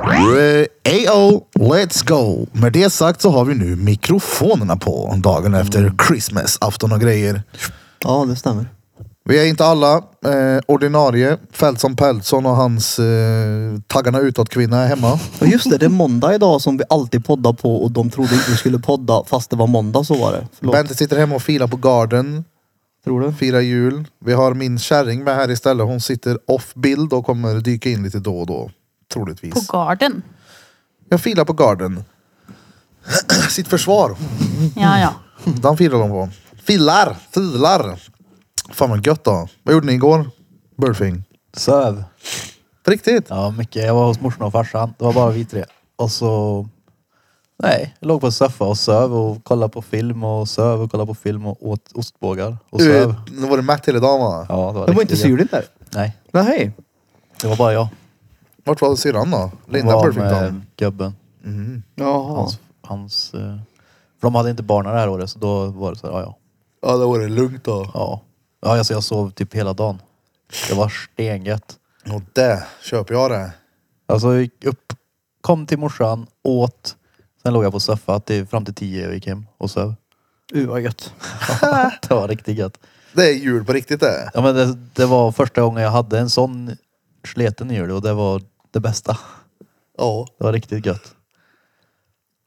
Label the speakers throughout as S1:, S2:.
S1: Ayo, Eh, let's go! Med det sagt så har vi nu mikrofonerna på dagen efter
S2: Mm.
S1: Christmas, afton och grejer.
S2: Ja, det stämmer.
S1: Vi är inte alla eh, ordinarie. Fältson Peltson och hans eh, taggarna utåt-kvinna är hemma.
S2: Och just det, det är måndag idag som vi alltid poddar på och de trodde inte vi skulle podda fast det var måndag så var det. Förlåt,
S1: Bente sitter hemma och filar på garden,
S2: tror du?
S1: firar jul. Vi har min kärring med här istället. Hon sitter off-bild och kommer dyka in lite då och då. Troligtvis.
S3: På garden.
S1: Jag filar på garden. Sitt försvar.
S3: Ja, ja.
S1: Den filar de på. Filar! Filar! Fan vad gött då. Vad gjorde ni igår? Burfing.
S4: Söv.
S1: På Riktigt?
S4: Ja, mycket. Jag var hos morsan och farsan. Det var bara vi tre. Och så... Nej, jag låg på en soffa och söv och kollade på film och söv och kollade på film och åt ostbågar och söv.
S1: Uh, nu var du mätt hela dagen va?
S4: Ja, det var,
S2: Det var
S4: riktigt
S2: inte
S4: gött.
S2: syrligt där.
S4: Nej,
S2: Nej.
S4: det var bara jag.
S1: Vart var syrran då?
S4: Hon
S1: Linda
S4: var
S1: Burfing
S4: med
S1: då?
S4: gubben.
S2: Jaha.
S4: Hans, hans... eh, För de hade inte barn det här året så då var det så här, ja ja.
S1: Ja, då var det lugnt då.
S4: Ja, ja alltså jag sov typ hela dagen. Det var stengött.
S1: Och det köper jag det.
S4: Alltså jag gick upp, kom till morsan, åt. Sen låg jag på soffa till, fram till tio och gick hem och söv.
S2: Uh, vad gött.
S4: Det var riktigt gött.
S1: Det är jul på riktigt det.
S4: Ja, men det, det var första gången jag hade en sån sleten jul och det var det bästa.
S1: Ja.
S4: Det var riktigt gött.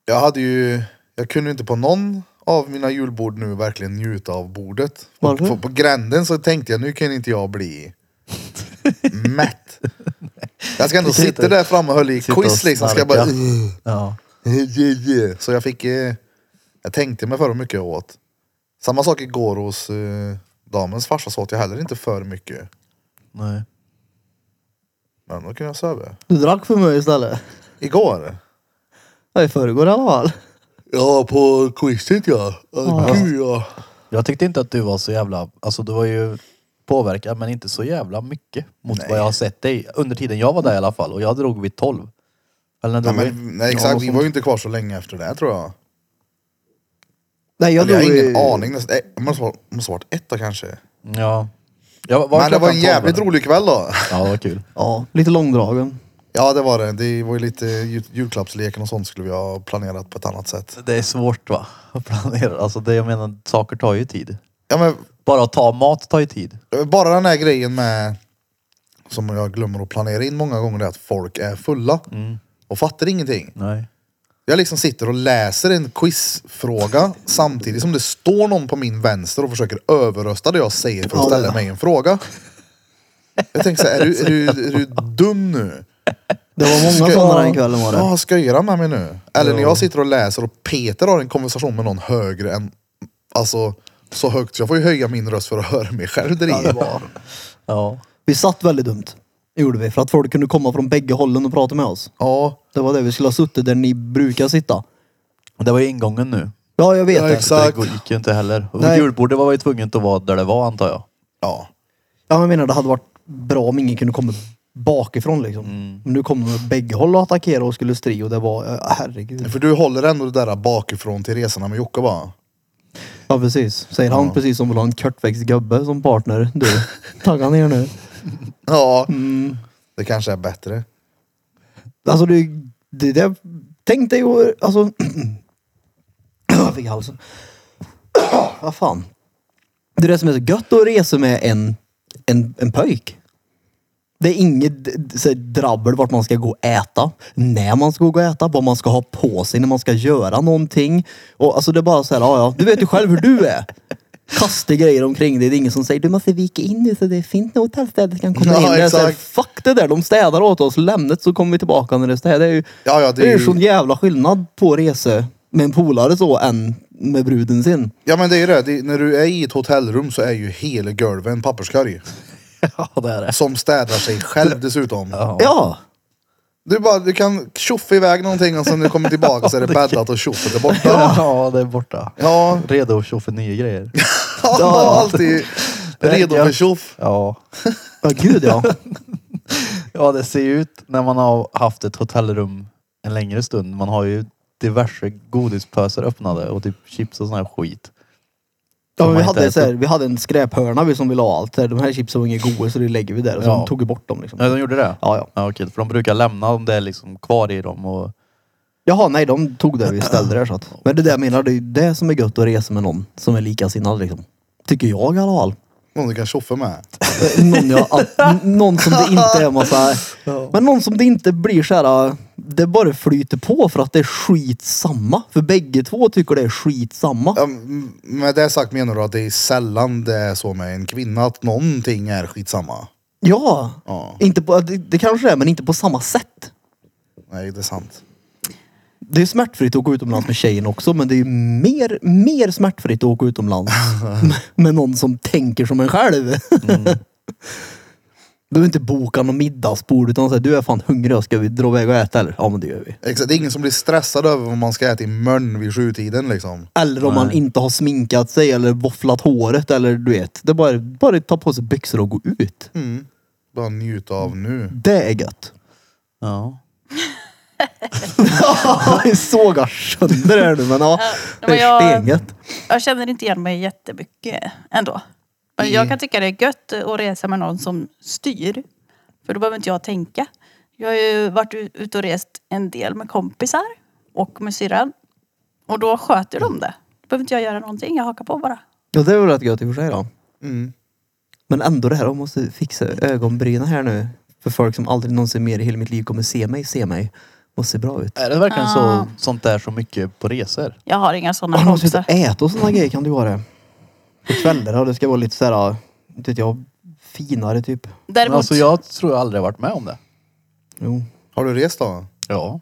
S1: Jag hade ju... Jag kunde inte på någon av mina julbord nu verkligen njuta av bordet.
S2: Varför?
S1: På, på gränden så tänkte jag, nu kan inte jag bli mätt. Jag ska ändå
S4: Du kan
S1: sitta
S4: inte
S1: där framme och höll i
S4: sitta och
S1: quiz liksom. Ska jag bara...
S4: snarka. Ja.
S1: Så jag fick... eh, Jag tänkte mig för mycket jag åt. Samma sak igår hos eh, damens farsa så åt jag heller inte för mycket.
S4: Nej.
S1: Men då kunde jag söva.
S2: Du drack för mig istället.
S1: Igår?
S2: Ja, i förrgår i alla fall.
S1: Ja, på quizet ja.
S2: Ja.
S1: Gud ja.
S4: Jag tyckte inte att du var så jävla, alltså du var ju påverkad men inte så jävla mycket mot vad jag har sett dig under tiden jag var där i alla fall och jag drog vid 12. Eller när
S1: Nej,
S4: drog vi?
S1: men, nej exakt,
S4: Ja,
S1: vi
S4: sånt.
S1: var ju inte kvar så länge efter det tror jag.
S2: Nej, jag
S1: Eller, jag har
S2: drog i-
S1: ingen aning. Nästan- nej, Det måste, vara- måste varit ett då kanske.
S4: Ja. Jag var,
S1: Men det var
S4: klockan
S1: en jävligt
S4: 12, eller?
S1: rolig kväll då.
S4: Ja det var kul.
S2: Ja, lite långdragen.
S1: Ja det var det. Det var ju lite jul- julklappsleken och sånt skulle vi ha planerat på ett annat sätt.
S4: Det är svårt va? Att planera. Alltså det jag menar, saker tar ju tid.
S1: Ja, men,
S4: Bara att ta mat tar ju tid.
S1: bara den här grejen med, som jag glömmer att planera in många gånger, det är att folk är fulla. Och fattar ingenting.
S4: Nej.
S1: Jag liksom sitter och läser en quizfråga samtidigt som det står någon på min vänster och försöker överrösta det jag säger för att ställa mig en fråga. Jag tänker så här, är du, är du, är du dum nu?
S2: Det var många
S1: Ska-
S2: sådana den kvällen var det.
S1: Ja, skojar han med mig nu? Eller när jag sitter och läser och Peter har en konversation med någon högre än, alltså så högt så jag får ju höja min röst för att höra mig själv där i.
S4: Ja.
S2: Vi satt väldigt dumt. Det gjorde vi. För att folk kunde komma från bägge hållen och prata med oss.
S1: Ja,
S2: Det var det vi skulle ha suttit där ni brukar sitta.
S4: Och Det var ju ingången nu.
S2: Ja, jag vet
S1: Ja,
S2: det.
S1: exakt. Tack.
S4: Det gick ju inte heller. Och
S2: Nej.
S4: julbordet var ju tvunget att vara där det var antar jag.
S1: ja.
S2: Ja, men jag menar det hade varit bra om ingen kunde komma bakifrån liksom. Men nu kom de med bägge håll och attackerade och skulle stri och det var, ja, herregud.
S1: För du håller ändå det där bakifrån till resorna med Jocke va?
S2: Ja precis. Säger han precis som vill ha en kortväxt gubbe som partner. Du, tagga ner nu.
S1: Ja,
S4: Mm.
S1: det kanske är bättre.
S2: Alltså det, det, det tänk dig att, alltså. jag fick halsen. Vad fan. Det är det som är så gött att resa med en, en, en pöjk. Det är inget d- d- så här drabbel vart man ska gå och äta, när man ska gå och äta, vad man ska ha på sig när man ska göra någonting. Och alltså det är bara så här, ja ja, du vet ju själv hur du är. Kasta grejer omkring dig. Det är ingen som säger du måste vika in nu så det är fint när hotellstädet kan komma
S1: Ja,
S2: in. Det är så här,
S1: exakt.
S2: fuck det där, de städar åt oss, lämnet så kommer vi tillbaka när det städar. Det är ju
S1: Ja, ja, det är
S2: det är
S1: ju-
S2: ju sån jävla skillnad på resor med en polare så än med bruden sin.
S1: Ja men det är ju det. det, när du är i ett hotellrum så är ju hela golvet en papperskorg.
S4: Ja det är det.
S1: Som städar sig själv dessutom.
S4: Ja.
S2: Ja,
S1: Du, bara, du kan tjoffa iväg någonting och sen när du kommer tillbaka så är det bäddat och tjoffet är borta.
S4: ja det är borta.
S1: Ja,
S4: Redo att tjoffa nya grejer.
S1: ja. alltid redo för tjoff.
S4: Ja.
S2: ja gud ja.
S4: ja det ser ju ut när man har haft ett hotellrum en längre stund. Man har ju diverse godispösar öppnade och typ chips och sån här skit.
S2: Ja, men
S4: man
S2: vi,
S4: inte
S2: hade
S4: äter
S2: så här, vi hade en skräphörna vi som ville ha allt. Så här, De här chipsen var inget goda så det lägger vi där. Och så
S4: Ja.
S2: de tog vi bort dem liksom.
S4: Ja, de gjorde det?
S2: Ja, ja.
S4: Ja, okej, för de brukar lämna om det är liksom kvar i dem och...
S2: Jaha, nej de tog det vi ställde där så att. Men det där jag menar, det är ju det som är gött att resa med någon som är likasinnad liksom. Tycker jag i alla fall.
S1: Någon du kan tjoffa med.
S2: Eh, Någon, jag, att- n- någon som det inte är massa... Men någon som det inte blir så här. eh, Det bara flyter på för att det är skitsamma. För bägge två tycker det är skitsamma.
S1: Ja, m- Med det sagt menar du att det är sällan det är så med en kvinna att någonting är skitsamma?
S2: Ja!
S1: Ja,
S2: Inte på, det, det kanske det är, men inte på samma sätt.
S1: nej det är sant.
S2: Det är smärtfritt att gå utomlands med tjejen också, men det är ju mer, mer smärtfritt att åka utomlands med, med någon som tänker som en själv. Du är inte boka någon middagsbord utan säger du är fan hungrig, ska vi dra iväg och äta eller? Ja men det gör vi.
S1: Exakt, det är ingen som blir stressad över vad man ska äta i mörn vid sjutiden liksom.
S2: Eller om man inte har sminkat sig eller våfflat håret eller du vet. Det är bara, bara ta på sig byxor och gå ut.
S1: Bara njuta av nu.
S2: Det är gött.
S4: Ja.
S2: Jag sågar sönder det här nu men ja.
S3: men
S2: Det är
S3: jag-
S2: stengött.
S3: Jag känner inte igen mig jättemycket ändå. Men jag kan tycka det är gött att resa med någon som styr. För då behöver inte jag tänka. Jag har ju varit u- ute och rest en del med kompisar och med syrran. Och då sköter de det. Då behöver inte jag göra någonting, jag hakar på bara.
S2: Ja det är väl rätt gött i och för sig då.
S1: Mm.
S2: Men ändå det här, jag måste fixa ögonbrynen här nu. För folk som aldrig någonsin mer i hela mitt liv kommer se mig, se mig. Måste se bra
S1: Äh,
S2: ut.
S4: Är det verkligen så, sånt där så mycket på resor?
S3: Jag har inga sådana
S2: Man
S4: Alltså,
S2: måste
S3: kompisar.
S2: inte äta och sådana grejer kan du göra. På kvällar och det ska vara lite såhär, inte vet jag, finare typ.
S4: Men
S3: Däremot,
S4: alltså jag tror jag aldrig har varit med om det.
S2: Jo.
S1: Har du rest då?
S4: Ja.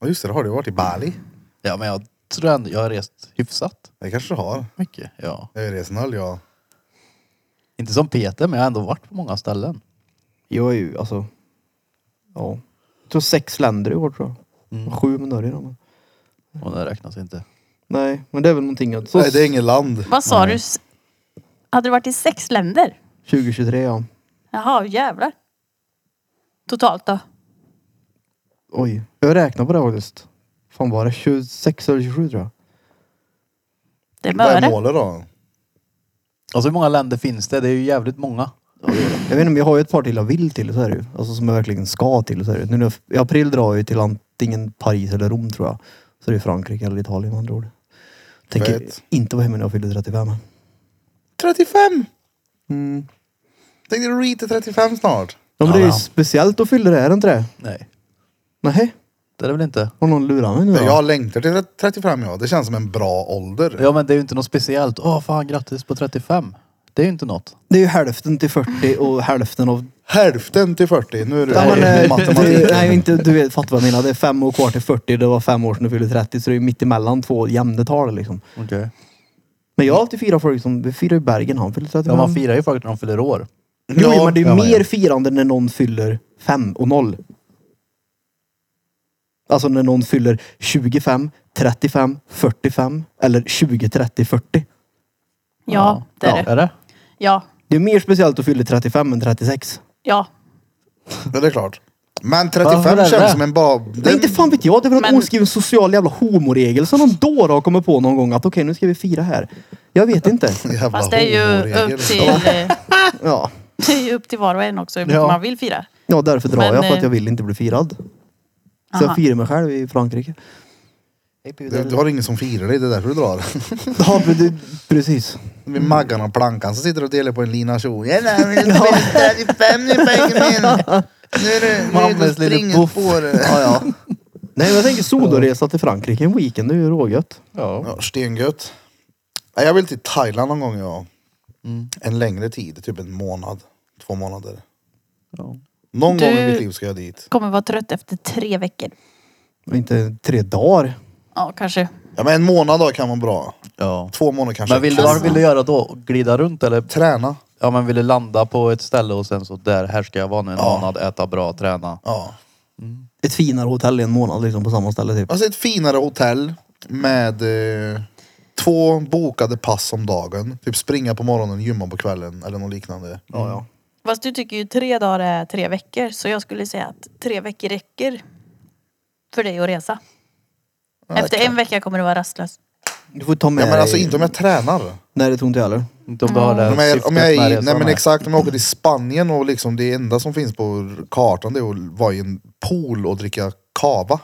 S1: Ja just det, då har du varit i Bali.
S4: Ja men jag tror ändå jag har rest hyfsat
S1: Det kanske du har.
S4: mycket. Ja.
S1: Jag är resnöll jag.
S4: Inte som Peter men jag har ändå varit på många ställen.
S2: Jag är ju alltså, ja. Jag tror sex länder i år tror jag.
S1: Mm.
S2: Sju med Norge då. Men.
S4: Och det räknas inte.
S2: Nej, men det är väl någonting att... Så,
S1: Nej det är inget land.
S3: vad sa du? S- Hade du varit i sex länder?
S2: 2023 ja.
S3: Jaha, jävlar. Totalt då?
S2: Oj, jag räknar på det faktiskt. Fan var det 26 eller 27 tror jag.
S3: Det är
S1: Vad är
S3: Möre.
S1: målet då?
S4: Alltså hur många länder finns det? Det är ju jävligt många.
S2: Jag vet inte, men jag har ju ett par till jag vill till, så är det ju. Alltså som jag verkligen ska till, så är det ju. Nu när jag- I april drar jag ju till antingen Paris eller Rom tror jag. Så det är Frankrike eller Italien med andra ord. Tänker
S1: Fett.
S2: inte vara hemma när jag fyller 35.
S1: 35!
S2: Mm.
S1: Tänkte du reeta 35 snart?
S2: Ja, men det är ju
S4: Ja, ja.
S2: speciellt att fylla det, är det inte det?
S4: Nej.
S2: Nej,
S4: Det är det väl inte?
S2: har någon lurat mig nu då?
S1: Jag längtar till 35 ja. Det känns som en bra ålder.
S4: Ja men det är ju inte något speciellt. Åh fan grattis på 35. Det är ju inte något.
S2: Det är ju hälften till 40 och hälften av...
S1: Hälften till 40. Nu är du
S2: Ja, men,
S1: med
S2: eh, du,
S1: matematik.
S2: nej, inte, du vet, fattar vad jag menar. Det är fem år kvar till 40, det var fem år sedan du fyllde 30. Så det är ju mitt emellan två jämna tal liksom.
S4: Okej.
S2: Men jag har alltid firat folk som, vi firar ju Bergen, han fyllde 35.
S4: Ja man firar ju folk när de fyller år.
S2: Jo,
S1: Ja,
S2: men det är
S1: ja, men
S2: mer firande när någon fyller 5 och 0. Alltså när någon fyller 25, 35, 45 eller 20, 30, 40.
S3: Ja, det är det.
S4: Är det?
S3: Ja,
S2: Det är mer speciellt att fylla 35 än 36.
S3: ja.
S1: Ja, det är klart. Men
S4: Varför
S1: 35
S4: är det?
S1: känns som en bra...
S2: Nej, inte fan vet jag. Det är väl en
S3: Men-
S2: oskriven social jävla homoregel som någon dåre har kommit på någon gång att okej, nu ska vi fira här. Jag vet inte.
S1: Jävla
S3: Fast det är ju
S1: homoregel.
S3: upp till, eh,
S2: Ja,
S3: det är ju upp till var och en också hur mycket
S4: Ja.
S3: man vill fira.
S2: ja därför drar
S3: Men,
S2: jag för att
S3: eh,
S2: jag vill inte bli firad. Så jag
S3: Aha.
S2: firar mig själv i Frankrike.
S1: Du, du har ingen som firar dig, det är därför du drar.
S2: Ja, men det- precis.
S4: Mm.
S1: Med Maggan och Plankan som sitter och delar på en lina kjol. Ja, nej, men det är 35 nu Benjamin. Nu är det, nu är det
S4: Mammas lille
S1: springet
S4: buff.
S1: på det.
S2: Ja, ja. Nej, men jag tänker soloresa till Frankrike en weekend, det är ju rågött.
S4: Ja.
S1: Ja, stengött. Nej, Jag vill till Thailand någon gång ja.
S4: Mm.
S1: En längre tid, typ en månad. Två månader.
S4: ja.
S1: Någon
S3: Du-
S1: gång i mitt liv ska jag dit.
S3: Kommer vara trött efter tre veckor.
S2: Och Inte tre dagar.
S3: Ja, kanske.
S1: Ja, men en månad då kan vara bra.
S4: ja.
S1: Två månader kanske.
S4: Men vill du, vad vill du göra då? Glida runt eller?
S1: Träna.
S4: Ja men vill du landa på ett ställe och sen så där, här ska jag vara nu en månad, äta bra, träna.
S1: Ja.
S2: Ett finare hotell i en månad liksom på samma ställe typ.
S1: Alltså ett finare hotell med eh, två bokade pass om dagen. Typ springa på morgonen, gymma på kvällen eller något liknande.
S2: Ja, ja.
S3: Fast du tycker ju tre dagar är tre veckor. Så jag skulle säga att tre veckor räcker för dig att resa. Efter en vecka kommer du vara rastlös.
S2: Du får ta med
S1: Ja, men alltså
S2: dig-
S1: inte om Mm. jag tränar.
S2: Nej, det tror inte jag heller.
S4: Inte om du
S3: Mm.
S4: har det
S1: Om jag,
S4: syftet
S1: om jag är
S4: med
S1: i,
S4: resan
S1: nej men
S4: här.
S1: exakt, om jag åker till Spanien och liksom det enda som finns på kartan det är att vara i en pool och dricka cava.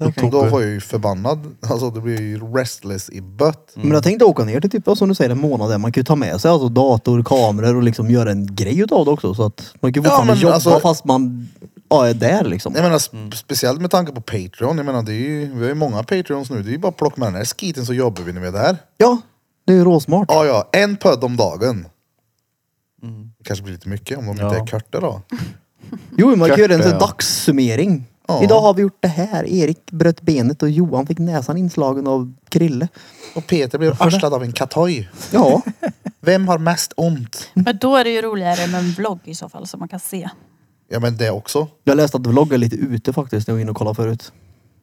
S4: Okej.
S1: Då var jag ju förbannad. Alltså det blir ju restless i bött.
S2: Men jag tänkte åka ner till typ, ja, som du säger, en månad där. Man kan ju ta med sig alltså, dator, kameror och liksom göra en grej utav det också. Så att man kan ju
S1: Ja,
S2: fortfarande
S1: men
S2: jobba
S1: alltså-
S2: fast man ja, är där liksom.
S1: Jag menar sp- speciellt med tanke på Patreon. Jag menar det är ju, vi har ju många Patreons nu. Det är ju bara att plocka med den här skiten så jobbar vi när vi är där.
S2: Ja, det är ju råsmart.
S1: Ja ja, en podd om dagen. Kanske blir lite mycket om de
S4: Ja.
S1: inte är korta då.
S2: Jo, man kan göra en sån
S4: Körte, ja.
S2: dagssummering.
S1: Ja.
S2: Idag har vi gjort det här. Erik bröt benet och Johan fick näsan inslagen av Krille.
S1: Och Peter blev arslad av en katoj.
S2: Ja,
S1: Vem har mest ont?
S3: Men då är det ju roligare med en vlogg i så fall som man kan se.
S1: Ja men det också.
S2: jag läste att vloggar lite ute faktiskt när jag var inne och kollade förut.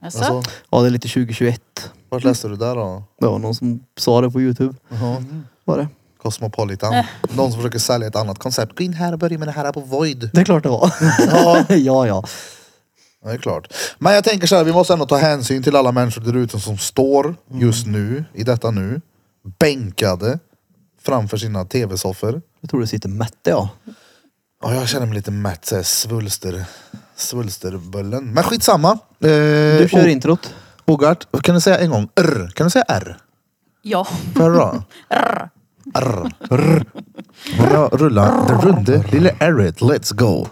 S3: Alltså,
S1: Alltså,
S2: Ja, det är lite 2021.
S1: vart läste du där då?
S2: Det var någon som sa det på Youtube.
S1: Jaha.
S2: Var det?
S1: Cosmopolitan. Någon som försöker sälja ett annat koncept. Gå in här och börja med det här på Void.
S2: Det är klart det var. Ja, ja. ja.
S1: Ja, det är klart. Men jag tänker så här, vi måste ändå ta hänsyn till alla människor där ute som står just nu, i detta nu, bänkade framför sina tv-soffor.
S2: Jag tror det sitter mätte ja.
S1: Ja, jag känner mig lite mätt, så här, svulster, svulsterbullen. Men skitsamma. Eh,
S2: Du kör
S1: O-
S2: introt.
S1: Bogart, kan du säga en gång R? Kan du säga R?
S3: ja.
S1: Får jag höra då? R. R. Bra, rulla den runde lille Arret. Let's go.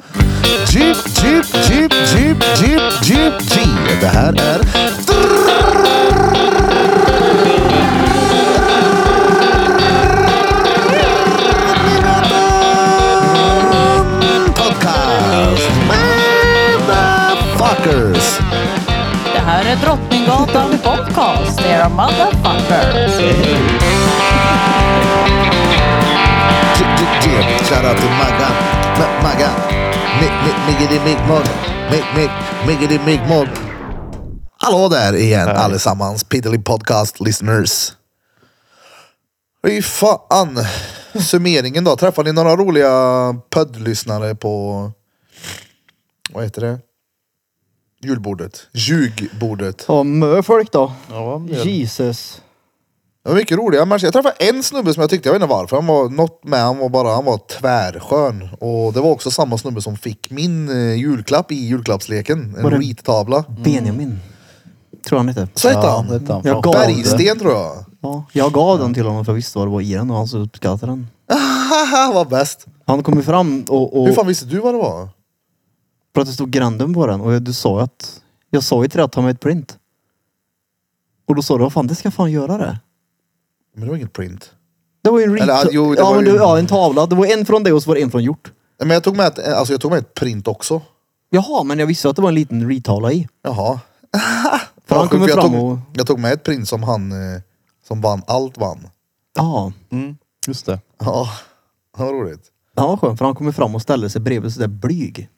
S1: Jeep, jeep, jeep, jeep, jeep, jeep, jeep. Det här är... Podcast. Motherfuckers.
S3: Det här är Drottninggatan podcast, era motherfuckers.
S1: Jeep, jeep, jeep. Shoutout to Maggan. Ma- Maggan. Mick, Mick, Miggity Mick Mugg. Mick, Mick, Miggity Mick Mugg. Hallå där igen allesammans, Piddly Podcast listeners. Fy fan. Summeringen då. Träffade ni några roliga poddlyssnare på, vad heter det? Julbordet. Ljugbordet.
S2: Ta mö folk då.
S4: Ja, en
S2: Mm.
S4: del.
S2: Jesus.
S1: Det var mycket roliga människor. Jag träffade en snubbe som jag tyckte, jag vet inte varför, han var något med, han var bara, han var tvärskön. Och det var också samma snubbe som fick min eh, julklapp i julklappsleken. En
S2: Var det-
S1: reed-tavla.
S2: Benjamin. Tror han heter.
S1: Så hette
S4: Ja,
S1: han.
S4: det hette han.
S2: Jag
S4: Fan,
S2: gav
S4: det.
S1: Bergsten tror jag.
S2: Ja, jag gav den till honom för jag visste vad det var i den och han så uppskattade den.
S1: Haha, vad bäst.
S2: Han kom ju fram och,
S1: Hur
S2: och
S1: fan visste du vad det var?
S2: för att det stod Grandum på den och jag- du sa ju att jag sa ju till dig att ta med ett print. Och då sa du, vad fan det ska fan göra det.
S1: Men det var inget print.
S2: Det var ju en reed.
S1: Eller, ja, jo, det
S2: ja,
S1: var
S2: men
S1: ju-
S2: du, ja, en tavla. Det var en från dig och så var det en från Hjort.
S1: Nej, Men jag tog med ett, alltså jag tog med ett print också.
S2: Jaha, men jag visste ju att det var en liten reed-tavla i.
S1: Jaha.
S2: För han
S1: Vad sjukt,
S2: kommer
S1: jag,
S2: fram
S1: tog,
S2: och...
S1: jag tog med ett print som han, eh, som vann, allt vann.
S2: Ja.
S4: Mm, just det.
S1: Ja, det var roligt.
S2: Ja, vad skönt. För han kommer fram och ställer sig bredvid sådär blyg.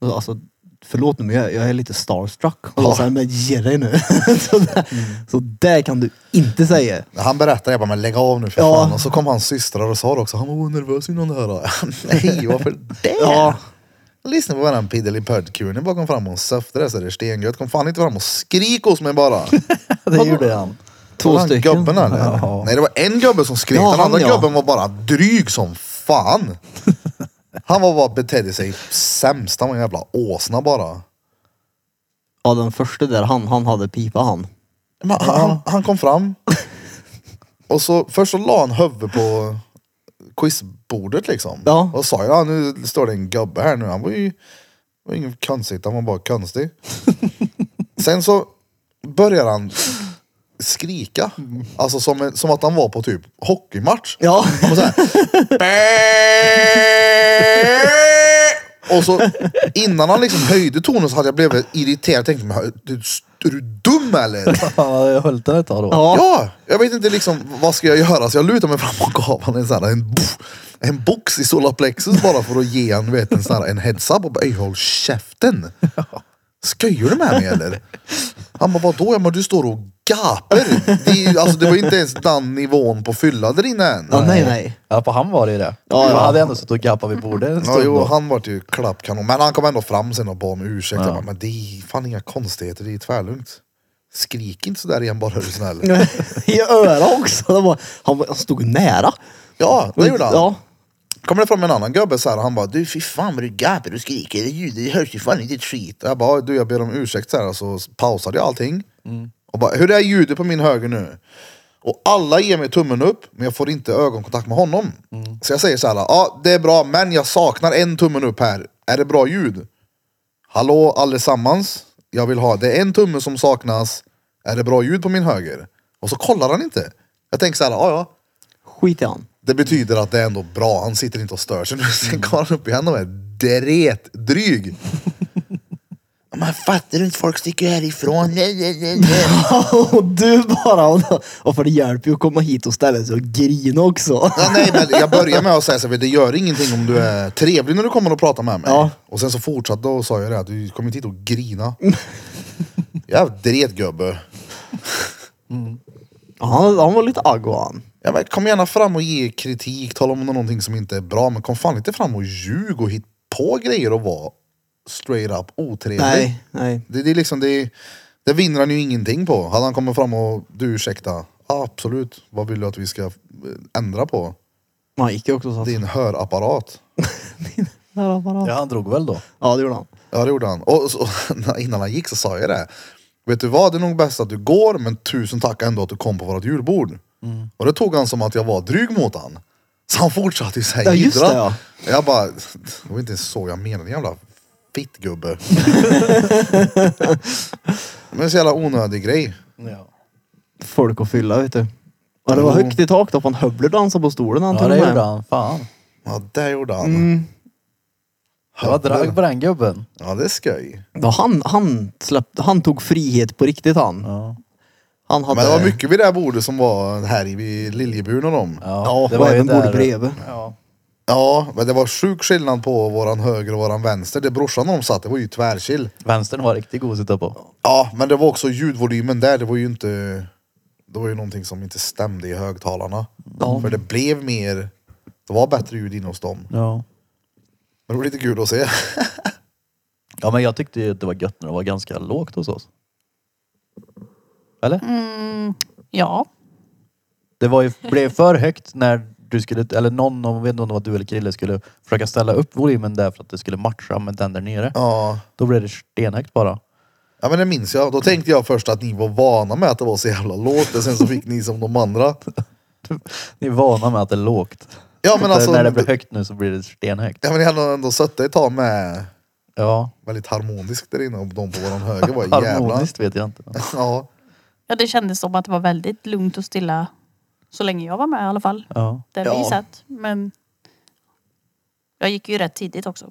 S2: Och så, Alltså, förlåt nu men jag, jag är lite starstruck. Och så
S1: Ja.
S2: såhär, men ge dig nu. så, där, så där kan du inte säga.
S1: Han berättade, jag bara, men lägg av nu för
S2: Ja.
S1: fan. Och så kom hans systrar och sa det också, han var nervös innan det här. då." Nej, varför det?
S2: Ja.
S1: Lyssna på varandra piddelipödd-kuren bara kom fram och söfte det så det är stengött. Kom fan inte fram och skrik hos mig bara.
S4: Det gjorde han.
S2: Två
S1: Var han
S2: stycken.
S1: Gubben eller?
S4: Ja.
S1: Nej det var en gubbe som skrek,
S2: Ja,
S1: den andra
S2: han, ja.
S1: gubben var bara dryg som fan. Han var bara betedde sig sämst, han var en jävla åsna bara.
S2: Ja, den första där, han, han hade pipa han.
S1: Men han, han, han kom fram. Och så först så la han huvudet på quizbordet liksom.
S2: Ja.
S1: Och sa ja nu står det en gubbe här nu. Han var ju var ingen konstigt, han var bara konstig. Sen så börjar han skrika. Alltså som, en, som att han var på typ hockeymatch.
S2: Ja.
S1: Och så, här, och så innan han liksom höjde tonen så hade jag blivit irriterad. Tänkte mig, "Du- är du dum eller?
S4: Ja, jag höll den ett tag då.
S2: Ja.
S1: Ja, jag vet inte liksom vad ska jag göra så jag lutar mig fram och gav honom en sån här en, boff, en box i solarplexus bara för att ge han vet, en sån här en heads up och bara "Ey, håll käften. Skojar du med mig eller? Han bara vadå? Jag bara, du står och gapar. Det, är- alltså, det var ju inte ens den nivån på fylla där inne än.
S2: ja nej, nej.
S4: Ja, på han var det ju det.
S2: Ja, ja.
S4: Han hade ändå suttit och gappat vid bordet en
S1: Ja,
S4: stund.
S1: jo,
S4: då.
S1: han var ju klappkanon. Men han kom ändå fram sen och bad om ursäkt. Jag bara, men det är fan inga konstigheter, det är tvärlugnt. Skrik inte sådär igen bara är du snäll.
S2: I öra också. Det var, han, var, han stod nära.
S1: Ja, det gjorde han.
S2: Ja.
S1: Kommer det fram en annan gubbe så här, han bara du fy fan vad du gapar och skriker, det ljudet det hörs ju fan inte ett skit. Jag bara du jag ber om ursäkt så här och så pausade jag allting. Och bara hur är ljudet på min höger nu? Och alla ger mig tummen upp men jag får inte ögonkontakt med honom. Så jag säger så här, ja det är bra men jag saknar en tummen upp här. Är det bra ljud? Hallå allesammans, jag vill ha, det är en tumme som saknas. Är det bra ljud på min höger? Och så kollar han inte. Jag tänker så här, ja ja.
S2: Skit i han.
S1: Det betyder att det är ändå bra, han sitter inte och stör sig nu. Sen går han upp igen och är dretdryg. Man fattar inte, folk sticker härifrån. Nej, nej, nej, nej.
S2: och du bara. Och, och för det hjälper ju att komma hit och ställa sig och grina också.
S1: Ja, nej, men jag börjar med att säga så här, det gör ingenting om du är trevlig när du kommer och pratar med mig.
S2: Ja.
S1: Och sen så fortsatte och sa jag det, att du kommer inte hit och grina. Jag dret gubbe.
S2: Han, han var lite aggo han.
S1: Ja, men kom gärna fram och ge kritik, tala om någonting som inte är bra, men kom fan inte fram och ljug och hit på grejer och vara straight up otrevlig.
S2: Nej, nej.
S1: Det, det är liksom, det, det vinner han ju ingenting på. Hade han kommit fram och du ursäkta, "Ja, absolut, vad vill du att vi ska eh, ändra på?
S2: Han gick ju också så.
S1: Din hörapparat.
S4: Ja, han drog väl då.
S2: Ja, det gjorde han.
S1: Ja det gjorde han. Och så, innan han gick så sa jag det. Vet du vad, det är nog bäst att du går men tusen tack ändå att du kom på vårt julbord.
S2: Mm.
S1: Och det tog han som att jag var dryg mot han. Så han fortsatte ju säga
S2: Ja, just det, ja.
S1: Jag bara, det var inte ens så jag menade jävla fittgubbe. men så jävla onödig grej.
S4: Ja.
S2: Folk att fylla vet du. Ja, det var högt i tak då. Fan Hövler dansade på stolen han
S4: Ja,
S2: tog
S4: det
S2: med. Mm.
S4: gjorde han. Fan.
S1: Ja det gjorde han.
S4: Det var drag på den gubben.
S1: Ja det är skoj.
S2: Ja, han, han, släppte, han tog frihet på riktigt han.
S4: Ja.
S2: han hade,
S1: Men det var mycket vid det här bordet som var här i vid Liljeburen och dem.
S2: Ja, och även
S4: där-
S2: bordet bredvid.
S4: Ja.
S1: Ja, men det var sjuk skillnad på våran höger och våran vänster. Det brorsan och de satt, det var ju tvärchill.
S4: Vänstern var riktigt god att sitta på.
S1: Ja, men det var också ljudvolymen där, det var ju inte... Det var ju någonting som inte stämde i högtalarna. För det blev mer... Det var bättre ljud inne hos dem.
S4: Ja.
S1: Men det var lite kul att se.
S4: Ja, men jag tyckte ju att det var gött när det var ganska lågt hos oss. Eller?
S3: Mm, Ja.
S4: Det var ju, blev för högt när du skulle, eller någon, av- jag vet inte om det var du eller Krille, skulle försöka ställa upp volymen där för att det skulle matcha med den där nere.
S1: Ja.
S4: Då blev det stenhögt bara.
S1: ja, men det minns jag. Då tänkte jag först att ni var vana med att det var så jävla lågt, och sen så fick ni som de andra.
S4: Ni är vana med att det är lågt.
S1: Ja, men
S4: Så
S1: alltså-
S4: när det blir högt nu så blir det stenhögt.
S1: Ja, men ni hade ändå suttit ett tag med
S4: Ja.
S1: väldigt harmoniskt där inne och de på våran höger var jävla...
S4: Harmoniskt vet jag inte. men-
S1: Ja.
S3: ja, det kändes som att det var väldigt lugnt och stilla så länge jag var med i alla fall.
S4: Ja.
S3: Där
S2: Ja.
S3: vi satt. Men jag gick ju rätt tidigt också.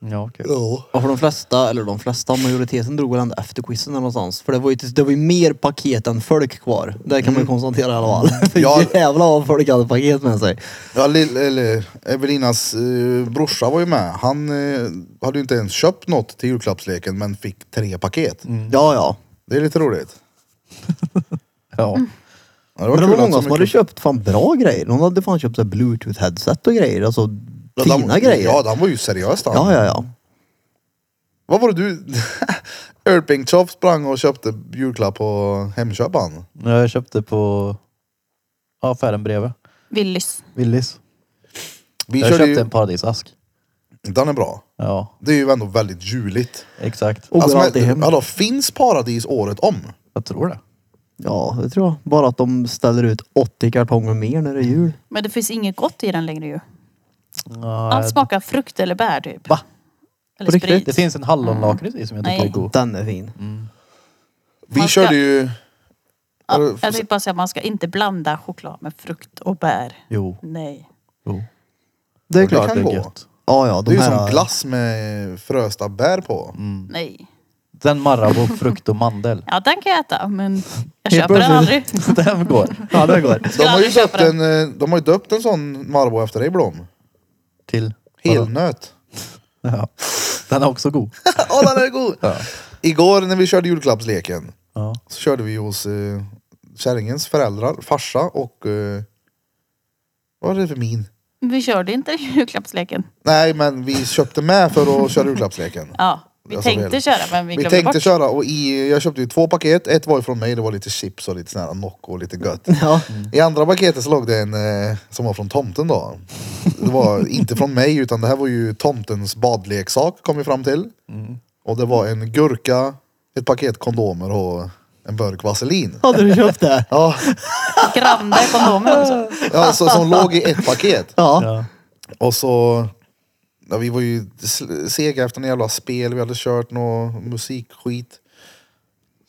S4: Ja, okej.
S1: Ja.
S2: Ja, för de flesta, eller de flesta, majoriteten drog väl ändå efter quizen eller någonstans. För det var ju, det var ju mer paket än folk kvar. Det kan man ju konstatera i alla fall. För
S1: Mm. Ja.
S2: jävlar vad folk hade paket med sig.
S1: Ja, lill, eller Evelinas eh, brorsa var ju med. Han eh, hade ju inte ens köpt något till julklappsleken men fick tre paket.
S2: Ja, ja.
S1: Det är lite roligt.
S4: Ja.
S1: Mm. Ja,
S2: Men det
S1: kul
S2: var
S1: att så
S2: många som hade
S1: mycket-
S2: köpt fan bra grejer. Någon hade fan köpt så här bluetooth-headset och grejer. Alltså
S1: Ja, de-
S2: fina grejer.
S1: Ja, han var ju seriös han.
S2: ja, ja, ja.
S1: Vad var det du... Irping Chop sprang och köpte julklapp på Hemköp han.
S4: Jag köpte på ja, affären bredvid.
S3: Willys.
S4: Willys.
S1: Vi
S4: Jag
S1: körde
S4: köpte
S1: ju...
S4: en paradisask.
S1: Den är bra.
S4: Ja,
S1: Det är ju ändå väldigt juligt.
S4: exakt.
S2: Och går
S1: Alltså, men-
S2: alltid hem.
S1: Hallå, finns paradis året om?
S4: Jag tror det.
S2: Ja, det tror jag. Bara att de ställer ut 80 kartonger mer när det är
S1: Mm.
S2: jul.
S3: Men det finns inget gott i den längre ju.
S4: Ja,
S3: Allt smakar frukt eller bär typ.
S4: Va?
S3: Eller
S2: På riktigt?
S3: sprit. Mm.
S4: Det finns en hallonlakrits i som jag tycker
S3: Nej.
S4: är god.
S2: Den är fin.
S1: Vi
S3: Man ska-
S1: körde ju...
S3: Ja, jag tänkte bara säga att man ska inte blanda choklad med frukt och bär.
S4: Jo,
S3: Nej.
S4: jo.
S2: Det är
S1: det
S2: klart.
S1: kan
S4: Det
S1: gå.
S4: är gött.
S2: Ja, ja.
S1: Det är
S2: De
S1: ju
S2: här, Mm.
S1: som glass med frösta bär på.
S3: Nej.
S4: Den Marabou frukt och mandel.
S3: Ja, den kan jag äta men jag
S2: Helt
S3: köper den
S2: plötsligt-
S3: aldrig.
S4: Den går
S2: Ja, det går.
S1: De
S3: Skulle
S1: har, ju
S3: aldrig
S1: döpt
S3: köpa
S1: en, eh, de har ju döpt en sån Marabou efter dig Blom.
S4: till...
S1: Helnöt.
S4: Ja. Den är också god.
S1: Åh den är god! Igår när vi körde julklappsleken
S4: Ja.
S1: så körde vi hos eh, kärringens föräldrar, farsa och... Eh, vad är det för min?
S3: Vi körde inte julklappsleken.
S1: Nej men vi köpte med för att köra julklappsleken.
S3: Ja. Vi
S1: Alltså,
S3: tänkte
S1: det-
S3: köra men vi
S1: Vi
S3: glömde
S1: tänkte
S3: bort.
S1: köra och i, jag köpte ju två paket. Ett var ju från mig, det var lite chips och lite sån här Nocco och lite gött.
S2: Ja.
S1: I andra paketet så låg det en eh, som var från tomten då. Det var inte från mig utan det här var ju tomtens badleksak kom vi fram till. Och det var en gurka, ett paket kondomer och en burk vaselin.
S2: Hade du köpt det?
S1: Ja,
S3: Grande kondomer också.
S1: ja så, som låg i ett paket.
S2: Ja.
S4: Ja.
S1: Och så, ja, vi var ju sl- sega efter en jävla spel, vi hade kört någon musikskit.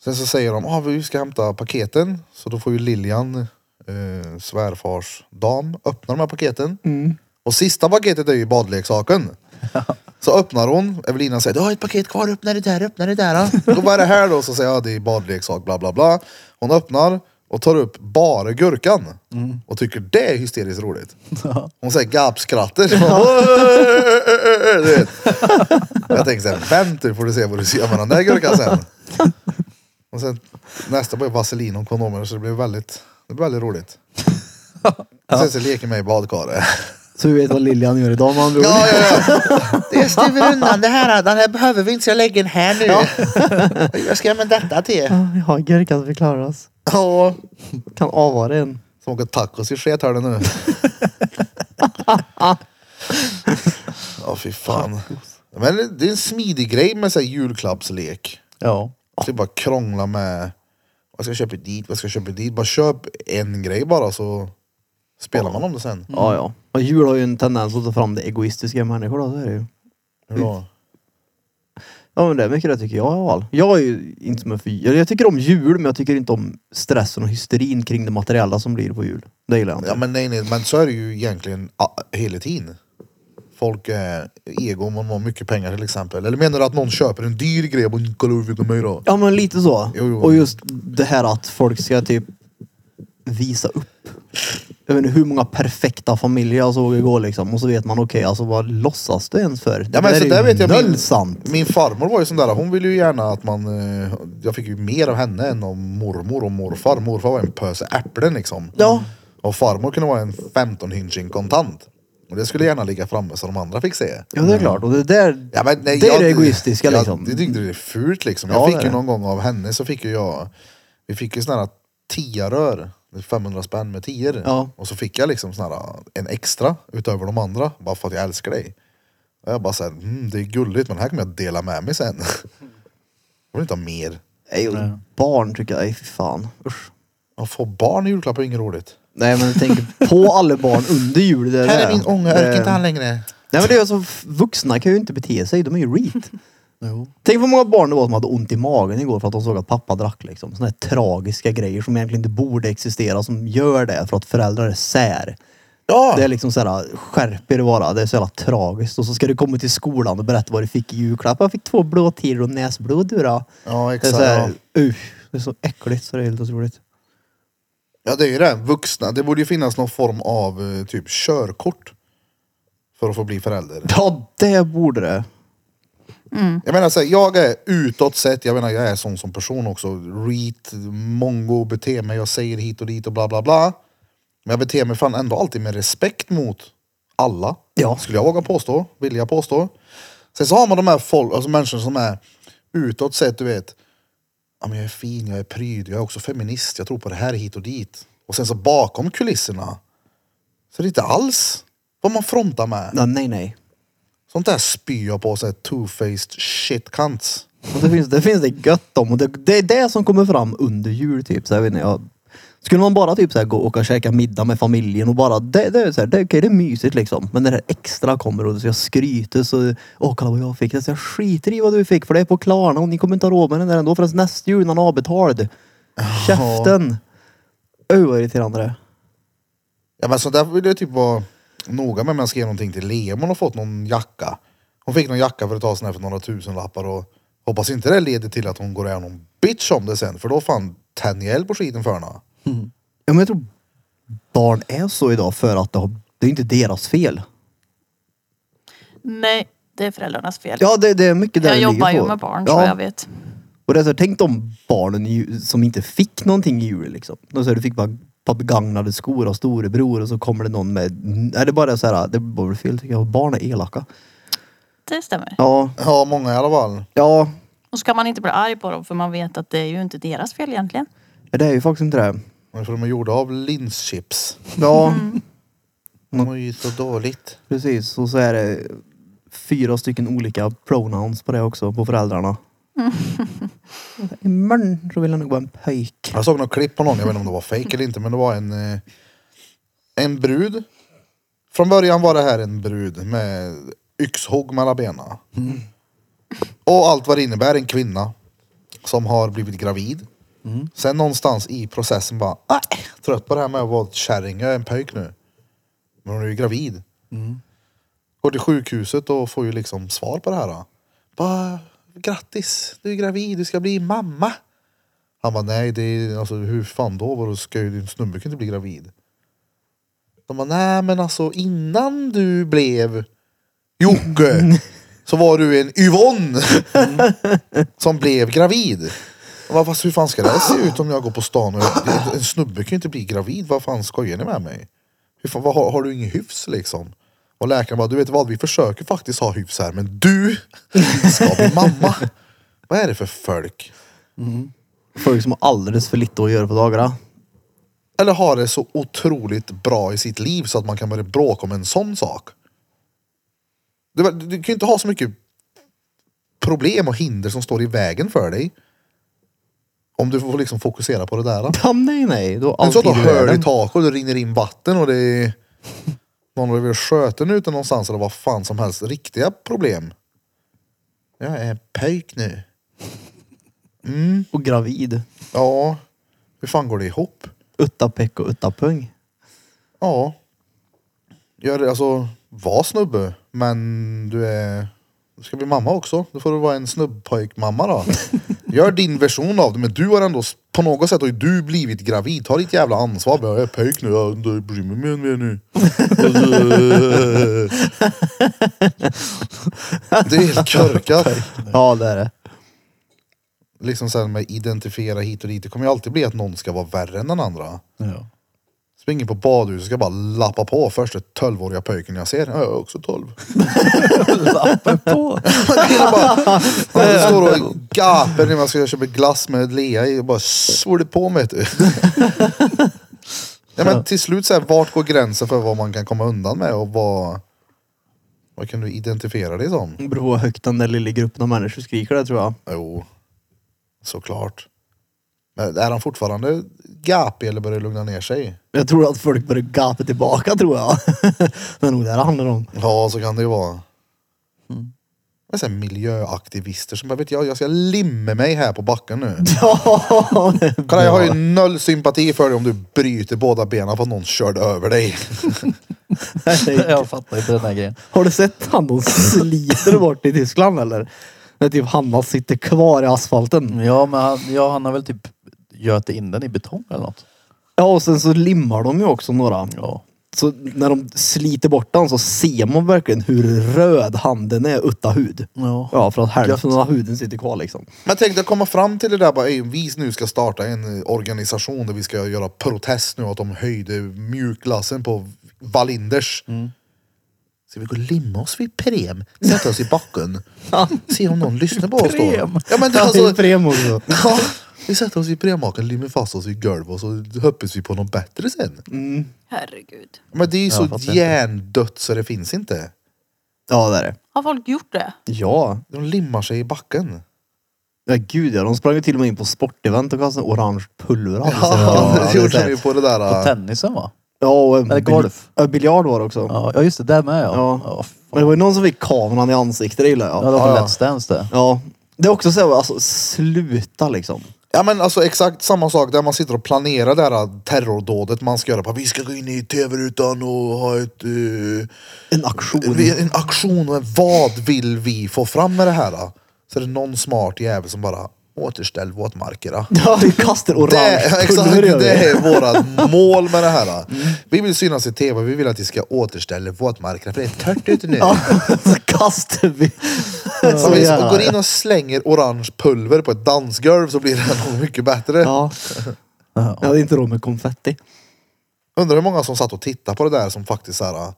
S1: Sen så säger de, ah, vi ska hämta paketen. Så då får ju Lilian, eh, svärfars dam, öppna de här paketen. Och sista paketet är ju badleksaken. Så öppnar hon, Evelina säger du har ett paket kvar, öppna det där, öppna det där. Då vad är det här då? Så säger jag det är badleksak, bla bla bla. Hon öppnar och tar upp bara gurkan. Och tycker det är hysteriskt roligt. Hon säger gapskrattar. Så bara, du vet. Jag tänker såhär, vänta nu får du se vad du ska göra med den där gurkan sen. Och sen nästa var ju vaselin och kondomer så det blev väldigt, det blev väldigt roligt. Sen så leker man i badkaret.
S2: Så vi vet vad Lilian gör idag med andra ord.
S1: Ja, ja, ja. Jag stuvar undan det här. Den här behöver vi inte, så jag lägger den här nu. Jag ska med detta till.
S2: Ja, Vi har en gurka som förklarar oss.
S1: Ja.
S2: Kan avvara en.
S1: Som åker tacos i sket hör du nu. Ja, fy fan. Men det är en smidig grej med så här julklappslek.
S4: ja.
S1: Typ bara krångla med vad ska jag köpa dit, vad ska jag köpa dit. Bara köp en grej bara så spelar man om det sen.
S2: Ja, Mm. ja. Och jul har ju en tendens att ta fram det egoistiska i människor då, så är det ju.
S1: Hur då?
S2: Ja men det är mycket det tycker jag i alla fall. Jag är ju inte som en fy. eller Jag tycker om jul men jag tycker inte om stressen och hysterin kring det materiella som blir på jul. Det gillar jag inte.
S1: Ja men nej nej, men så är det ju egentligen ah, hela tiden. Folk är ego om man har mycket pengar till exempel. Eller menar du att någon köper en dyr grej och bara, kolla hur mycket mer då?
S2: Ja men lite så.
S1: Jo, jo.
S2: Och just det här att folk ska typ visa upp. Jag vet inte hur många perfekta familjer jag såg igår liksom. Och så vet man okej, alltså vad låtsas du ens för?
S1: Ja, men
S2: det
S1: så
S2: är
S1: där
S2: ju
S1: vet jag min-
S2: noll sant.
S1: Min farmor var ju sån där, hon ville ju gärna att man... eh, Jag fick ju mer av henne än av mormor och morfar. Morfar var en pöse äpplen liksom.
S2: Ja.
S1: Och farmor kunde vara en 15 hinching kontant. Och det skulle gärna ligga framme så de andra fick se.
S2: Ja det är klart. Och det där,
S1: Ja, men nej,
S2: det är
S1: jag-
S2: det egoistiska
S1: jag,
S2: liksom.
S1: Jag tyckte det är fult liksom.
S2: Ja,
S1: Jag
S2: det
S1: fick
S2: är
S1: ju
S2: det.
S1: någon gång av henne så fick ju jag, vi fick ju såna här tiarör, det är 500 spänn med tior.
S2: Ja.
S1: Och så fick jag liksom såna här, en extra utöver de andra, bara för att jag älskar dig. Och jag bara såhär, mm, det är gulligt men det här kommer jag dela med mig sen. Jag vill inte ha mer.
S2: Nej, och barn tycker jag, nej fy fan. Usch.
S1: Att få barn i julklapp är inget roligt.
S2: Nej men tänk på alla barn under jul. Det
S1: Här
S2: det.
S1: är min ånga, jag
S2: Det-
S1: orkar inte han längre.
S2: Nej men det är alltså, f- vuxna kan ju inte bete sig, de är ju reet.
S4: Jo.
S2: Tänk vad många barn det var som hade ont i magen igår för att de såg att pappa drack liksom. Såna här tragiska grejer som egentligen inte borde existera som gör det för att föräldrar är sär.
S1: Ja!
S2: Det är liksom såhär, skärp er bara. Det är så jävla tragiskt. Och så ska du komma till skolan och berätta vad du fick i julklapp. Jag fick två blå tiror och näsblod du då.
S1: Ja
S2: Det är
S1: exakt. ja.
S2: såhär, usch. Det är så äckligt så det är helt otroligt.
S1: Ja det är ju det, vuxna. Det borde ju finnas någon form av eh, typ körkort. För att få bli förälder.
S2: Ja, det borde det.
S1: Jag menar så här, jag är utåt sett, jag menar jag är sån som person också. Reet, mongo, bete mig, jag säger hit och dit och bla bla bla. Men jag beter mig fan ändå alltid med respekt mot alla.
S2: Ja.
S1: Skulle jag våga påstå, vill jag påstå. Sen så har man de här folk, alltså människor som är utåt sett, du vet. Ja, men jag är fin, jag är pryd, jag är också feminist, jag tror på det här hit och dit. Och sen så bakom kulisserna så är det inte alls vad man frontar med.
S2: Ja, nej, nej.
S1: Sånt där spyr jag på, så här two-faced shit cunts.
S2: Och det, finns, det finns det gött om. Och det, det är det som kommer fram under jul. Typ. Så jag vet inte, jag, skulle man bara typ så här, gå och åka och käka middag med familjen och bara, det, det, är så här, det, okej, det är mysigt liksom. Men när det här extra kommer och så jag skryter så, åh kolla vad jag fick. Alltså, jag skiter i vad du fick för det är på Klarna och ni kommer inte ha råd med den där ändå förrän nästa jul när den är avbetald. Käften! Öh vad irriterande det är.
S1: Ja, men så där vill jag typ vara noga med. Men jag ska ge någonting till Lea. om Hon har fått någon jacka. Hon fick någon jacka för ett tag sedan här för några tusenlappar och hoppas inte det leder till att hon går och är någon bitch om det sen. För då fan tänjer jag eld på skiten för henne.
S2: Ja, men jag tror barn är så idag för att det, har, det är inte deras fel.
S3: Nej, det är föräldrarnas fel.
S2: Ja det, det är mycket där
S3: jag
S2: det ligger
S3: jobbar ju
S2: på.
S3: med barn
S2: Ja.
S3: så jag vet.
S2: Och det är så här, tänk de barnen i ju- som inte fick någonting i jul liksom. De säger du fick bara ett par begagnade skor av storebror och så kommer det någon med... Nej det är bara så här, det är bara fel tycker jag. Barn är elaka.
S3: det stämmer.
S2: Ja,
S1: Ja, många i alla fall.
S2: ja,
S3: Och så kan man inte bli arg på dem för man vet att det är ju inte deras fel egentligen.
S2: det är ju faktiskt inte det.
S1: Men För de är gjorda av linschips.
S2: Ja,
S3: Mm.
S1: De mår ju så dåligt.
S2: precis. Och så är det fyra stycken olika pronouns på det också, på föräldrarna.
S3: Mm.
S2: Imorgon så vill jag nog vara en pöjk.
S1: Jag såg något klipp på någon, jag vet inte om det var fake eller inte, men det var en, eh, en brud. Från början var det här en brud med yxhugg mellan benen. Och allt vad det innebär, en kvinna som har blivit gravid. Sen någonstans i processen bara, "Ah, trött på det här med att vara ett kärring, jag är en pöjk nu. Men hon är ju gravid. Går till sjukhuset och får ju liksom svar på det här. Då. Bara, grattis, du är gravid, du ska bli mamma. Han bara, nej det är, alltså, hur fan då? Vadå, ska ju din snubbe kan inte bli gravid? De bara, nej men alltså innan du blev Jocke så var du en Yvonne som blev gravid. Jag bara, fast hur fan ska det här se ut om jag går på stan och en snubbe kan ju inte bli gravid. Vad fan skojar ni med mig? Hur fan, vad, har, har du ingen hyfs liksom? Och läkaren bara, du vet vad, vi försöker faktiskt ha hyfs här men du ska bli mamma. Vad är det för folk?
S2: Folk som har alldeles för lite att göra på dagarna.
S1: Eller har det så otroligt bra i sitt liv så att man kan börja bråka om en sån sak. Du, du kan ju inte ha så mycket problem och hinder som står i vägen för dig. Om du får liksom fokusera på det där. då.
S2: Ja, nej, nej. Då
S1: Det är
S2: allt
S1: inte så att du
S2: i världen.
S1: hör i tak och det rinner in vatten och det är någon har blivit sköten ute någonstans eller vad fan som helst. Riktiga problem. Jag är pöjk nu.
S2: Och gravid.
S1: Ja, hur fan går det ihop?
S2: Utta peck och utta pung.
S1: Ja. Gör det, alltså, var snubbe, men du är... Du ska bli mamma också. Då får du vara en snubbpojkmamma då. Gör din version av det, men du har ändå s- på något sätt har ju du blivit gravid. Ta ditt jävla ansvar. Jag är pojk nu, jag jag bryr mig mer än mer nu. det är helt korkat.
S2: Ja, det är det.
S1: Liksom sen med identifiera hit och dit. Det kommer ju alltid bli att någon ska vara värre än den andra.
S4: Ja.
S1: Springer på badhuset och ska bara lappa på första 12-åriga pojken jag ser. Ja, jag är också 12.
S4: Lappen på.
S1: Killen bara han står och gapar när man ska köpa glass med Lea i och bara svor det på mig. vet du. Ja, men till slut, så här, vart går gränsen för vad man kan komma undan med och vad, vad kan du identifiera dig som?
S2: Det beror på hur högt den där lilla gruppen av människor skriker det tror jag.
S1: Jo, såklart. Men är han fortfarande gapig eller börjar det lugna ner sig?
S2: Jag tror att folk börjar gapa tillbaka tror jag. det är nog det det handlar om.
S1: Ja, så kan det ju vara. Men sen miljöaktivister som bara, vet jag, jag ska limma mig här på backen nu.
S2: Ja, det är
S1: Kolla, jag har ju
S2: bra.
S1: noll sympati för dig om du bryter båda benen för att någon körde över dig.
S4: Jag fattar inte den här grejen.
S2: Har du sett han de sliter bort i Tyskland eller? När typ Hanna sitter kvar i asfalten.
S4: Ja men han, ja, han har väl typ göt in den i betong eller något.
S2: Ja och sen så limmar de ju också några.
S4: Ja.
S2: Så när de sliter bort den så ser man verkligen hur röd handen är utan hud.
S4: Ja.
S2: Ja för att hälften av huden sitter kvar liksom.
S1: Men tänk dig komma fram till det där bara, "Ey, vi nu ska starta en eh, organisation där vi ska göra protest nu att de höjde mjukglassen på Wallinders. Ska vi gå och limma oss vid Prem? Sätta oss i backen? Se om någon lyssnar på oss då?
S4: Prem.
S1: Ja, men det,
S2: Alltså, det är
S1: alltså,
S2: Prem också.
S1: ja, vi sätter oss i Premmaken, limmar fast oss i golvet och så hoppas vi på något bättre sen.
S3: Herregud.
S1: Men det är ju
S4: Jag
S1: så
S4: fattar inte.
S1: hjärndött så det finns inte.
S2: Ja det är det.
S3: Har folk gjort det?
S2: Ja.
S1: De limmar sig i backen.
S2: Ja gud ja, de sprang ju till och med in på sportevent och kastade orange pulver. av sig.
S1: Ja, det gjorde de
S2: sett.
S1: ju på det
S4: På
S1: där. äh,
S4: tennisen va?
S2: Ja, och en
S4: Eller golf.
S2: bil- Ja, biljard var det också.
S4: Ja ja, just det, där med ja.
S2: Ja.
S4: Ja, fan.
S2: Men det var ju någon som fick kameran i ansiktet, det gillar
S4: ja
S2: jag.
S4: det var på
S1: Ja, ja.
S4: Let's Dance det.
S2: Ja. Det är också så här, alltså sluta liksom.
S1: Ja men alltså exakt samma sak där man sitter och planerar det här terrordådet man ska göra. Bara, Vi ska gå in i tv-rutan och ha ett, eh,
S2: En aktion.
S1: vi- en aktion. och Vad vill vi få fram med det här? Då? Så är det någon smart jävel som bara återställ våtmarkerna.
S2: Ja, vi kastar
S1: Det,
S2: orange
S1: är-
S2: pulver
S1: exakt,
S2: gör vi.
S1: det är vårat mål med det här. Då. Vi vill synas i tv, vi vill att vi ska återställa våtmarkerna för det är torrt ute nu.
S2: Ja, så kastar vi.
S1: Så vi
S2: jävlar.
S1: går in och slänger orange pulver på ett dansgolv så blir det nog mycket bättre.
S2: Ja. ja, det är inte då med konfetti.
S1: Undrar hur många som satt och tittade på det där som faktiskt så här.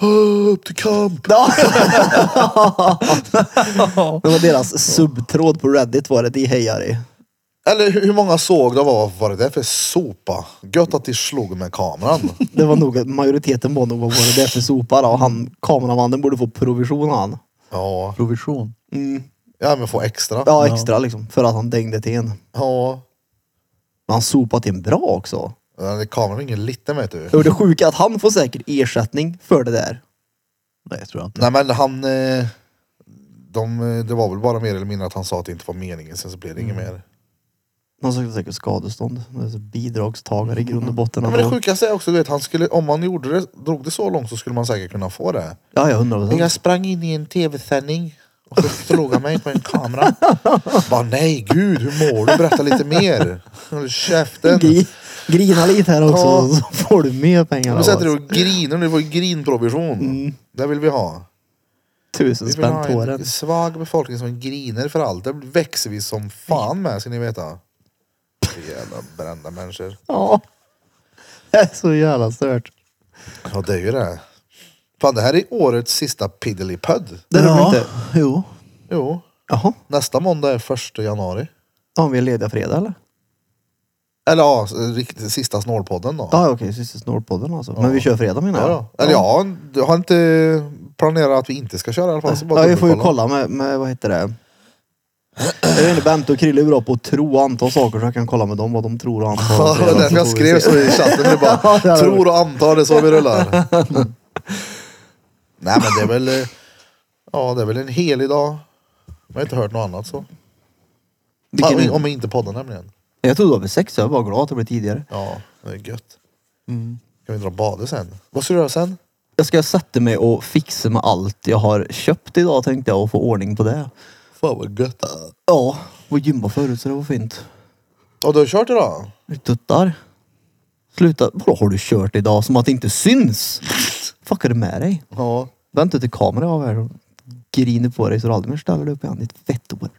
S1: "Åh, Upp till kamp!
S2: Det var deras subtråd på Reddit var det de hejar i.
S1: Eller hur hur många såg det var, var det där för sopa? Gött att de slog med kameran.
S2: Det var nog att majoriteten var nog vad var det där för sopa då. Han, kameramannen borde få provision han.
S1: Ja,
S4: Provision.
S1: Mm. ja men få extra.
S2: Ja extra liksom. För att han dängde till en.
S1: Ja.
S2: Men han sopade till en bra också.
S1: Den där kameran är ingen liten vet du.
S2: Och det sjuka är att han får säkert ersättning för det där.
S4: Nej, jag tror jag
S1: Nej
S4: inte.
S1: men han... eh, De, eh, det var väl bara mer eller mindre att han sa att det inte var meningen, sen så blev det inget mer.
S2: Han sökte säkert skadestånd. Det är så Bidragstagare i grund och botten.
S1: Ja,
S2: Ja,
S1: men det sjukaste är också, du vet, han skulle, om han gjorde det, drog det så långt så skulle man säkert kunna få det.
S2: ja, jag undrar vad
S1: Jag sprang in i en tv-sändning och så slog han mig på en kamera. Bara, nej gud, hur mår du? Berätta lite mer. Håll käften.
S2: Gri, grina lite här också
S1: Ja.
S2: så får du mer pengar.
S1: Nu
S2: av
S1: sätter du
S2: oss.
S1: och griner, du får ju grinprovision. Det vill vi ha.
S2: Tusen
S1: Vi vill
S2: spänn
S1: ha
S2: på
S1: en
S2: den.
S1: svag befolkning som griner för allt. Det växer vi som fan med ska ni veta. Jävla brända människor.
S2: Ja. Det är så jävla stört.
S1: Ja det är ju det. Fan det här är årets sista Piddelipödd.
S2: Det är de inte.
S4: Jo.
S1: Jo.
S2: Jaha.
S1: Nästa måndag är första januari.
S2: Har vi är lediga fredag eller?
S1: Eller ja, rikt- sista snålpodden då.
S2: Ja ah, okej, sista snorpodden alltså. Men vi kör fredag menar jag.
S1: Ja, då. Eller ja, du har inte planerat att vi inte ska köra i alla fall. Så bara
S2: Ja, jag får ju
S1: dubbelkolla.
S2: kolla med, med vad heter det? Jag vet inte, Bente och Krille är bra på att tro och anta saker så jag kan kolla med dem vad de tror och antar.
S1: Ja, det var därför jag
S2: får
S1: skrev
S2: vi se.
S1: så i chatten. Det
S2: Ja, det
S1: bara,
S2: hade
S1: tror och antar, det är så vi rullar. Nej men det är väl, eh, ja det är väl en helig dag. Jag har inte hört något annat så.
S2: Vilken
S1: Om-
S2: är-
S1: Om vi inte poddar nämligen.
S2: Jag trodde det var vid sex, så jag var glad att det blev tidigare.
S1: Ja, det är gött.
S2: Mm.
S1: Kan vi dra och bada sen? Vad ska du göra sen?
S2: Jag ska sätta mig och fixa med allt jag har köpt idag tänkte jag och få ordning på det.
S1: Fan vad gött.
S2: Ja, och gymma förut så det var fint.
S1: Ja, du har kört idag?
S2: Du tuttar. Sluta. Vadå har du kört idag som att det inte syns? Fuck är det med dig?
S1: Ja.
S2: Vänta till kameran av här och griner på dig så du aldrig mer ställer dig upp igen. Ditt fetthår.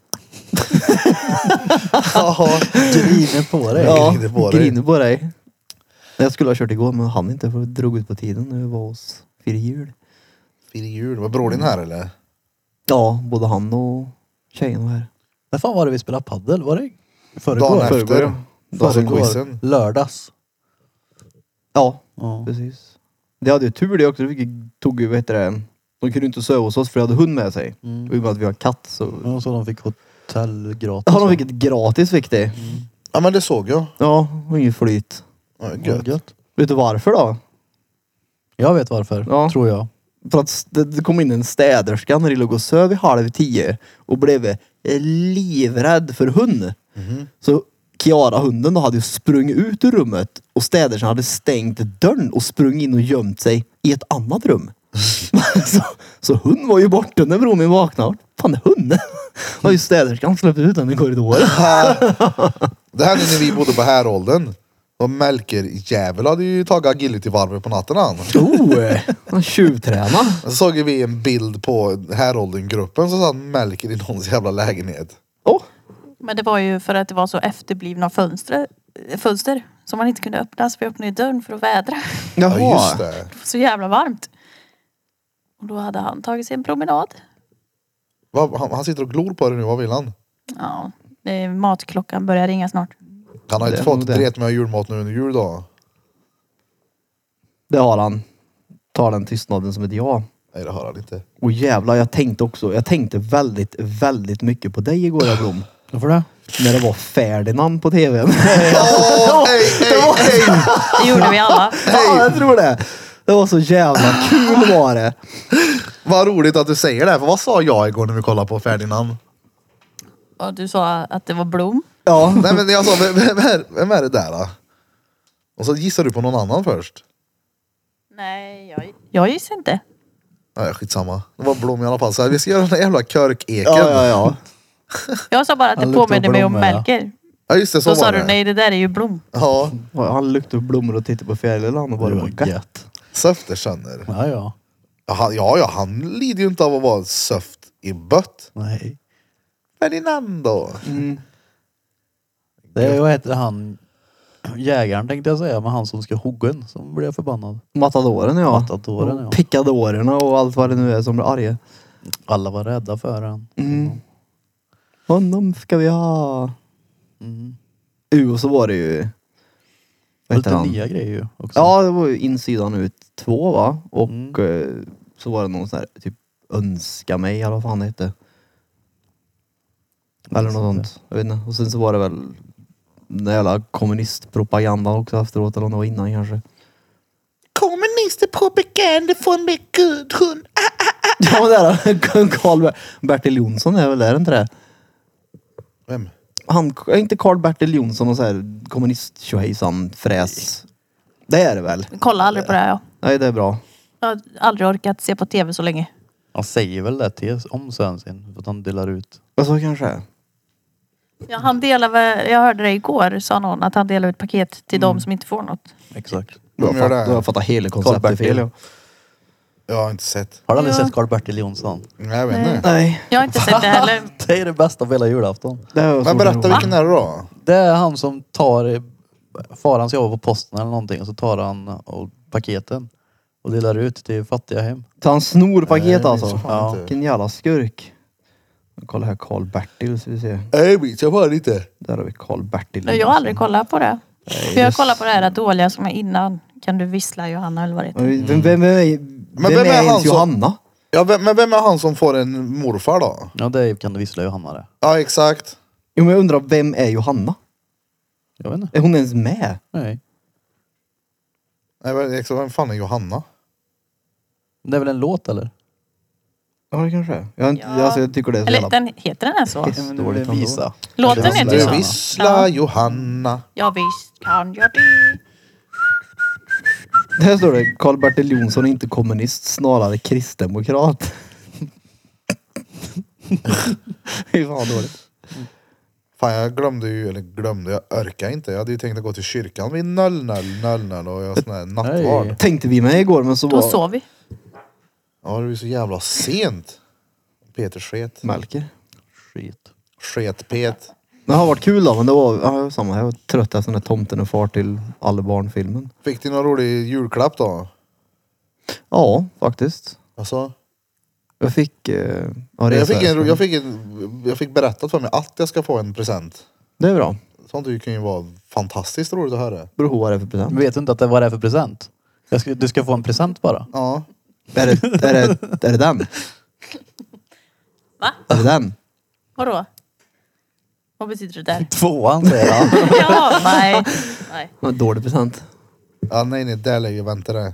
S1: Jaha.
S4: Griner på dig.
S1: Ja. griner på dig.
S2: griner på dig. Jag skulle ha kört igår men han inte för det drog ut på tiden när vi var hos Fyra Jul.
S1: Firar jul. Var bror din här eller?
S2: Ja, både han och tjejen var här.
S4: När fan var det vi spelade paddel? Var det i förrgår?
S1: Dagen efter.
S2: Förrgår, ja.
S1: Före
S4: Förrgår.
S1: quizen.
S4: Lördags.
S2: Ja,
S4: Ja.
S2: precis. Det hade ju tur det också. Vi tog ju, vad heter det, de kunde inte sova hos oss för de hade hund med sig.
S4: Mm.
S2: Och i och med att vi har katt så...
S1: Mm.
S4: Ja, Så de fick hotell gratis.
S2: Ja, de fick ett gratis fick de.
S1: Ja men det såg jag.
S2: Ja, och ingen flyt.
S1: Ja, det är
S4: Ja,
S1: gött.
S4: gött.
S2: Vet du varför då?
S4: Jag vet varför,
S2: Ja.
S4: tror jag.
S2: För att det, det kom in en städerska när de låg och söv vid halv tio och blev eh, livrädd för hund.
S1: Mhm.
S2: Så Kiara, hunden, då, hade ju sprungit ut ur rummet och städerskan hade stängt dörren och sprungit in och gömt sig i ett annat rum. så, så hund var ju borta när Bromin vaknade. Fan, är hunden? Och ju städerskan släppte ut den i korridoren.
S1: Det hände när vi bodde på häråldern. Och Melker-jävel hade ju tagit agility-varvet på natten han. eh.
S2: Oh, han tjuvtränade.
S1: Så såg ju vi en bild på häråldern-gruppen så satt Melker i någons jävla lägenhet.
S2: Åh,
S3: Men det var ju för att det var så efterblivna fönster, fönster som man inte kunde öppna. Så vi öppnade ju dörren för att vädra.
S1: Ja just det.
S3: Det var så jävla varmt. Och då hade han tagit sig en promenad.
S1: Vad- Han, han sitter och glor på det nu, vad vill han?
S3: Ja, det är- matklockan börjar ringa snart.
S1: Han har
S2: Det
S1: inte
S2: är
S1: fått
S2: nog det.
S1: dret med julmat nu under jul då.
S2: Det har han. Tar den tystnaden som ett ja.
S1: Nej det har han inte.
S2: Och jävlar, jag tänkte också. Jag tänkte väldigt, väldigt mycket på dig igår, jag Blom.
S4: Varför det?
S2: När det var Ferdinand på tvn.
S1: Åh, ej, ej, ej!
S3: Det gjorde vi alla.
S2: ja, jag tror det. Det var så jävla kul var det.
S1: Vad roligt att du säger det, här, för vad sa jag igår när vi kollade på Ferdinand?
S3: Och du sa att det var Blom.
S2: Ja.
S1: Nej men jag sa, vem, vem, är, vem är det där då? Och så gissar du på någon annan först.
S3: Nej, jag, jag gissar inte.
S1: Nej skitsamma. Det var Blom i alla fall. Så här, vi ska göra den där jävla körkeken.
S2: Ja, ja, ja.
S3: Jag sa bara att
S4: Han
S3: det
S4: luktar
S3: påminner mig om
S4: blommor, ja.
S3: Melker.
S1: Ja, just det, så
S3: Då
S1: var
S3: sa
S1: det.
S3: du nej, det där är ju Blom.
S1: Ja,
S2: Och Han luktade på blommor och tittade på Fjäriland och bara
S4: Det var
S2: var gött.
S4: gött.
S1: Söfter känner.
S4: Ja, ja.
S1: Ja, han- ja, ja, han lider ju inte av att vara söft i bött.
S4: Nej.
S1: Ferdinando.
S2: Mm.
S4: Det är, vad heter han? jägaren tänkte jag säga, men han som ska hugga en som blev förbannad.
S2: Matadoren ja.
S4: Matadoren,
S2: och
S4: ja.
S2: Pickadorerna och allt vad det nu är som blir arga.
S4: Alla var rädda för han.
S2: Mm. Honom ska vi ha.
S4: Mm.
S2: U och så var det ju... Vad heter
S4: Lite
S2: han?
S4: nya grejer ju också.
S2: Ja, det var ju insidan ut två va? Och
S4: Mm.
S2: eh, så var det någon sån här typ önska mig eller vad fan det hette. Eller något sånt. Jag vet inte. Och sen så var det väl den där jävla kommunistpropagandan också efteråt eller om det var innan kanske.
S1: Kommunistpropaganda från med Gudrun.
S2: Ja men där har Karl Bertil Jonsson är väl där inte det?
S1: Vem?
S2: Han, är inte Karl Bertil Jonsson och så här kommunist fräs Det är det väl?
S3: Kolla aldrig på det här. Ja.
S2: Nej det är bra.
S3: Jag har aldrig orkat se på tv så länge.
S4: Han säger väl det till om sen sin, för att han delar ut.
S2: Och så kanske det är.
S3: Ja, han delar väl, jag hörde det igår sa någon att han delar ut paket till de som inte får något.
S4: Exakt.
S2: Då har
S1: Vem gör
S2: jag
S1: det?
S2: fatt- då har jag fattat hela konceptet
S4: Bertil.
S2: fel. ja.
S1: Jag har inte sett.
S4: Har du aldrig
S3: Ja.
S4: sett Karl-Bertil Jonsson?
S1: Nej, jag vet inte.
S2: Nej.
S3: Jag har inte sett det heller.
S4: det är det bästa på hela julafton.
S2: Det har jag
S1: Men
S2: svårt
S1: berätta
S2: att-
S1: vilken är det då?
S4: Det är han som tar, eh, faran ska jobba på posten eller någonting och så tar han och paketen och delar ut till fattiga hem.
S2: Så han snor paket
S1: Nej,
S2: alltså?
S1: så fan
S2: Ja.
S1: inte.
S2: Vilken jävla skurk. Kolla här Karl-Bertil ska vi se.
S1: Nej, det minns jag bara inte.
S2: Där har vi Karl-Bertil.
S3: Jag har aldrig kollat på det. För jag
S2: just-
S3: kollar på det här dåliga som är innan. Kan du vissla Johanna eller vad det heter?
S2: Vem, vem, vem, är, vem,
S1: Mm. vem är
S2: är,
S1: han
S2: ens
S1: som-
S2: Johanna?
S1: Ja, vem, men vem är han som får en morfar då?
S4: Ja det är- kan du vissla Johanna det.
S1: Ja, exakt.
S2: Jo men jag undrar, vem är Johanna?
S4: Jag vet inte.
S2: Är hon ens med?
S4: Nej.
S1: Nej, men exakt. Vem fan är Johanna?
S4: Det är väl en låt eller?
S2: Ja det kanske är. Jag, har inte,
S3: Ja.
S2: alltså, jag tycker det är så
S3: Eller
S2: jävla
S3: den, heter den ens så?
S2: Piss.
S4: men
S2: det är väl en visa.
S3: Låten
S4: Eller
S3: heter
S1: Du vissla
S3: ju så.
S4: vissla Johanna.
S1: Johanna.
S3: Ja visst kan jag det.
S2: Här står det Karl-Bertil Jonsson är inte kommunist, snarare kristdemokrat. Fy fan vad dåligt.
S1: Fan, jag glömde ju, eller glömde, jag orkar inte. Jag hade ju tänkt att gå till kyrkan vid 00.00 och göra sån här nattvard.
S4: Nej.
S2: Tänkte vi med igår men så
S3: Då
S2: var...
S3: sov vi.
S1: Ja, det var ju så jävla sent. Peter sket.
S2: Melker.
S4: Skit.
S1: Sket-Pet.
S2: Det har varit kul då, men det var ja, samma. Jag var trött efter den där Tomten och far till alla barnfilmen.
S1: Fick du någon rolig julklapp då?
S2: Ja, faktiskt.
S1: Alltså,
S2: Jag fick... Eh,
S1: jag,
S2: ja, resa-
S1: fick en, jag, fick en, jag fick berättat för mig att jag ska få en present.
S2: Det är bra.
S1: Sånt ju- kan ju vara fantastiskt roligt att höra.
S2: Beror på vad det är för present.
S4: Vet du inte att det, vad det är för present? Jag ska, du ska få en present bara.
S1: Ja.
S2: Är det, är, det, är det den?
S3: Va?
S2: Är det den?
S3: Vadå? Vad betyder det där?
S4: Tvåan säger han.
S3: Ja, nej. nej.
S2: Ja, Dålig present.
S1: ja nej, nej, där lär ju vänta det.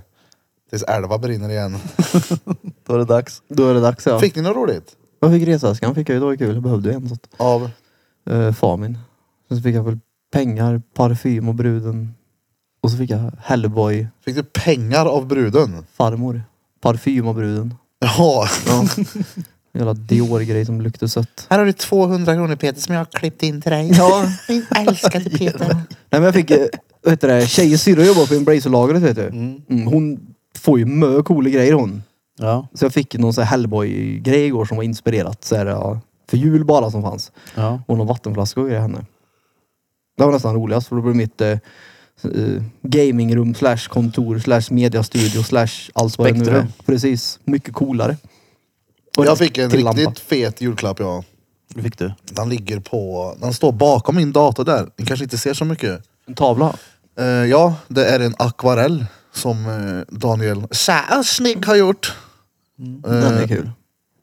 S1: Tills älva brinner igen.
S4: Då är det dags.
S2: Då är det dags ja.
S1: Fick ni något roligt?
S2: Jag fick resväskan, fick jag ju. Det var ju kul. Jag behövde ju en sånt.
S1: Av?
S2: Eh, Famin. Sen så fick jag väl pengar, parfym och bruden. Och så fick jag Hellboy,
S1: Fick du pengar av bruden?
S2: farmor. Parfym och bruden.
S1: Ja.
S2: Jävla Dior-grej som luktar sött.
S1: Här har du 200 kronor Peter som jag har klippt in till dig.
S2: Ja.
S1: Min älskade Peter.
S2: Nej men jag fick, eh, vad heter det, tjejens syrra jobbar på Embracer-lagret vet du.
S4: Mm.
S2: Mm, hon får ju mö coola grejer hon.
S4: Ja.
S2: Så jag fick någon sån här Hellboy-grej igår som var inspirerat. Så här, ja, för jul bara som fanns.
S4: ja.
S2: Och någon vattenflaska och grejer henne. Det var nästan roligast för då blev mitt eh, eh, gamingrum slash kontor slash mediastudio slash allt vad det nu är.
S4: Spektrum.
S2: Precis. Mycket coolare. Och
S1: Jag fick en
S2: till
S1: riktigt
S2: lampa.
S1: fet julklapp jag.
S4: Det fick du.
S1: Den ligger på, den står bakom min dator där. Ni kanske inte ser så mycket.
S2: En tavla.
S1: Eh, ja, det är en akvarell som eh, Daniel Särasnig har gjort.
S2: Den
S1: Eh,
S2: är kul.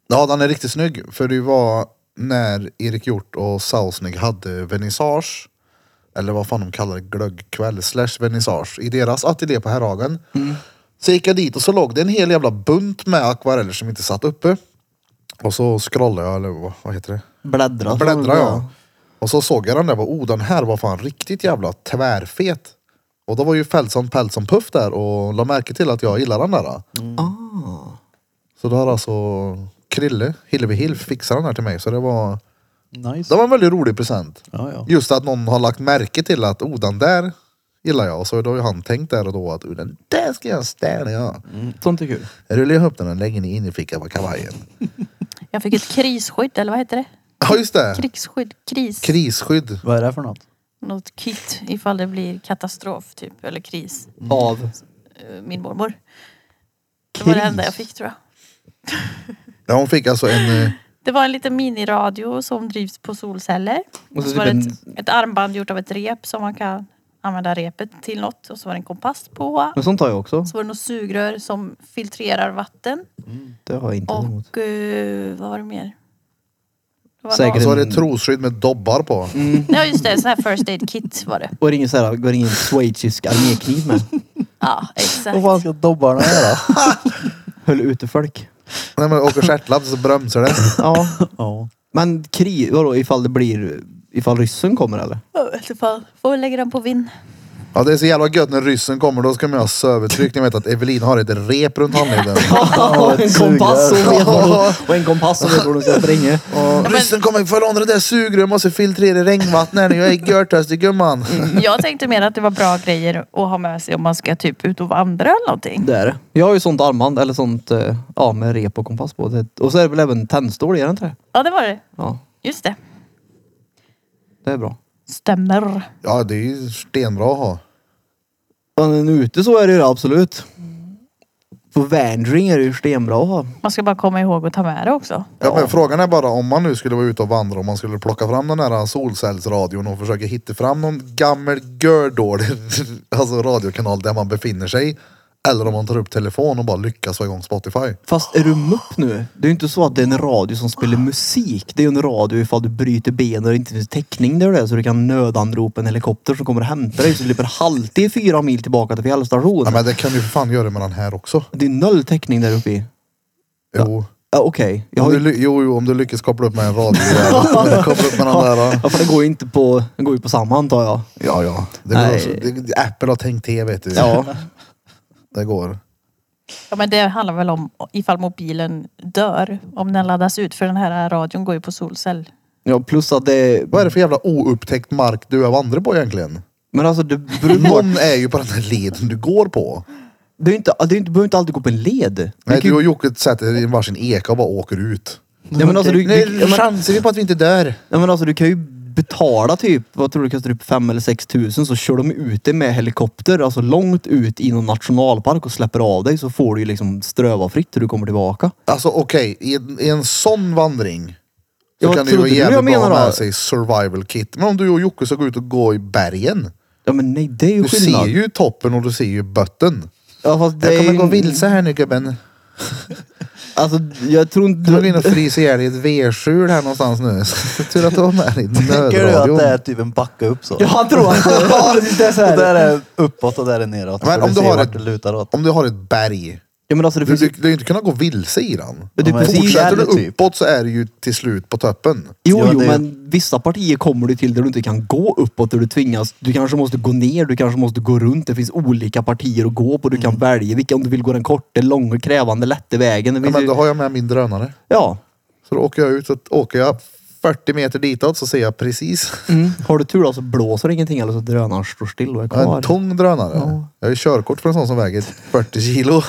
S1: Ja, den är riktigt snygg. För det var när Erik Hjort och Sausnig hade vernissage. Eller vad fan de kallar det, glöggkväll slash vernissage. I deras ateljé på Herrhagen. Så gick jag dit och så låg det en hel jävla bunt med akvareller som inte satt uppe. Och så scrollade jag, eller vad, vad heter det?
S2: Bläddra.
S1: Bläddra jag. Och så såg jag den där och bara, oh den här var fan riktigt jävla tvärfet. Och då var ju Fältson Pältson Puff där och la märke till att jag gillar den där.
S2: Ah.
S1: Så då har alltså Krille, Hillevi Hilf, fixat den här till mig. Så det var, det
S4: Nice.
S1: var en väldigt rolig present.
S4: Ja, ja.
S1: Just att någon har lagt märke till att, oh den där gillar jag. Så då har ju han tänkt där och då att, oh den där ska jag städa ja.
S2: Sånt är kul.
S1: Rullar jag upp den och lägger den i innerfickan på kavajen.
S3: Jag fick ett krisskydd, eller vad heter det?
S1: Ja just det!
S3: Krigsskydd, kris.
S1: Krisskydd.
S4: Vad är det för något?
S3: Något kit ifall det blir katastrof typ, eller kris.
S2: Av?
S3: Eh, Min mormor. Det var det enda jag fick tror jag.
S1: Ja, hon fick alltså en... eh,
S3: Det var en liten miniradio som drivs på solceller. Och så var det
S2: typ
S3: ett, ett armband gjort av ett rep som man kan använda repet till något. Och så var det en kompass på.
S2: Men sånt har jag också.
S3: Så var det något sugrör som filtrerar vatten.
S2: Det har jag inte emot.
S3: Och eh, vad var det mer? Det var
S2: Säkert
S1: Och så var det
S2: en-
S1: ett Alltså, trosskydd med dobbar på.
S3: någon- Ja just det, en sån här first aid kit var det.
S2: Och ringer såhär, går ingen schweizisk armékniv med.
S3: Ja
S4: Vad
S3: exakt.
S4: fan ska dobbarna göra?
S2: Höll ute folk.
S1: När man åker stjärtladd så bromsar det.
S2: Ja.
S4: ja.
S2: Men krig, vadå ifall det blir, ifall ryssen kommer eller?
S3: Jag vet inte fan. Får vi lägga den på vind.
S1: Ja, det är så jävla gött när ryssen kommer. Då ska man ha sövertryck. Ni vet att Evelin har ett rep runt handleden.
S2: och en kompass som vet var de, och en kompass som vet var de ska springa.
S1: Och ryssen kommer. Följ under det där sugröret. Jag måste filtrera regnvattnet här nu. Jag är görtörstig gumman.
S3: Jag tänkte mer att det var bra grejer att ha med sig om man ska typ ut och vandra eller någonting.
S2: Det är det. Jag har ju sånt armband, eller sånt, eh, ja med rep och kompass på. Det, och så är det väl även tändstål, är det inte det?
S3: Ja det var det.
S2: Ja,
S3: Just det.
S2: det är bra.
S3: Stämmer.
S1: Ja, det är ju stenbra att ha.
S2: Men ute så är det ju det, absolut. På vandring är det ju stenbra att ha.
S3: Man ska bara komma ihåg att ta med det också.
S1: Ja, men frågan är bara om man nu skulle vara ute och vandra, om man skulle plocka fram den här solcellsradion och försöka hitta fram någon gammal gördålig alltså radiokanal där man befinner sig. Eller om man tar upp telefon och bara lyckas få igång Spotify.
S2: Fast är du mupp nu? Det är ju inte så att det är en radio som spelar musik. Det är ju en radio ifall du bryter benen och det inte finns täckning där du är så du kan nödanropa en helikopter som kommer och hämtar dig så du slipper halvtid fyra mil tillbaka till fjällstationen.
S1: Ja, men det kan du för fan göra med den här också.
S2: Det är noll täckning där uppe i.
S1: Jo.
S2: Ja, Okej. Jag
S1: Om
S2: har
S1: du,
S2: ju...
S1: ly- jo, jo, om du lyckas koppla upp med en radio. där. koppla upp med den där.
S2: Ja, för det går ju inte på... Det går ju på samma antar jag.
S1: Ja, ja. Det går
S2: Nej.
S1: också, det, Apple har tänkt till vet du.
S2: Ja.
S1: Det går.
S3: Ja men det handlar väl om ifall mobilen dör. Om den laddas ut. För den här radion går ju på solcell.
S2: ja plus att det...
S1: Vad är det för jävla oupptäckt mark du har vandrat på egentligen?
S2: Men alltså det beror på...
S1: Någon är ju på den här leden du går på.
S2: Det är ju inte... Det är ju inte... behöver inte alltid gå på en led.
S1: Nej, du och Jocke sätter dig i varsin eka och bara åker ut.
S2: Ja, men alltså, du, du, ja, men-
S1: chanser vi på att vi inte dör.
S2: Ja men alltså du kan ju betala typ, vad tror du det kostar, typ 5 eller 6 tusen så kör de ut dig med helikopter, alltså långt ut i någon nationalpark och släpper av dig så får du ju liksom ströva fritt till du kommer tillbaka.
S1: Alltså okej, i, en- i en sån vandring så
S2: Ja,
S1: kan det ju
S2: trodde
S1: vara
S2: du
S1: jävligt
S2: jag
S1: bra att
S2: menar
S1: ha
S2: då?
S1: med sig survival kit. Men om du och Jocke ska gå ut och gå i bergen.
S2: Ja men nej det är ju
S1: Du ser
S2: skillnad.
S1: ju toppen och du ser ju botten.
S2: Ja, fast det
S1: Jag
S2: är
S1: kommer
S2: ju-
S1: gå vilse här nu gubben.
S2: Alltså jag tror inte...
S1: Du går in och fryser ihjäl i ett vedskjul här någonstans nu. Så Tur att du har med dig
S4: Tänker du att
S1: nödradion.
S4: det är typ en backe upp så?
S2: Ja han tror att det, ja, det är så
S4: Och
S2: här.
S4: där är uppåt och där är neråt.
S1: Men
S4: så
S1: om du
S4: ser
S1: har
S4: vart
S1: ett-
S4: det lutar åt.
S1: Om du har ett berg.
S2: Ja men alltså det
S1: Du
S2: finns
S1: du-
S2: ju...
S1: du har ju inte kunnat gå vilse i den.
S2: Det är
S4: men
S2: precis-
S1: Fortsätter du
S4: det typ.
S1: uppåt så är det ju till slut på toppen.
S2: Jo,
S4: Ja,
S2: jo,
S4: det är-
S2: men vissa partier kommer du till där du inte kan gå uppåt, där du tvingas. Du kanske måste gå ner, du kanske måste gå runt. Det finns olika partier att gå på. Du
S1: Mm.
S2: kan välja vilka, om du vill gå den korta, långa, krävande, lätta vägen. Det
S1: Ja,
S2: finns
S1: men
S2: ju...
S1: då har jag med min drönare.
S2: ja.
S1: Så då åker jag ut och åker jag 40 meter ditåt så ser jag precis.
S2: Mm. Har du tur då så blåser det ingenting eller så drönaren står still och är
S1: Jag har
S2: kvar.
S1: en tung drönare. Jag har ju körkort för en sån som väger 40 kilo.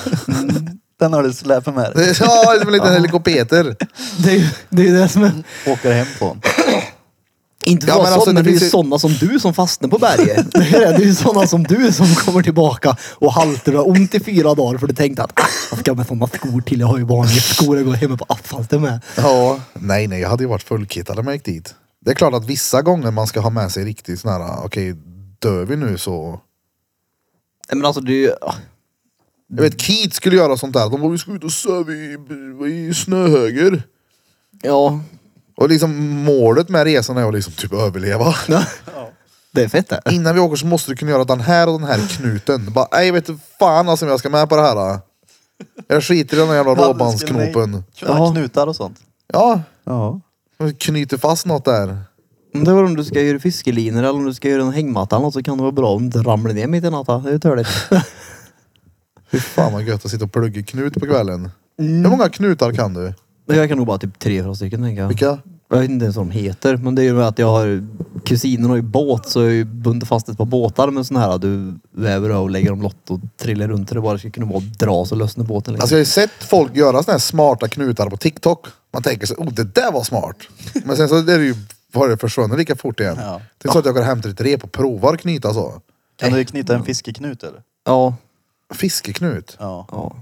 S4: Den har du släpat med dig.
S1: ja, som en liten helikopter.
S2: det, är ju- det är ju det som är...
S4: Åker hem på den.
S2: Inte
S1: Ja,
S2: bara
S1: men
S2: sån,
S1: alltså, det
S2: men det är
S1: finns
S2: ju
S1: ju-
S2: sådana som du som fastnar på berget. det är det, det är ju sådana som du som kommer tillbaka och halter och har ont i fyra dagar för du tänkte att ah, jag ska jag med sådana skor till? Jag har ju vanliga skor jag går hemma på asfalten "Ah, med.
S1: Ja, nej, nej, jag hade ju varit fullkittad när jag gick dit. Det är klart att vissa gånger man ska ha med sig riktigt sån här, okej, dör vi nu så.
S2: Nej men alltså du...
S1: Jag vet, Keat skulle göra sånt där. De bara, vi ska ut och söva i, i snöhöger.
S2: Ja.
S1: Och liksom målet med resan är att liksom typ överleva.
S2: Det är fett det.
S1: Innan vi åker så måste du kunna göra den här och den här knuten. Bara, nej jag vet inte fan alltså om jag ska med på det här. då. Jag skiter i den här jävla råbandsknopen.
S2: Ja.
S4: Köra knutar och sånt.
S1: Ja,
S4: Ja.
S1: jag knyter fast något där.
S2: Om Mm, det var om du ska göra fiskelinor eller om du ska göra en hängmatta eller något så kan det vara bra om du inte ramlar ner mitt i natten. Det är ju törligt.
S1: Fy fan vad gött att sitta och plugga knut på kvällen. Hur många knutar kan du?
S2: Men jag kan nog bara typ tre, fyra stycken tänker jag.
S1: Vilka? Alltså,
S2: Jag vet inte ens vad de heter. Men det är ju med att jag har... Kusinen har ju båt så jag har ju bundit fast ett par båtar med sådana här. Du väver och lägger dem lott och trillar runt och det bara ska kunna vara dra så lösnar båten. Liksom.
S1: Alltså jag har ju sett folk göra såna här smarta knutar på TikTok. Man tänker sig, oh det där var smart. Men sen så är det ju var det försvunnit lika fort igen.
S4: Ja.
S1: Det är så att jag går och hämtar ett rep och provar knyta så.
S4: Kan du knyta en fiskeknut eller?
S2: Ja.
S1: Fiskeknut.
S4: Ja.
S2: ja.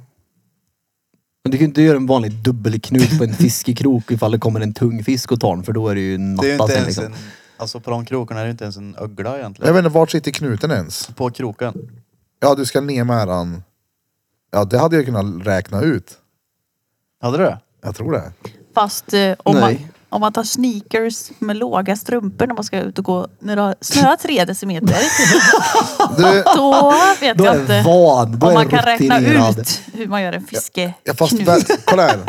S2: Men du kan ju inte göra en vanlig dubbelknut på en fiskekrok ifall det kommer en tung fisk och tar den för då är det ju en
S4: Det är ju
S2: matta
S4: inte
S2: sen
S4: ens
S2: liksom.
S4: en... Alltså på de krokarna är det inte ens en ögla egentligen.
S1: Jag vet inte vart sitter knuten ens?
S4: På kroken.
S1: Ja, du ska ner med den. Ja, det hade jag kunnat räkna ut.
S4: Hade du det?
S1: Jag tror det.
S3: Fast eh, om, man,
S2: Nej.
S3: om man tar sneakers med låga strumpor när man ska ut och gå när det har snöat tre decimeter.
S1: Du,
S3: då vet
S2: Då
S3: jag
S2: är
S3: inte
S2: vad? Då
S3: om
S2: är
S3: man kan räkna
S2: rutinerad.
S3: ut hur man gör en fiske.
S1: ja, fast väl, kolla här.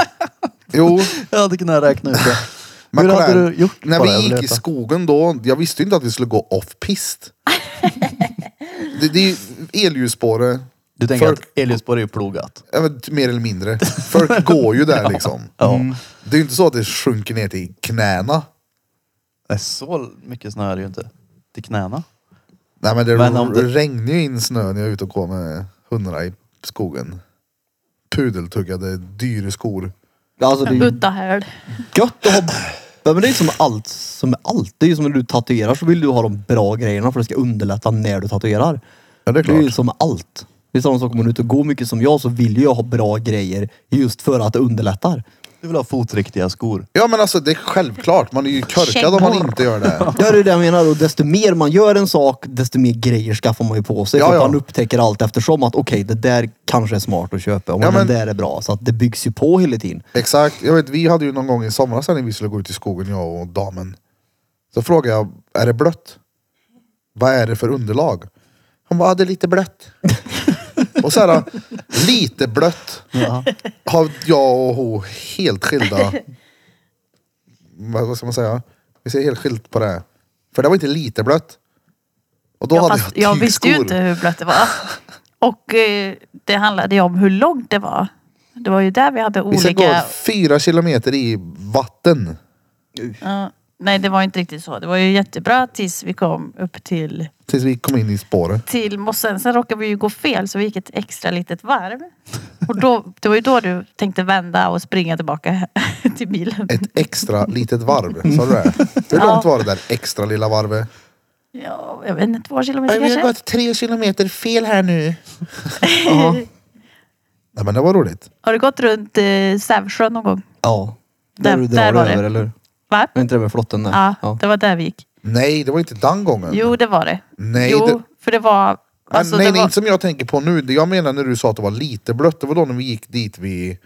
S1: Jo,
S4: Jag hade kunnat räkna ut det.
S1: men
S4: Hur
S1: kolla
S4: hade
S1: här.
S4: du gjort
S1: När
S4: bara, jag
S1: vi
S4: vill
S1: gick i
S4: veta?
S1: skogen då, jag visste ju inte att vi skulle gå off-pist. det, det är ju elljusspåret,
S4: Du tänker
S1: Folk-
S4: att Eliusborg är ju plogat?
S1: ja, men mer eller mindre. Folk går ju där liksom.
S4: Ja.
S1: Det är ju inte så att det sjunker ner till knäna.
S4: Nej, så mycket snö är det ju inte. Till knäna.
S1: Nej men det,
S4: Men om det-
S1: regnar ju in snö när jag är ute och går med hundarna i skogen. Pudeltuggade, dyra skor.
S2: Alltså det är ju
S3: Utta här.
S2: gött att ha... Ja, men det är ju som med allt, som med allt. Det är ju som när du tatuerar så vill du ha de bra grejerna för det ska underlätta när du tatuerar.
S1: Ja det är
S2: Det är ju
S1: klart.
S2: som med allt. Det är samma sak om man är ute och går mycket som jag så vill ju jag ha bra grejer just för att det underlättar.
S4: Du vill ha fotriktiga skor.
S1: Ja men alltså det är självklart, man är ju korkad om man inte gör det.
S2: Ja, det är det jag menar. Och desto mer man gör en sak, desto mer grejer skaffar man ju på sig.
S1: Ja,
S2: för att
S1: ja.
S2: man upptäcker allt eftersom att okej, det där kanske är smart att köpa. Och
S1: Ja,
S2: men...
S1: men-
S2: det där är bra. Så att det byggs ju på hela tiden.
S1: Exakt, jag vet vi hade ju någon gång i somras här när vi skulle gå ut i skogen jag och damen. Så frågade jag, är det blött? Vad är det för underlag? Hon bara, "Ja, det är lite blött. och så här, lite blött.
S4: Ja.
S1: har jag och hon helt skilda... vad vad ska man säga? Vi ser helt skilt på det. här. För det var inte lite blött. Och då
S3: Ja,
S1: hade
S3: fast
S1: jag
S3: jag
S1: tygskor.
S3: visste ju inte hur blött det var. Och eh, det handlade ju om hur långt det var. Det var ju där vi hade
S1: Vi ska
S3: olika...
S1: gå fyra kilometer i vatten.
S3: Ja, nej, det var inte riktigt så. Det var ju jättebra tills vi kom upp till,
S1: Tills vi kom in i spåret.
S3: till mossen. Sen råkade vi ju gå fel så vi gick ett extra litet varv. Och då, det var ju då du tänkte vända och springa tillbaka till bilen.
S1: Ett extra litet varv. Sa du det? Hur
S3: Ja.
S1: långt var det där extra lilla varvet?
S3: Ja, jag vet inte, två kilometer
S1: Vi har
S3: kanske?
S1: gått tre kilometer fel här nu. Nej men det var roligt.
S3: Har du gått runt eh, Sävsjön någon gång?
S2: Ja.
S3: Där-
S2: du drar
S3: där var det.
S2: över, eller hur?
S3: Va?
S2: Är inte det med flotten där?
S3: Ja,
S2: Ja.
S3: det var där vi gick.
S1: Nej det var inte den gången.
S3: Jo, det var det.
S1: Nej,
S3: jo,
S1: det-
S3: för det var...
S1: Men
S3: Alltså,
S1: nej,
S3: det
S1: nej,
S3: var...
S1: inte som jag tänker på nu. Det Jag menar när du sa att det var lite blött. Det var då när vi gick dit vi...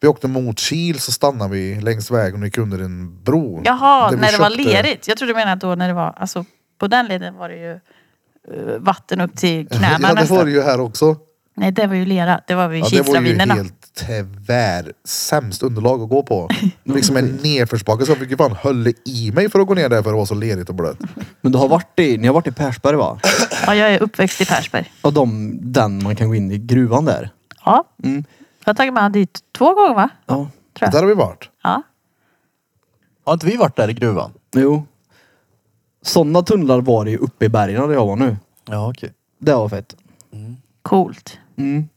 S1: Vi åkte mot Kil så stannade vi längs vägen och gick under en bro.
S3: Jaha,
S1: Där vi
S3: när det var
S1: köpte-
S3: lerigt. Jag trodde du menade då när det var, alltså på den leden var det ju eh, vatten upp till knäna
S1: Ja, det
S3: nästan.
S1: var det ju här också.
S3: Nej, det var ju lera. Det var vid
S1: Ja, det var ju
S3: Kilsravinerna.
S1: helt tyvärr sämst underlag att gå på. Liksom en nedförsbacke så jag fick ju fan höll i mig för att gå ner där för det var så lerigt och blött.
S2: Men du har varit i, ni har varit i Persberg va?
S3: Ja, jag är uppväxt i Persberg.
S2: Och de, den man kan gå in i gruvan där.
S3: Ja.
S2: Mm.
S3: Jag har tagit med han dit två gånger va?
S2: Ja.
S3: Tror
S1: Där
S3: jag.
S1: har vi varit.
S3: Ja.
S4: Har inte vi varit där i gruvan?
S2: Jo. Sådana tunnlar var det ju uppe i bergen där jag var nu.
S4: Ja, okej.
S2: Det var fett.
S3: Coolt.
S2: Mm.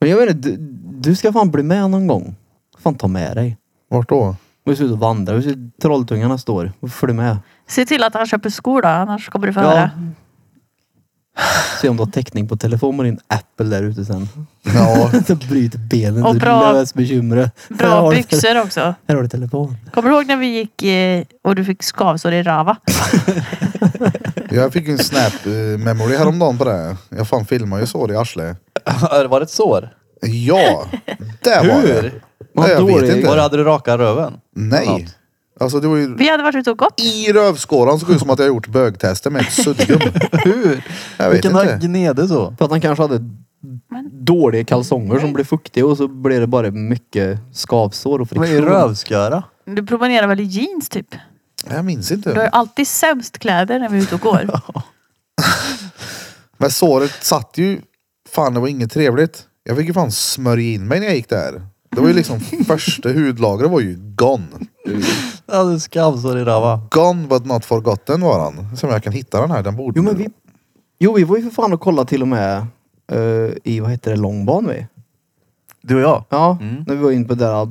S2: Men jag vet inte, du, du ska fan bli med någon gång. Fan ta med dig.
S1: Vart då?
S2: Vi ska ut och vandra. Vi ska till Trolltunga nästa år. Och Följ med.
S3: Se till att han köper skor då, annars kommer du få höra.
S2: Se om du har täckning på telefon med din Apple där ute sen.
S1: Ja,
S2: Så bryter benen.
S3: Och
S2: du
S3: bra-
S2: lös bekymret. Här
S3: Bra
S2: har du-
S3: byxor också.
S2: Här har du telefon.
S3: Kommer du ihåg när vi gick eh, och du fick skavsår i Rava?
S1: jag fick ju en snap eh, memory häromdagen på det. Jag fan filmade ju sår i arslet.
S4: Okay. var det ett sår?
S1: Ja, det var det.
S4: Hur?
S1: Nej, jag
S2: Vad
S1: vet
S2: dålig-
S1: inte.
S4: Var hade du raka röven?
S1: Nej. Alltså det var ju
S3: Vi hade varit ute och gått.
S1: i rövskåran såg ut som att jag gjort bögtester med ett suddgum.
S4: Hur?
S1: Jag vet
S4: Vilken
S1: inte.
S4: gnede så.
S2: För att han kanske hade dåliga kalsonger som blev fuktiga och så blev det bara mycket skavsår och
S4: Det var ju
S2: friktion.
S4: rövsköra.
S3: Du promenerar väl i jeans typ?
S1: Jag minns
S3: Du har ju
S1: inte.
S3: alltid sämst kläder när vi är ute och går.
S1: Men såret satt ju. Fan det var inget trevligt. Jag fick ju fan smörja in mig när jag gick där. Det var ju liksom första hudlagret var ju gone.
S4: Jag hade skavsår i röva.
S1: Gone but not forgotten var han. Som jag kan hitta den här. Den borde...
S2: Jo men vi, jo, vi var ju för fan och kollade till och med eh, i, vad heter det, långban vi?
S4: Du och jag?
S2: Ja, när vi var inne på det där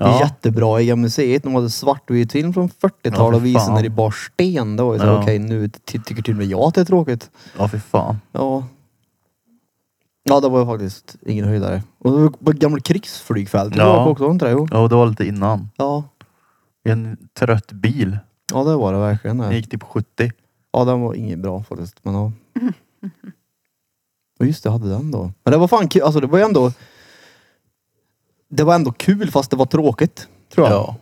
S4: Mm. Ja.
S2: jättebra i museet. De hade svartvit film från 40-talet
S4: Ja, för
S2: och visade
S4: fan.
S2: när det bar sten. Det var ju så
S4: Ja.
S2: okej nu ty- tycker till och med jag att det är tråkigt.
S4: Ja, fy fan.
S2: Ja. Ja det var ju faktiskt ingen höjdare. Och det var på ett gammalt krigsflygfält
S4: Ja.
S2: ja. också, var det inte det? Jo.
S4: Ja, och det var lite innan.
S2: Ja.
S4: En trött bil.
S2: ja det var det verkligen.
S4: Den
S2: Det.
S4: gick typ 70.
S2: Ja den var ingen bra faktiskt. Men ja. Och just det, jag hade den då. Men det var fan kul. Alltså det var ju ändå. Det var ändå kul fast det var tråkigt. Tror jag.
S4: Ja.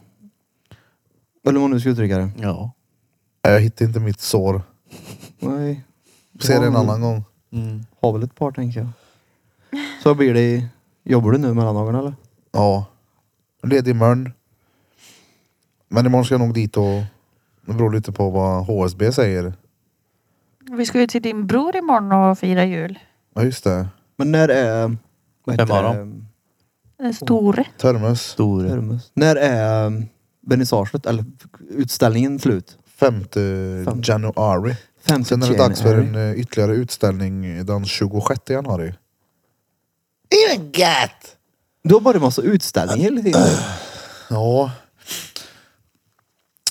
S2: Eller hur man nu ska uttrycka det.
S4: ja.
S1: Nej, jag hittar inte mitt sår.
S2: Nej.
S1: Se det en
S2: Ja,
S1: annan gång.
S4: Mm.
S2: Har väl ett par tänker jag. Så blir det. i- Jobbar du nu mellan dagarna eller?
S1: Ja. Ledig imorgon. Men imorgon ska jag nog dit och... Det beror lite på vad HSB säger.
S3: Vi ska ju till din bror imorgon och fira jul.
S1: Ja just det.
S2: Men när är... Vad heter
S4: Vem har
S2: det?
S3: Den store.
S1: Termus.
S4: Stor.
S2: Termus. När är um, vernissaget eller utställningen slut?
S1: 5
S2: Fem.
S1: januari.
S2: 50
S1: Sen är det dags för en eh, ytterligare utställning den 26 januari. Ingen gött!
S2: Du har bara en massa utställningar hela tiden.
S1: Ja.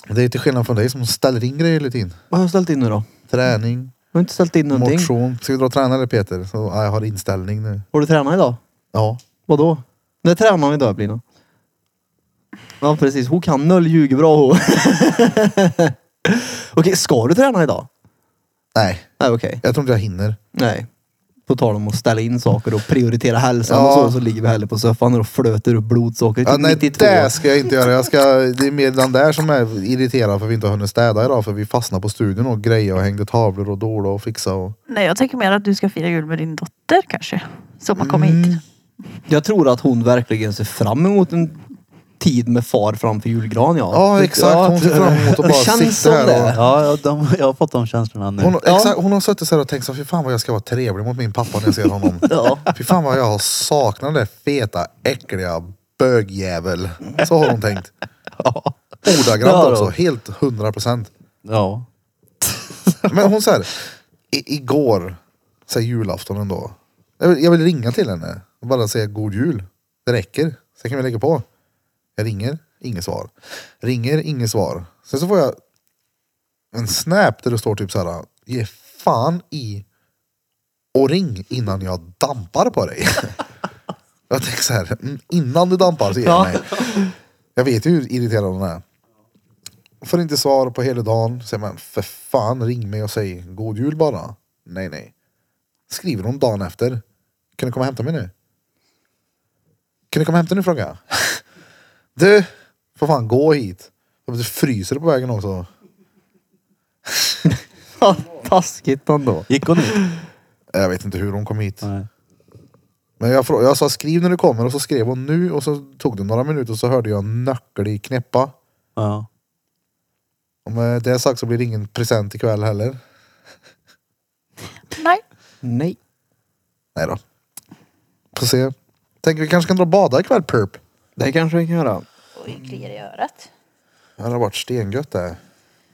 S1: Det är till skillnad från dig som ställer in grejer hela tiden.
S2: Vad har jag ställt in nu då?
S1: Träning,
S2: Jag har inte ställt in någonting.
S1: motion. Ska vi dra och träna eller Peter? Så, ja, jag har inställning nu.
S2: Har du tränat idag?
S1: Ja.
S2: Vadå? När tränar vi idag Blina? Ja precis, hon kan noll ljuger bra hon. okej, ska du träna idag?
S1: Nej,
S2: Nej okej.
S1: jag tror inte jag hinner.
S2: Nej. På tal om att ställa in saker och prioritera hälsan och
S1: Ja.
S2: så, så ligger vi hellre på soffan och flöter upp blodsockret
S1: Ja,
S2: till
S1: nej,
S2: 92.
S1: det ska jag inte göra. Jag ska, det är mer den där som är irriterad för vi inte har hunnit städa idag. För vi fastnade på studion och grejade och hängde tavlor och dolade och fixade. Och...
S3: Nej, jag tänker mer att du ska fira jul med din dotter kanske. Som har kommit hit.
S2: Jag tror att hon verkligen ser fram emot en tid med far framför julgran ja.
S1: Ja exakt, hon ser fram emot att
S2: det
S1: bara
S2: känns
S1: sitta
S2: som det.
S1: här.
S4: Ja, jag, de, jag har fått de känslorna nu.
S1: Och... Hon,
S2: Ja.
S1: exakt, hon har suttit så här och tänkt så här, fy fan vad jag ska vara trevlig mot min pappa när jag ser honom.
S2: Ja.
S1: Fy fan vad jag har saknat den där feta, äckliga bögjävel. Så har hon tänkt.
S4: Ja,
S1: Ordagrant
S4: då.
S1: också, helt hundra procent.
S4: Ja.
S1: Men hon säger, igår, så här julafton ändå. Jag vill, jag vill ringa till henne och bara säga god jul. Det räcker. Sen kan vi lägga på. Jag ringer, inget svar. Ringer, inget svar. Sen så får jag en snap där det står typ så här, ge fan i och ring innan jag dampar på dig. jag tänker så här, "Mm, innan du dampar så ge
S2: Ja.
S1: mig. Jag vet ju hur irriterad hon är. Får inte svar på hela dagen. Säger man, för fan ring mig och säg god jul bara. Nej, nej. Skriver hon dagen efter. Kan du komma och hämta mig nu? Kan du komma och hämta nu frågar jag. Du, får fan gå hit. Du fryser på vägen också.
S2: Ja, Taskigt ändå.
S4: Gick hon ut?
S1: Jag vet inte hur hon kom hit.
S4: Nej.
S1: Men jag, frå- jag sa skriv när du kommer och så skrev hon nu och så tog det några minuter och så hörde jag en nöckel i knäppa.
S4: Ja.
S1: Och med det sagt så blir det ingen present ikväll heller.
S3: Nej.
S2: Nej.
S1: Nej då. Får se. Tänker vi kanske kan dra och bada ikväll perp.
S2: Det kanske vi kan göra.
S3: Oj, kliar i örat.
S1: Det hade varit stengött det.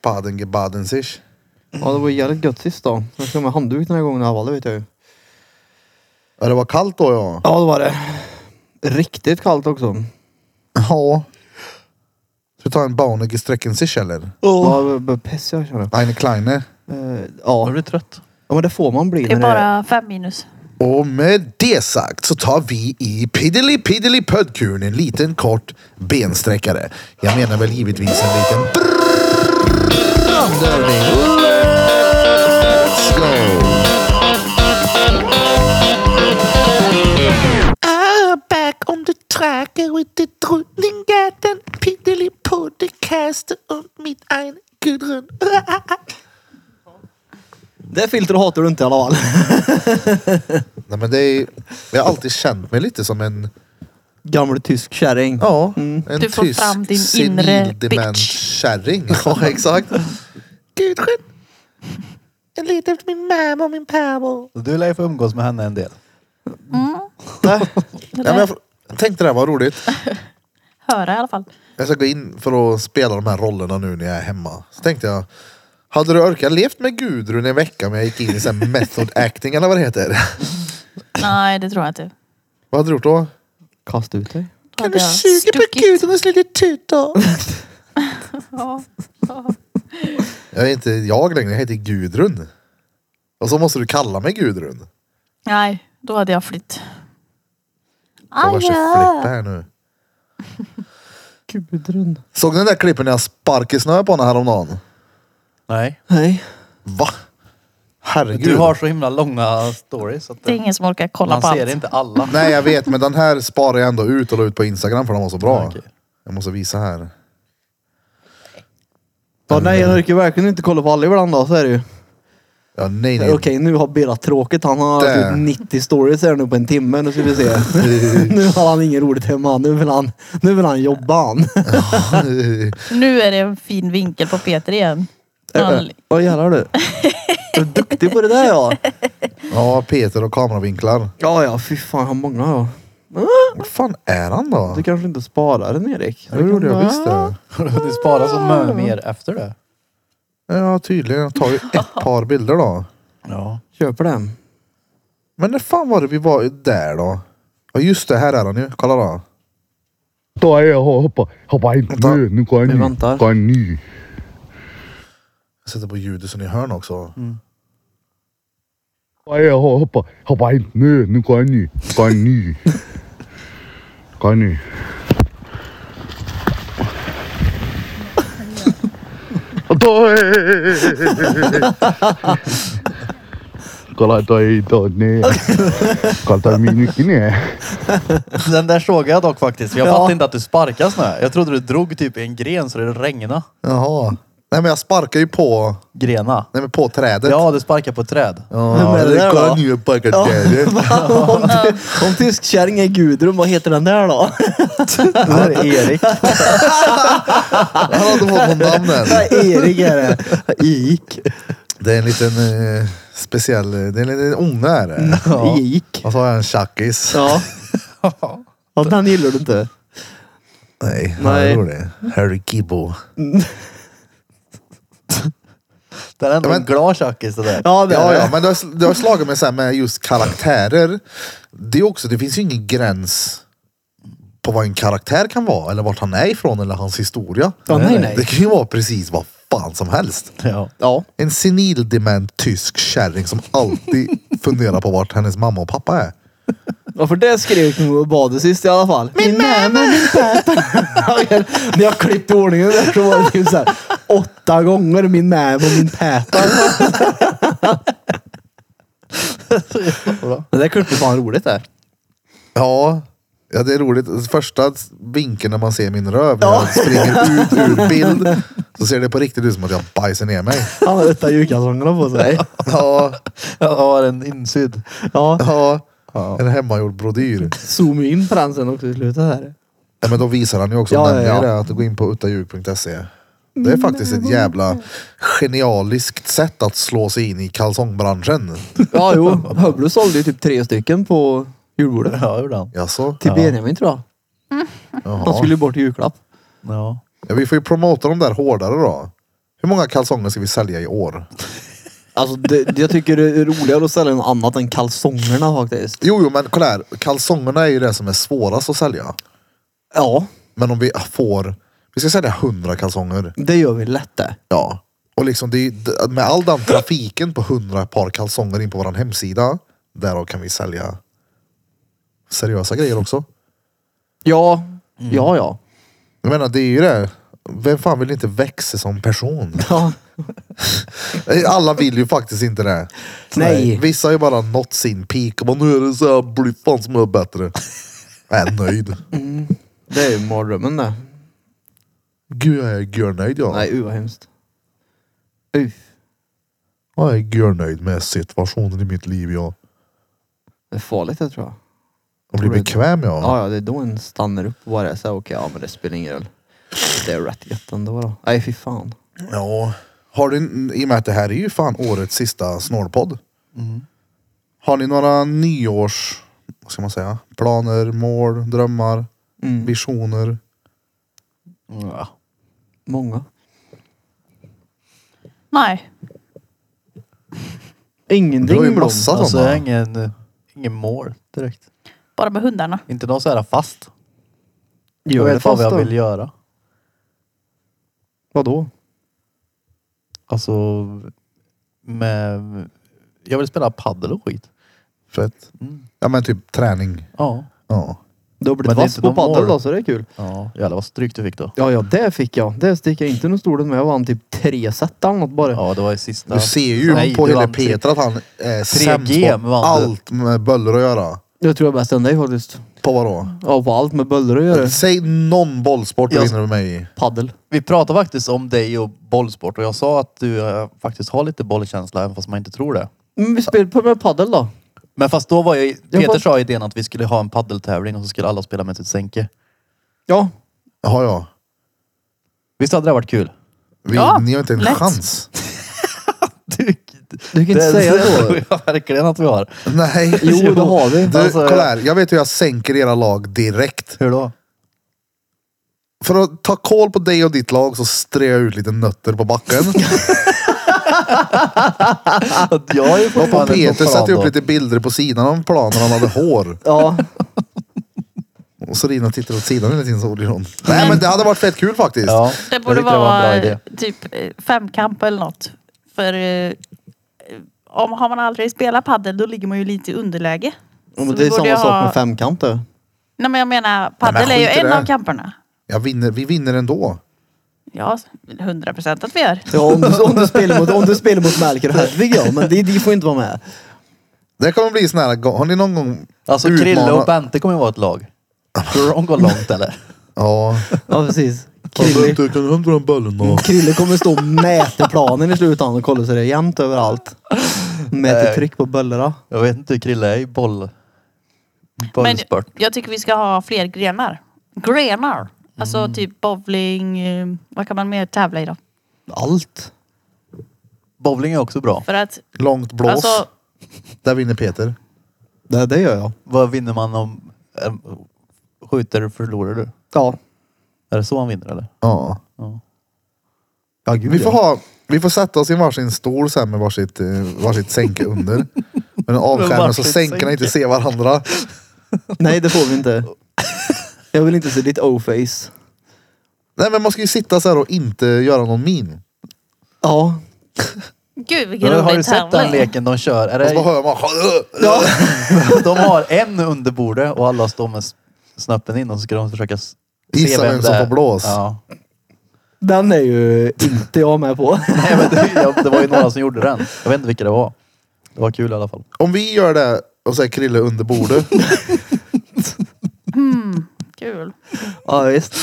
S1: Baden gebaden sich.
S2: Ja det var jävligt gött sist då. Jag ska med handduk den här gången Haval, det vet jag ju.
S1: Ja det var kallt då ja.
S2: Ja det var det. Riktigt kallt också.
S1: Ja. Ska vi ta en Baunige strecken sich eller?
S2: Ja, jag börjar pissa jag känner.
S1: Eine kleine.
S2: Eh,
S4: Jag
S2: Ja.
S4: blir trött.
S2: ja men det får man bli
S3: Det är
S2: när det är...
S3: bara fem minus.
S1: Och med det sagt så tar vi i piddeli piddeli pödkuren en liten kort bensträckare. Jag menar väl givetvis en liten brandövning. Let's go!
S5: Ah, back on the track with the Drottninggatan Piddly Podcast und mit ein Gudrun. Ah,
S2: Det filtret hatar du inte i alla fall.
S1: Nej, men det är, jag har alltid känt mig lite som en,
S2: Gammal tysk kärring.
S1: ja, en
S3: Mm. Du får
S1: tysk
S3: fram din inre
S1: senildement
S3: bitch.
S1: kärring. Ja, exakt.
S5: Gudrun! Jag letar efter min mamma och min farmor.
S4: Du lär ju få umgås med henne en del.
S3: Mm.
S1: Ja, men jag f- tänkte det här var roligt.
S3: Höra i alla fall.
S1: Jag ska gå in för att spela de här rollerna nu när jag är hemma. Så tänkte jag, hade du orkat levt med Gudrun i en vecka om jag gick in i sån här method acting eller vad det heter?
S3: Nej, det tror jag inte.
S1: Vad hade du gjort då?
S2: Kasta ut dig.
S5: När
S3: hade
S5: du
S3: jag
S5: suger på
S3: stuckit.
S5: gudarnas lilla tutor.
S3: Ja, ja.
S1: Jag är inte jag längre, jag heter Gudrun. Och så måste du kalla mig Gudrun.
S3: Nej, då hade jag flytt.
S1: Jag värsta flippa
S3: Aja!
S1: här nu.
S2: Gudrun.
S1: Såg ni den där klippen när jag sparkade snö på henne häromdagen?
S4: Nej.
S2: Nej.
S1: Va? Herregud.
S4: Du har så himla långa stories. Att
S3: Det är ingen som orkar kolla
S4: man
S3: på
S4: ser
S3: allt.
S4: inte alla.
S1: Nej jag vet men den här sparar jag ändå ut och la ut på Instagram för den var så bra.
S4: Ja, okej.
S1: Jag måste visa här.
S2: Ja, nej, jag orkar verkligen inte kolla på alla ibland då, så är det ju.
S1: Ja nej nej.
S2: Okej, nu har Bera tråkigt. Han har
S1: Där.
S2: typ 90 stories här nu på en timme. Nu ska vi se. nu har han ingen roligt hemma. Nu vill han, nu vill han jobba han.
S3: Nu är det en fin vinkel på Peter igen. Han,
S2: Vad jävlar du. Du är duktig på det där ja.
S1: Ja Peter och kameravinklar.
S2: Ja, ja, fy fan, han många ja.
S1: Vad fan är han då?
S2: Du kanske inte sparar den Erik?
S1: Jo, Det gjorde jag visst det.
S4: Du sparar så
S3: Mm.
S4: mycket mer efter det.
S1: Ja tydligen. Jag tar ju ett par bilder då.
S4: Ja.
S2: Köper den.
S1: Men när fan var det vi var där då? Ja just det, här är han ju. Kolla då.
S6: 对呀，好好吧，好吧，你
S1: 到
S6: 你管
S2: 没
S6: 你
S2: 问题
S6: 管你。
S1: Jag sätter på ljudet så ni hör den också.
S2: Mm.
S6: 对呀，好好吧，好吧，你你管你管你管你。对，过来对对呢，过来咪你今年，
S4: Den där såg jag dock faktiskt. Jag
S2: Ja.
S4: fattade inte att du sparkade snö. Jag trodde du drog typ i en gren så det regnade.
S1: Jaha. Nej men jag sparkar ju på,
S4: Grena.
S1: nej, men på trädet.
S4: Ja, du sparkade på ett träd.
S1: Ja,
S2: Vem är det där
S1: kolla
S2: då?
S1: nu, jag sparkar trädet.
S2: om, ty- om tyskkärring är Gudrun, vad heter den där då?
S4: Det där är Erik.
S1: Han har inte fått något namn än.
S2: Erik är det. Erik.
S1: Det är en liten eh, speciell, eh, det är en liten unge är det.
S2: Erik.
S1: Och så har jag en tjackis.
S2: Mm. Ja. ja, den gillar du inte.
S1: Nej, han
S2: Nej.
S1: är rolig. Harry Gibbo.
S4: Det är ändå
S1: Ja,
S4: en
S1: men-
S4: glad tjackis det där.
S2: Ja, det är
S1: Ja,
S2: det.
S1: ja, men det har, det har slagit mig så här med just karaktärer. Det är också, det finns ju ingen gräns på vad en karaktär kan vara eller vart han är ifrån eller hans historia.
S2: Ja, nej, nej.
S1: Det kan ju vara precis vad fan som helst.
S4: Ja.
S2: Ja.
S1: En senildement tysk kärring som alltid funderar på vart hennes mamma och pappa är.
S2: ja, för det skrek nog och bad sist i alla fall. Min mamma, min pappa. Ja, När jag klippte ordningen där så var det ju såhär åtta gånger min mamma och min pappa. Det där klippet var fan roligt det.
S1: Ja, ja det är roligt. Första vinkeln när man ser min röv när jag springer ut ur bild så ser det på riktigt ut som att jag bajsar ner mig.
S2: Han har utan julkalsongerna på sig.
S1: Ja,
S4: Jag har en insydd.
S2: Ja,
S1: ja. En hemmagjord brodyr.
S2: zooma in på den sen också i slutet här.
S1: Ja, men då visar han ju också,
S2: Ja,
S1: nämner
S2: ja,
S1: jag
S2: ja. Mm.
S1: det, att gå in på uttaljug.se. Det är faktiskt ett jävla genialiskt sätt att slå sig in i kalsongbranschen.
S2: Ja, jo. Höblo sålde ju typ tre stycken på julbordet.
S4: Ja, gjorde han.
S1: Jaså?
S2: Till Benjamin tror jag. Han
S1: Jaha.
S2: skulle ju bort i julklapp.
S4: Ja.
S1: Ja, vi får ju promota de där hårdare då. Hur många kalsonger ska vi sälja i år?
S2: Alltså det, jag tycker det är roligare att sälja något annat än kalsongerna faktiskt.
S1: Jo, jo, men kolla här. Kalsongerna är ju det som är svårast att sälja.
S2: Ja,
S1: Men om vi får, vi ska sälja 100 kalsonger.
S2: det gör vi lätt det.
S1: Ja. Och liksom det, är ju- d- med all den trafiken på 100 par kalsonger in på vår hemsida. Därav kan vi sälja seriösa grejer också.
S2: Ja, ja, ja.
S1: Jag menar det är ju det. Vem fan vill inte växa som person?
S2: ja.
S1: Alla vill ju faktiskt inte det.
S2: Nej.
S1: Vissa har ju bara nått sin peak och bara nu är det så här blir fan som är bättre. Jag är nöjd.
S2: Det är ju mardrömmen det.
S1: Gud jag är görnöjd jag.
S2: Nej, uh vad hemskt. Uff.
S1: Jag är görnöjd med situationen i mitt liv jag.
S2: Det är farligt det tror jag.
S1: Jag blir bekväm jag.
S2: Ja, ja, det är då en stannar upp och bara är såhär, okej, ja men det spelar ingen roll. Det är rätt gött ändå då. Nej, fy fan.
S1: Ja. Har du, I och med att det här är ju fan årets sista snålpodd.
S4: Mm.
S1: Har ni några nyårs, vad ska man säga, planer, mål, drömmar,
S4: Mm.
S1: visioner?
S4: ja.
S2: Många.
S3: nej.
S1: Det
S2: Ingenting
S1: var ju
S2: Blom.
S1: massa
S4: Alltså jag har
S1: sådana.
S4: ingen, ingen mål direkt.
S3: Bara med hundarna.
S4: Inte någon så här fast.
S2: Gör
S4: jag
S2: det
S4: vet fan
S2: fast
S4: vad jag
S2: då.
S4: vill göra.
S2: Vadå?
S4: Alltså, med... Jag vill spela paddel och skit.
S1: Fett.
S4: Mm.
S1: Ja men typ träning.
S4: Ja.
S1: Ja.
S2: Du har
S4: Men
S2: blivit
S4: det är
S2: vass
S4: inte
S2: på
S4: någon
S2: padel
S4: mål.
S2: då, så det är kul.
S4: Ja, jävlar vad stryk du fick då.
S2: Ja, ja, det fick jag. Det sticker jag inte under stolen med. Jag vann typ tre set eller något bara.
S4: Ja, det var i sista...
S1: Du ser ju
S4: Nej,
S1: på
S4: du
S1: hela
S4: vann tre-
S1: Peter att han är sämst
S4: 3G
S1: på
S4: vann du.
S1: allt med böller att göra.
S2: Jag tror jag är bäst än dig faktiskt.
S1: På vadå?
S4: Mm.
S2: Ja, på allt med böller att göra.
S1: Säg någon bollsport du
S4: Jag-
S1: vinner med mig i.
S2: Paddel.
S4: Vi pratade faktiskt om dig och bollsport och jag sa att du eh, faktiskt har lite bollkänsla även fast man inte tror det.
S2: Men Mm, vi spelar på med paddel då.
S4: Men fast då var jag...
S2: Jag
S4: Peter
S2: får-
S4: sa idén att vi skulle ha en paddeltävling och så skulle alla spela med sitt sänke.
S2: Ja.
S1: Jaha ja.
S4: Visst hade det varit kul?
S1: Vi,
S3: Ja,
S1: ni har inte en
S3: lätt.
S1: chans.
S4: Du,
S2: Du kan inte
S4: det,
S2: säga
S4: det
S2: så.
S4: tror jag verkligen att vi har.
S1: Nej.
S2: Jo, det har vi.
S1: Du,
S4: Alltså,
S1: kolla
S4: jag-
S1: här. Jag vet hur jag sänker era lag direkt.
S4: Hur då?
S1: För att ta koll på dig och ditt lag så strör jag ut lite nötter på backen.
S4: Att jag är
S1: Och på
S4: fortfarande
S1: Peter
S4: på plan
S1: satte
S4: då.
S1: upp lite bilder på sidan av planen han hade hår.
S2: Ja.
S1: Och Serina tittar åt sidan hela tiden så gjorde hon. Nej men det hade varit fett kul faktiskt.
S4: Mm. Ja,
S3: Det
S4: jag
S3: borde
S4: tyckte var en bra
S3: vara
S4: idé.
S3: typ eh, femkamp eller något. För eh, om har man aldrig spelat padel då ligger man ju lite i underläge.
S2: Ja,
S3: Så
S2: men det
S3: vi
S2: är
S3: borde ju
S2: samma sak
S3: ha-
S2: med femkant det.
S3: Nej men jag menar, padel
S1: Nej, men
S3: är
S1: skit
S3: ju
S1: i
S3: en
S1: det.
S3: av kamperna.
S1: Jag vinner, vi vinner ändå.
S3: Ja, hundra procent att vi gör.
S2: Ja, om du, om du spelar mot, om du spelar mot Melker och Hedvig ja, men de, de får inte vara med.
S1: Det kommer bli sån här, gång- har ni någon gång
S4: Alltså Krille och Bente kommer ju vara ett lag. Tror du de går långt eller?
S1: Ja. Mm.
S2: Ja, precis. Krille,
S1: kan du dra en bollen då?
S2: Krille kommer stå och mäta planen i slutändan och kolla så det är jämnt överallt. Mäter
S4: Nej.
S2: tryck på böllerna.
S4: Jag vet inte hur Krille är i boll...
S3: Men
S4: Bollsport.
S3: jag tycker vi ska ha fler grenar. Grenar! Alltså typ bowling, eh, vad kan man mer tävla i då?
S2: Allt.
S4: Bowling är också bra.
S3: För att,
S1: Långt blås.
S3: alltså,
S1: Där vinner Peter.
S2: Det, det gör jag.
S4: Vad vinner man om... eh, Skjuter förlorar du?
S2: Ja.
S4: Är det så han vinner eller?
S1: Ja.
S2: Ja, gud
S1: Vi får,
S2: ja.
S1: ha, vi får sätta oss i varsin stol sen med varsitt, eh, varsitt sänke under. Men avskärmen så
S4: varsitt
S1: sänkorna inte ser varandra.
S2: Nej, det får vi inte. Jag vill inte se ditt O-face.
S1: Nej men man ska ju sitta så här och inte göra någon min.
S2: Ja.
S3: gud vilken
S4: Men, har du
S3: rolig
S4: sett den
S3: tävling.
S4: leken de kör? Är
S1: Och så bara hör
S4: det,
S1: man.
S2: ja.
S4: de har en under bordet och alla står med s- snöppen in och så ska de försöka s-
S1: Gissa vem som
S4: det är.
S1: får blås.
S4: Ja.
S2: Den är ju inte jag med på.
S4: Nej, men det, ja, det var ju några som gjorde den. Jag vet inte vilka det var. Det var kul i alla fall.
S1: Om vi gör det och säger Krille under bordet.
S3: Kul.
S2: Ja, visst.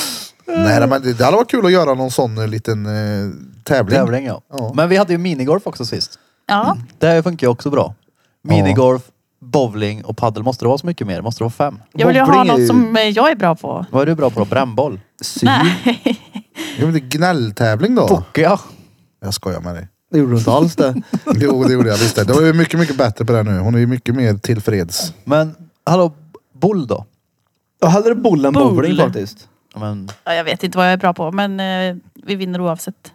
S1: Nej men det, det hade varit kul att göra någon sån eh, liten eh, tävling.
S4: Tävling ja.
S1: Ja.
S4: Men vi hade ju minigolf också sist.
S3: Ja,
S4: Det här funkar ju också bra. Minigolf, bowling och paddel. Måste det vara så mycket mer? Måste det vara fem?
S3: jag vill ju ha
S2: Bowling är
S3: något
S2: ju-
S3: som eh, jag är bra på.
S4: Vad är du bra på då? Brännboll?
S3: Nej.
S1: Ja, men det är gnälltävling då.
S4: Ja.
S1: Jag skojar med dig.
S2: Det gjorde du inte alls det.
S1: Jo det gjorde jag visst det. Det var ju mycket mycket bättre på det här nu. Hon är ju mycket mer tillfreds.
S4: Men hallå, boll då?
S2: Jag hellre boll än
S3: Boll.
S2: bowling faktiskt.
S4: Ja, Men,
S3: Ja, jag vet inte vad jag är bra på men eh, vi vinner oavsett.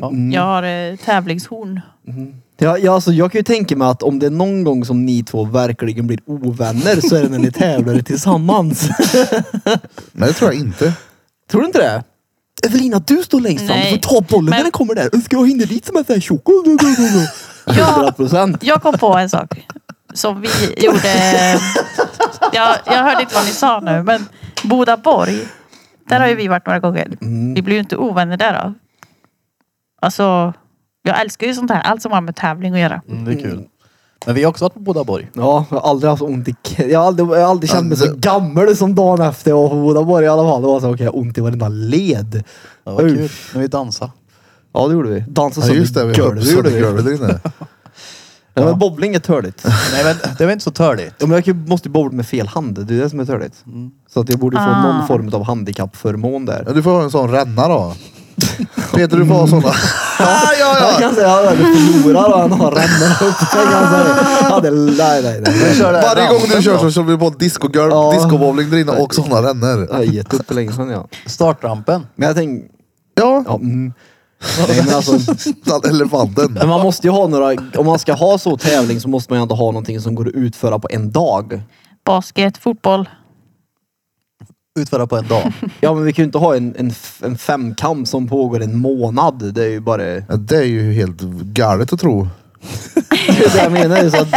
S4: ja.
S3: Jag har eh, tävlingshorn.
S2: Ja, ja, alltså, jag kan ju tänka mig att om det är någon gång som ni två verkligen blir ovänner så är det när ni tävlar tillsammans.
S1: Nej det tror jag inte.
S2: Tror du inte det? Evelina, du står längst fram. Du får
S3: Nej.
S2: ta bollen
S3: Men-
S2: när den kommer där. Ska jag hinna dit som en sån här tjock?
S3: Ja.
S2: 100 procent.
S3: Jag kom på en sak som vi gjorde. Jag, jag hörde inte vad ni sa nu men Bodaborg. Där har ju vi varit några gånger. Vi blir ju inte ovänner där då. Alltså, jag älskar ju sånt här. Allt som har med tävling att göra.
S4: Mm, det är kul. Men vi har också varit på Bodaborg.
S2: Ja, jag har aldrig haft så ont i knät. Jag har aldrig, jag har aldrig känt mig så
S1: Alltså-
S2: gammal som dagen efter jag var på Bodaborg i alla fall. Det var så, okej, jag har ont i varenda led.
S4: Det var
S2: Uff.
S4: kul. När vi dansade.
S2: Ja, det gjorde vi. Dansa
S1: Ja, just det,
S2: sönder
S1: vi hörde
S2: golvet gjorde vi.
S1: södergolvet där inne.
S2: Ja, men bowling är törligt.
S1: Mm.
S4: Nej men det var inte så törligt.
S2: Ja, men jag kan- måste ju bowla med fel hand. Det är det som är törligt.
S1: Mm.
S2: Så att jag borde få
S3: Ah.
S2: någon form av handikappförmån där.
S1: Ja, du får ha en sån ränna då. Peter du får ha såna. ja, ja,
S2: Jag
S1: ja.
S2: kan säga att han förlorar och han har rännorna uppe. Jag kan säga, ja, det är- nej, nej, nej.
S4: Kör det här
S1: Varje gång du
S4: rampen
S1: kör
S4: då.
S1: så kör vi på discogolv,
S2: Ja.
S1: discobowling där inne och såna rännor.
S2: Jag har gett upp för länge sedan ja.
S4: Startrampen.
S2: Men jag tänkte,
S1: Ja,
S2: ja, mm. nej, men alltså,
S1: den elefanten.
S2: men man måste ju ha några, om man ska ha så tävling så måste man ju ändå ha någonting som går att utföra på en dag.
S3: Basket, fotboll.
S4: utföra på en dag.
S2: Ja, men vi kan ju inte ha en, en, f- en femkamp som pågår en månad. Det är ju bara... Det
S1: Ja, det är ju helt galet att tro.
S2: är det jag menar. det är Så att,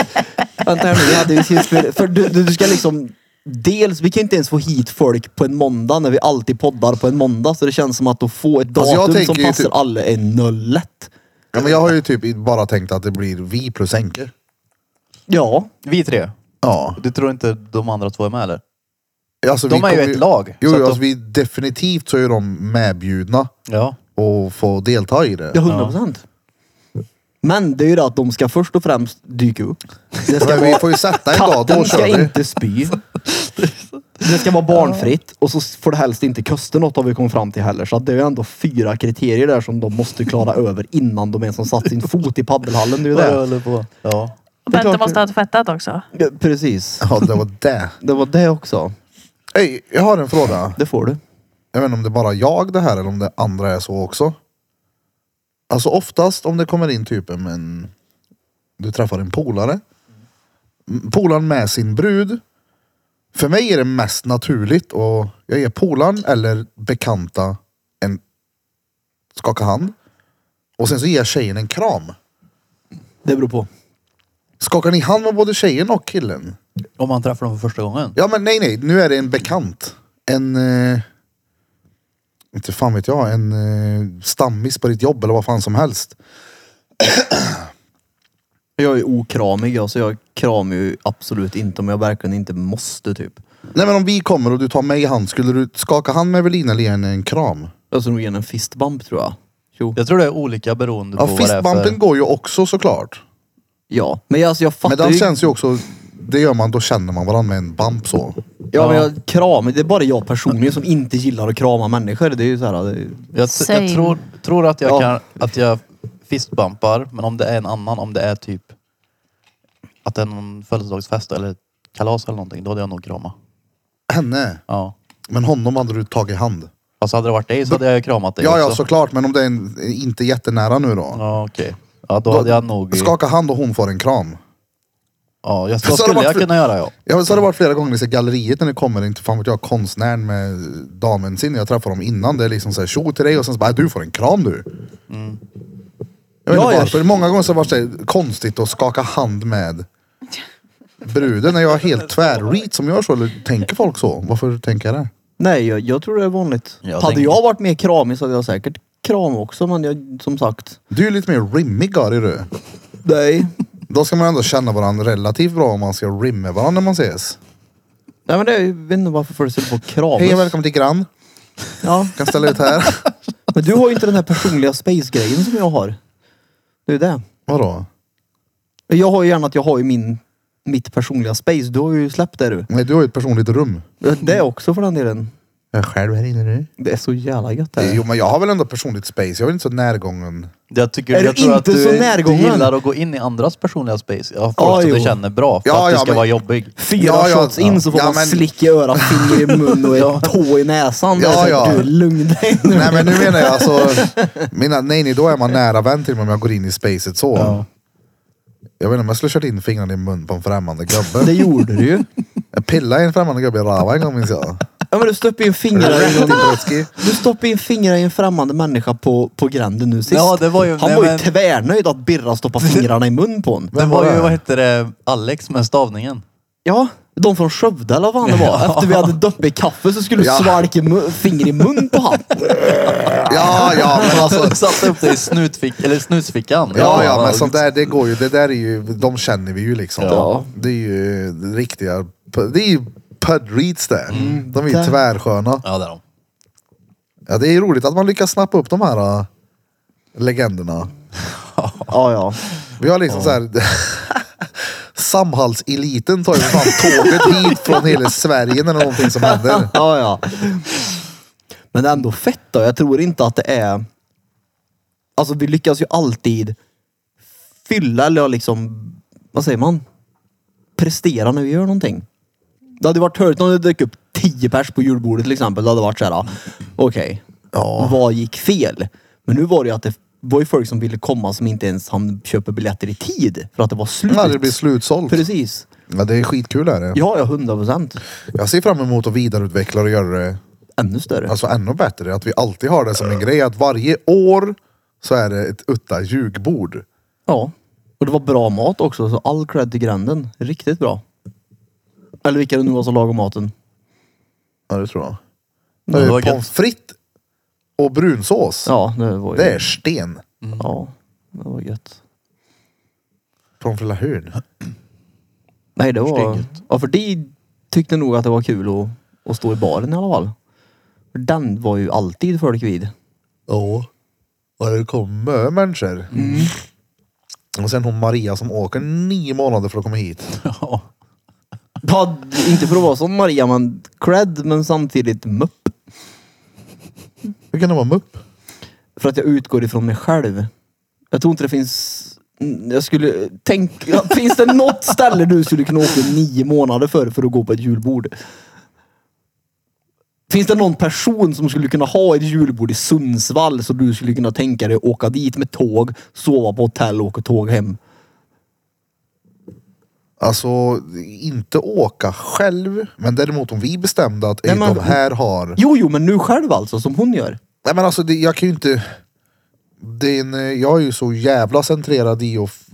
S2: vänta här nu, vi hade ju sist för, för du, du, du ska liksom... Dels, vi kan ju inte ens få hit folk på en måndag när vi alltid poddar på en måndag. Så det känns som att att få ett
S1: Alltså, jag
S2: datum som
S1: tänker ju
S2: passar
S1: typ-
S2: alla är nollet.
S1: Ja, men jag har ju typ bara tänkt att det blir vi plus änkor.
S2: Ja,
S4: Vi tre.
S1: Ja.
S4: Du tror inte de andra två är med eller?
S1: Alltså,
S4: De
S1: vi
S4: är ju
S1: kommer
S4: ett lag,
S1: Jo,
S4: så
S1: jo,
S4: att
S1: alltså,
S4: de-
S1: vi definitivt så är de medbjudna
S4: Ja.
S1: och får delta i det.
S2: ja 100 procent. Men det är ju det att de ska först och främst dyka upp. Det ska
S1: Men vi får ju sätta en dag, då
S2: Katten
S1: kör
S2: ska
S1: vi.
S2: inte spy. Det ska vara barnfritt och så får det helst inte kosta något har vi kommit fram till heller. Så att det är ju ändå fyra kriterier där som de måste klara över innan de ens har satt sin fot i paddelhallen. Det är ju
S4: Vad jag
S2: det.
S4: håller på.
S2: är
S4: Ja.
S2: klart
S3: Bente
S2: det-
S3: måste ha tvättat också.
S2: Ja, Precis.
S1: Ja, det var det.
S2: Det var det också.
S1: Hej, jag har en fråga.
S2: Det får du.
S1: Jag vet inte om det är bara jag det här eller om det andra är så också. Alltså oftast om det kommer in typ en, en du träffar en polare. M- Polaren med sin brud. För mig är det mest naturligt och jag ger polaren eller bekanta en skaka hand. Och sen så ger jag tjejen en kram.
S2: Det beror på.
S1: Skakar ni hand med både tjejen och killen?
S4: Om man träffar dem för första gången.
S1: Ja men nej nej, nu är det en bekant. En... Eh, inte fan vet jag, en eh, stammis på ditt jobb eller vad fan som helst.
S2: Jag är okramig jag, så jag kramar ju absolut inte om jag verkligen inte måste typ.
S1: Nej men om vi kommer och du tar mig i hand, skulle du skaka hand med Evelina eller ge henne en kram?
S2: Jag skulle nog ge Alltså, en fistbump tror jag. Jo.
S4: Jag tror det är olika beroende
S1: Ja
S4: på vad det är för...
S1: fistbumpen går ju också såklart.
S2: Ja, men jag, alltså, jag fattar
S1: Men den
S2: ju-
S1: känns ju också, det gör man, då känner man varandra med en bump så.
S2: Ja, men jag kramar. Det är bara jag personligen som inte gillar att krama människor. Det är ju så här, det...
S4: Jag, t-
S3: Same.
S4: jag tror, tror att jag
S2: Ja.
S4: kan, att jag fistbumpar, men om det är en annan, om det är typ att det är någon födelsedagsfest eller ett kalas eller någonting, då hade jag nog kramat.
S1: Henne,
S4: Ja.
S1: men honom hade du tagit i hand.
S4: Alltså hade det varit dig så hade jag ju kramat dig
S1: Ja ja
S4: också.
S1: såklart, men om det är en, inte jättenära nu då.
S4: Ja, okej. Ja, då hade jag nog...
S1: Skaka hand och hon får en kram.
S4: Ja, jag,
S1: Så
S4: då
S1: hade
S4: skulle
S1: det
S4: jag
S1: varit-
S4: kunna göra ja.
S1: Ja, men så har det varit flera gånger i så här galleriet när det kommer inte fan vet jag, konstnären med damen sin. Jag träffar dem innan. Det är liksom så här tjo till dig och sen så bara, "Äh, du får en kram du. Jag vet
S2: Mm. Ja,
S1: inte
S2: jag-
S1: varför. Många gånger så har det varit så här konstigt att skaka hand med bruden. När jag är helt tvärreat som gör så. Eller tänker folk så? Varför tänker jag det?
S2: Nej, jag, jag tror det är vanligt.
S4: Jag
S2: hade
S4: tänker-
S2: jag varit mer kramig så hade jag säkert kram också, men jag, som sagt.
S1: Du är lite mer rimmig Gary du.
S2: Nej.
S1: Då ska man ändå känna varandra relativt bra om man ska rimma varandra när man ses.
S2: Nej men det är, jag vet inte varför folk ställer på kramas.
S1: Hej och välkommen till grann.
S2: Ja,
S1: Kan ställa ut här.
S2: men du har ju inte den här personliga space-grejen som jag har. Det är ju det.
S1: Vadå?
S2: Jag har ju gärna att jag har ju min, mitt personliga space. Du har ju släppt det du.
S1: Nej, du har ju ett personligt rum.
S2: Det också för den delen.
S1: Jag är själv här inne nu.
S2: Det är så jävla gött det här.
S1: Jo men jag har väl ändå personligt space, jag är inte så närgången.
S4: Jag tycker,
S2: Är
S4: jag
S2: du
S4: tror
S2: inte
S4: att du,
S2: så närgången?
S4: du gillar att gå in i andras personliga space. Ja, folk
S2: Ja,
S4: som du
S2: jo.
S4: känner bra för
S1: Ja,
S4: att du
S1: ja,
S4: ska
S1: men-
S4: vara jobbig.
S2: Fyra
S1: Ja, ja,
S2: shots in så får
S1: ja,
S2: man
S1: men-
S2: slick i örat, finger i mun och en tå i näsan.
S1: Ja,
S2: Ja,
S1: ja.
S2: ja. Du, lugn dig nu.
S1: Nej men nu menar jag alltså, mina, nej nej då är man nära vän till mig om jag går in i spacet så. Jag vet inte om jag skulle kört in fingrarna i mun på en främmande
S2: Det
S1: gubbe.
S2: gjorde du ju.
S1: Jag pillade i en främmande gubbe i röven en gång minns jag.
S2: Ja men du stoppade in fingrar
S1: Rätt
S2: i
S1: i
S2: någon,
S1: Bretski.
S2: Du stoppade in fingrar i en främmande människa på, på gränden nu sist.
S4: Ja, det var ju-
S2: Han
S4: nej,
S2: var ju
S4: men-
S2: tvärnöjd att Birra stoppade fingrarna i mun på honom.
S1: Vem
S4: Det var
S1: var det?
S4: ju, vad hette det, Alex med stavningen.
S2: Ja, de från Skövde eller vad fan det var. Efter vi hade doppat i kaffe så skulle du
S1: Ja.
S2: svalka mu- finger i mun på han.
S1: Ja ja men alltså.
S4: Satte upp dig i snutfick, eller snusfickan.
S1: Ja ja men sånt där det går ju, det där är ju, de känner vi ju liksom.
S2: Ja.
S1: Det är ju riktiga, det är ju pudreets det. De är ju
S2: Där.
S1: tvärsköna.
S4: Ja, det är de.
S1: Ja det är ju roligt att man lyckas snappa upp de här äh, legenderna.
S2: Ja, ja.
S1: Vi har liksom så här. Samhällseliten tar ju för fan tåget hit från hela Sverige när det är någonting som händer.
S2: Ja, ja. Men det är ändå fett då. Jag tror inte att det är... Alltså vi lyckas ju alltid fylla eller liksom, vad säger man? Prestera när vi gör någonting. Det hade ju varit hörigt om det dök upp tio pers på julbordet till exempel. Det hade varit såhär, okej, vad gick fel? Men nu var det ju att det var ju folk som ville komma som inte ens hann köpa biljetter i tid för att det var slut.
S1: När det blir slutsålt.
S2: Precis.
S1: Ja, det är skitkul är det.
S2: Ja, ja, hundra procent.
S1: Jag ser fram emot att vidareutveckla och göra det
S2: Ännu större.
S1: alltså, ännu bättre. Att vi alltid har det som en grej. Att varje år så är det ett utta ljugbord.
S2: Ja. Och det var bra mat också, så all cred till gränden. Riktigt bra. Eller vilka det nu var som lagade maten.
S1: Ja, det tror jag. Eh,
S4: Ja, det var gött.
S1: Pommes frites och brunsås.
S2: Ja, det var ju...
S1: Det är sten.
S2: Ja, det var gött.
S1: Pommes frites
S2: Nej, det var...
S4: Stygget.
S2: Ja, för de tyckte nog att det var kul att, att stå i baren i alla fall. För den var ju alltid folk vid.
S1: Ja. Och det kommer människor. Och sen hon Maria som åker nio månader för att komma hit.
S4: Ja.
S2: Ja, inte för att vara som Maria, men cred, men samtidigt mupp.
S1: Hur kan det vara mupp?
S2: För att jag utgår ifrån mig själv. Jag tror inte det finns... Mm, Jag skulle tänka... Finns det något ställe du skulle kunna åka nio månader för, för att gå på ett julbord? Finns det någon person som skulle kunna ha ett julbord i Sundsvall så du skulle kunna tänka dig åka dit med tåg, sova på hotell och åka tåg hem?
S1: Alltså inte åka själv. Men däremot om vi bestämde att
S2: Nej,
S1: "Ey,
S2: men-
S1: de här har.
S2: Jo, jo, men nu själv alltså, som hon gör.
S1: Nej men alltså det, jag kan ju inte. Det är en, eh, jag är ju så jävla centrerad i att f-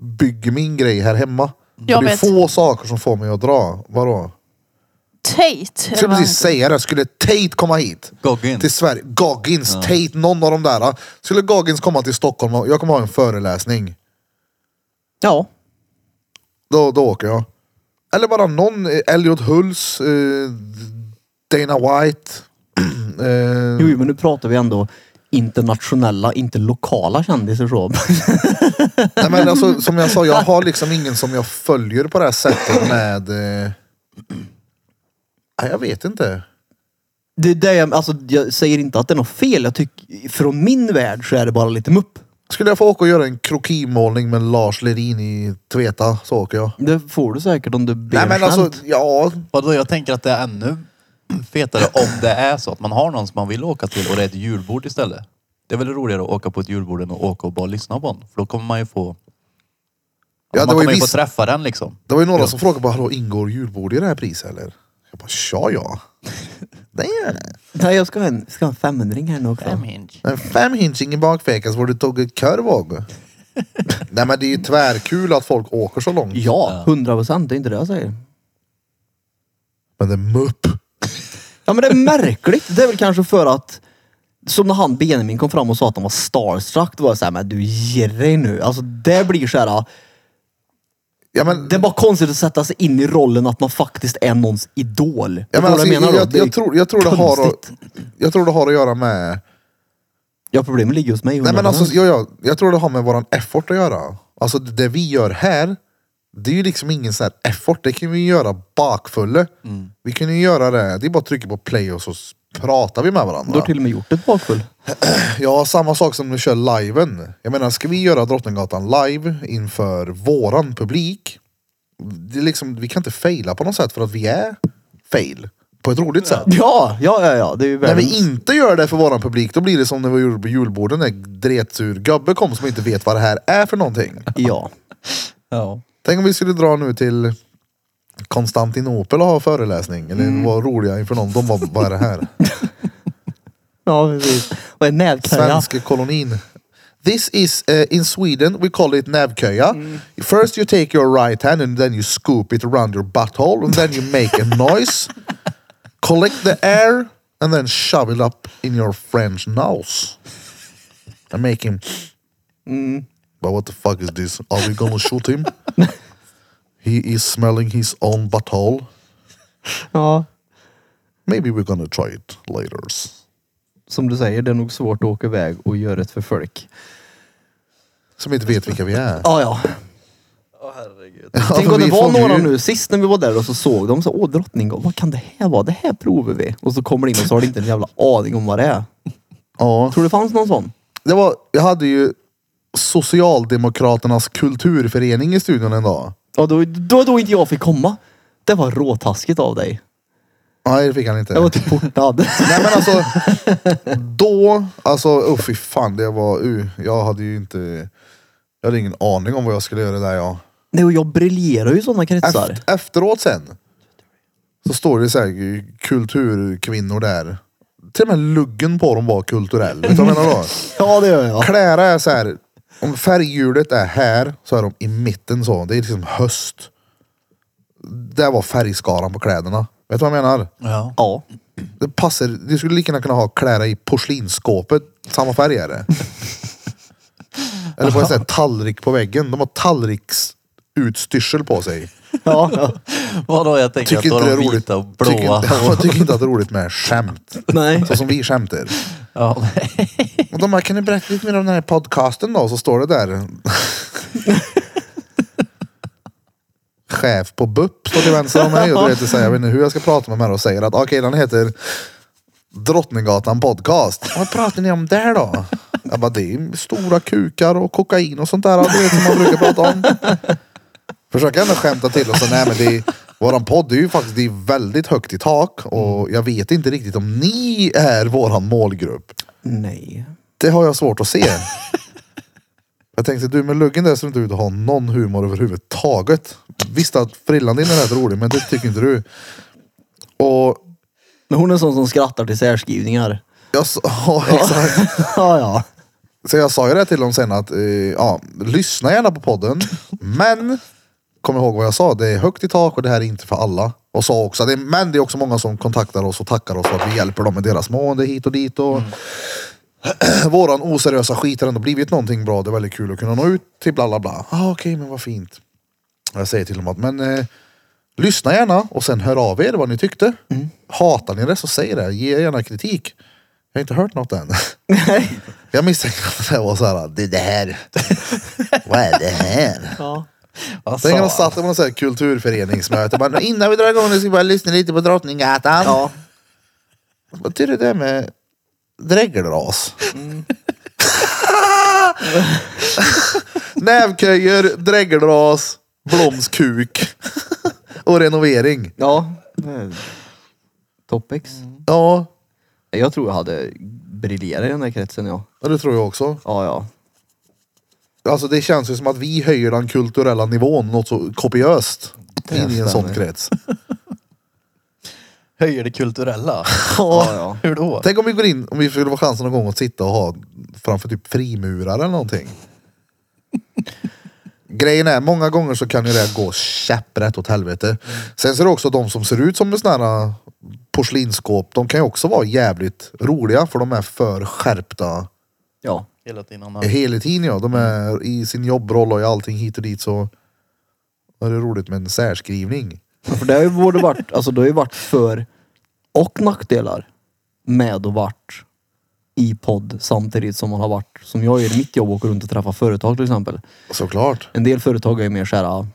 S1: bygga min grej här hemma.
S3: Jag
S1: det är
S3: vet.
S1: få saker som får mig att dra. Vadå?
S3: Tate.
S1: Jag
S3: eller
S1: skulle
S3: vad
S1: precis
S3: han heter.
S1: säga det. Skulle Tate komma hit?
S4: Goggin.
S1: Till Sverige. Goggins, Tate, någon av de där. ah. Skulle Goggins komma till Stockholm och jag kommer ha en föreläsning.
S2: Ja.
S1: Då, då åker jag. Eller bara någon. eh, Elliot Hulls. Eh, Dana White. eh,
S2: Jo, jo, men nu pratar vi ändå internationella, inte lokala kändisar så.
S1: Nej, men alltså, som jag sa, jag har liksom ingen som jag följer på det här sättet med... Eh... Nej, jag vet inte.
S2: Det är det jag, alltså, jag säger inte att det är något fel. Jag tycker, från min värld så är det bara lite mupp.
S1: Skulle jag få åka och göra en krokimålning med Lars Lerin i Tveta så åker jag.
S2: Det får du säkert om du ber
S1: Nej men alltså,
S2: snällt.
S1: ja.
S4: Vadå, jag tänker att det är ännu fetare om det är så att man har någon som man vill åka till och det är ett julbord istället. Det är väl roligare att åka på ett julbord än att åka och bara lyssna på den. För då kommer man ju få...
S1: Ja, det
S4: man
S1: var ju
S4: kommer ju få
S1: viss-
S4: träffa den liksom.
S1: Det var ju några som frågade bara, hallå ingår julbord i det här priset eller? Jag bara, tja ja. Det gör det.
S2: Nej, jag ska ha en, ska ha en femhundring här nu också.
S1: Men fem hinching i bakfickan så var det tagit korv också. Nej men det är ju tvärkul att folk åker så långt.
S2: Ja, hundra procent. Det är inte det jag säger.
S1: Men det är mupp.
S2: Ja, men det är märkligt. Det är väl kanske för att som när han Benjamin kom fram och sa att han var starstruck. Då var jag såhär, men du ger dig nu. Alltså det blir såhär,
S1: Ja, men,
S2: det är bara konstigt att sätta sig in i rollen att man faktiskt är någons idol.
S1: Ja,
S2: Förstår
S1: men
S2: du
S1: alltså, jag,
S2: vad då?
S1: jag,
S2: Det är
S1: jag, tror, jag, tror det har att,
S2: konstigt.
S1: jag tror det har att göra med...
S2: Ja, problemet ligger hos mig.
S1: Nej, men
S2: 100%.
S1: alltså, jag, jag, jag tror det har med våran effort att göra. Alltså det det vi gör här, det är ju liksom ingen sån här effort. Det kan vi ju göra bakfulla.
S2: Mm.
S1: Vi kan ju göra det, det är bara att trycka på play och så s- pratar vi med varandra.
S2: Du har till och med gjort ett bakfull.
S1: Ja, samma sak som du kör liven. Jag menar, ska vi göra Drottninggatan live inför våran publik? Det är liksom, vi kan inte faila på något sätt för att vi är fail. På ett roligt sätt.
S2: Ja, ja, ja, ja. Det är ju
S1: När
S2: världens...
S1: vi inte gör det för våran publik, då blir det som när vi gjorde på julborden när dretsur gubbe kom som inte vet vad det här är för någonting.
S2: Ja.
S4: Ja.
S1: Tänk om vi skulle dra nu till Konstantinopel och ha föreläsning. Eller vara roliga inför någon. De var vad är det här?
S2: Ja, precis. Och en nävknöja.
S1: Svenska kolonin. This is, eh, in Sweden we call it nävköja. First you take your right hand and then you scoop it around your butthole and then you make a noise. Collect the air and then shove it up in your French nose. And make him... But what the fuck is this? Are we gonna shoot him? He is smelling his own butthole.
S2: Ja.
S1: Maybe we're gonna try it later.
S2: Som du säger, det är nog svårt att åka iväg och göra ett för folk.
S1: Som inte vet vilka vi är.
S2: Ja, ja.
S1: Ja,
S2: Tänk
S1: för
S2: om det
S1: vi
S2: var
S1: fångar ju-
S2: några nu, sist när vi var där och så såg de så, åh drottninggatan, vad kan det här vara? Det här provar vi. Och så kommer det in och så har de inte en jävla aning om vad det är.
S1: Ja.
S2: Tror du det fanns någon sån?
S1: det var, jag hade ju Socialdemokraternas kulturförening i studion en dag.
S2: Ja, då, då, då inte jag fick komma. Det var råtaskigt av dig.
S1: Nej, det fick han inte.
S2: Jag var typ portad.
S1: Nej men alltså, då, alltså oh, fy fan, det var, uh, jag hade ju inte, jag hade ingen aning om vad jag skulle göra där jag.
S2: Nej, och jag briljerar ju i sådana kretsar.
S1: Eft, efteråt sen. Så står det så här kulturkvinnor där. Till och med luggen på dem var kulturell. Vet du vad jag menar då?
S2: Ja, det gör jag.
S1: Klära är så här. Om färghjulet är här så är de i mitten så. Det är liksom höst. Där var färgskalan på kläderna. Vet du vad jag menar?
S4: Ja.
S2: Ja.
S1: Det passar. Du skulle lika gärna kunna ha kläder i porslinsskåpet. Samma färg är det. Eller på en sån här tallrik på väggen. De har tallriksutstyrsel på sig.
S2: ja, ja.
S4: Vadå, jag tänker
S1: Tycker
S4: att då
S1: inte det
S4: är
S1: är
S4: de
S1: roligt.
S4: vita och
S1: Tycker inte,
S4: blåa.
S1: jag tycker inte att det är roligt med skämt.
S2: Nej.
S1: Så som vi skämtar.
S4: Ja, nej.
S1: Och de här, kan du berätta lite mer om den här podcasten då? Så står det där. Chef på BUP står till vänster om mig och du vet, så här, jag vet inte hur jag ska prata med dem här och säger att okej den heter Drottninggatan podcast. Vad pratar ni om där då? Jag bara, det är stora kukar och kokain och sånt där du vet, som man brukar prata om. Försöker ändå skämta till och så nej men det är, våran podd är ju faktiskt det är väldigt högt i tak och jag vet inte riktigt om ni är våran målgrupp.
S2: Nej.
S1: Det har jag svårt att se. Jag tänkte du med luggen där ser inte ut att ha någon humor överhuvudtaget. Visst att frillan din är rätt rolig men det tycker inte du. Och
S2: Men hon är en sån som skrattar till särskrivningar.
S1: jag sa, ja, exakt.
S2: Ja, ja.
S1: Så jag sa ju det till dem sen att eh, ja, lyssna gärna på podden. Men kom ihåg vad jag sa. Det är högt i tak och det här är inte för alla. Och sa också att det, men det är också många som kontaktar oss och tackar oss för att vi hjälper dem med deras mående hit och dit. Och, våran oseriösa skit har ändå blivit någonting bra. Det är väldigt kul att kunna nå ut till bla bla bla. Ah, Okej, men vad fint. Jag säger till dem att men eh, lyssna gärna och sen hör av er vad ni tyckte. Hatar ni det så säg det. Ge gärna kritik. Jag har inte hört något än. Jag misstänkte att det var så här. Det, det här. Vad är det här?
S2: ja.
S4: Vad
S1: Tänk om
S4: sa
S1: de satt på någon sån här kulturföreningsmöte. Bara, innan vi drar igång nu ska vi bara lyssna lite på Drottninggatan.
S2: ja.
S1: Vad tycker du det är med drägelras?
S2: Mm.
S1: Nävköjer, drägelras, blomskuk och renovering.
S2: ja. Topics.
S1: Ja,
S2: Jag tror jag hade briljerat i den där kretsen, ja.
S1: och det tror jag också.
S2: Ja, ja.
S1: Alltså det känns ju som att vi höjer den kulturella nivån något så kopiöst in i en sån
S2: stämmer.
S1: krets.
S4: du? Höjer det kulturella?
S2: Ja, ja.
S4: Hur då?
S1: Tänk om vi går in, om vi skulle få chansen någon gång att sitta och ha framför typ frimurare eller någonting. Grejen är, många gånger så kan ju det här gå käpprätt åt helvete. Sen så är det också de som ser ut som en sån här äh, porslinsskåp. De kan ju också vara jävligt roliga för de är för skärpta
S2: Ja.
S4: Hela tiden annan.
S1: hela tiden. Ja. De är i sin jobbroll och i allting hit och dit så är det roligt med en särskrivning.
S2: Ja, För det har ju både varit, alltså det har ju varit för och nackdelar med att varit i podd samtidigt som man har varit, som jag gör i mitt jobb, åker runt och träffar företag till exempel.
S1: Såklart.
S2: En del företag är ju mer såhär,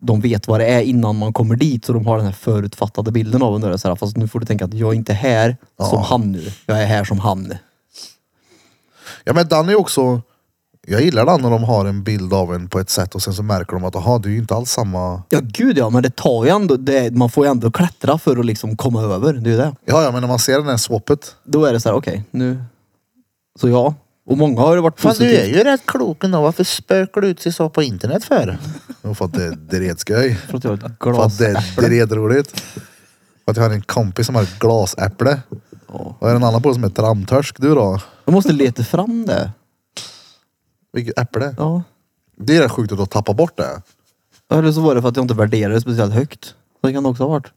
S2: de vet vad det är innan man kommer dit så de har den här förutfattade bilden av en. där, Så här, fast nu får du tänka att jag är inte här som han nu. Jag är här som han.
S1: Ja men den är ju också, jag gillar den när de har en bild av en på ett sätt och sen så märker de att aha, det är ju inte alls samma.
S2: Ja gud ja, men det tar ju ändå, det, man får ju ändå klättra för att liksom komma över. Det är ju det.
S1: Ja ja men när man ser den här swappet.
S2: Då är det så här, okej nu. Så ja. Och många har ju varit positivt.
S1: ju rätt klok ändå. Varför spökar du ut sig så på internet för? Jo för att det är dretskoj.
S2: För att jag har ett
S1: För att
S2: glas.
S1: det är dretroligt. För att jag har en kompis som har ett glasäpple.
S2: Ja.
S1: Och är det en annan på som är tramtörsk du då?
S2: Jag måste leta fram det.
S1: Vilket äpple?
S2: Ja.
S1: Det är rätt sjukt att då tappa bort det.
S2: Eller så var det för att jag inte värderade det speciellt högt. Det kan det också ha varit.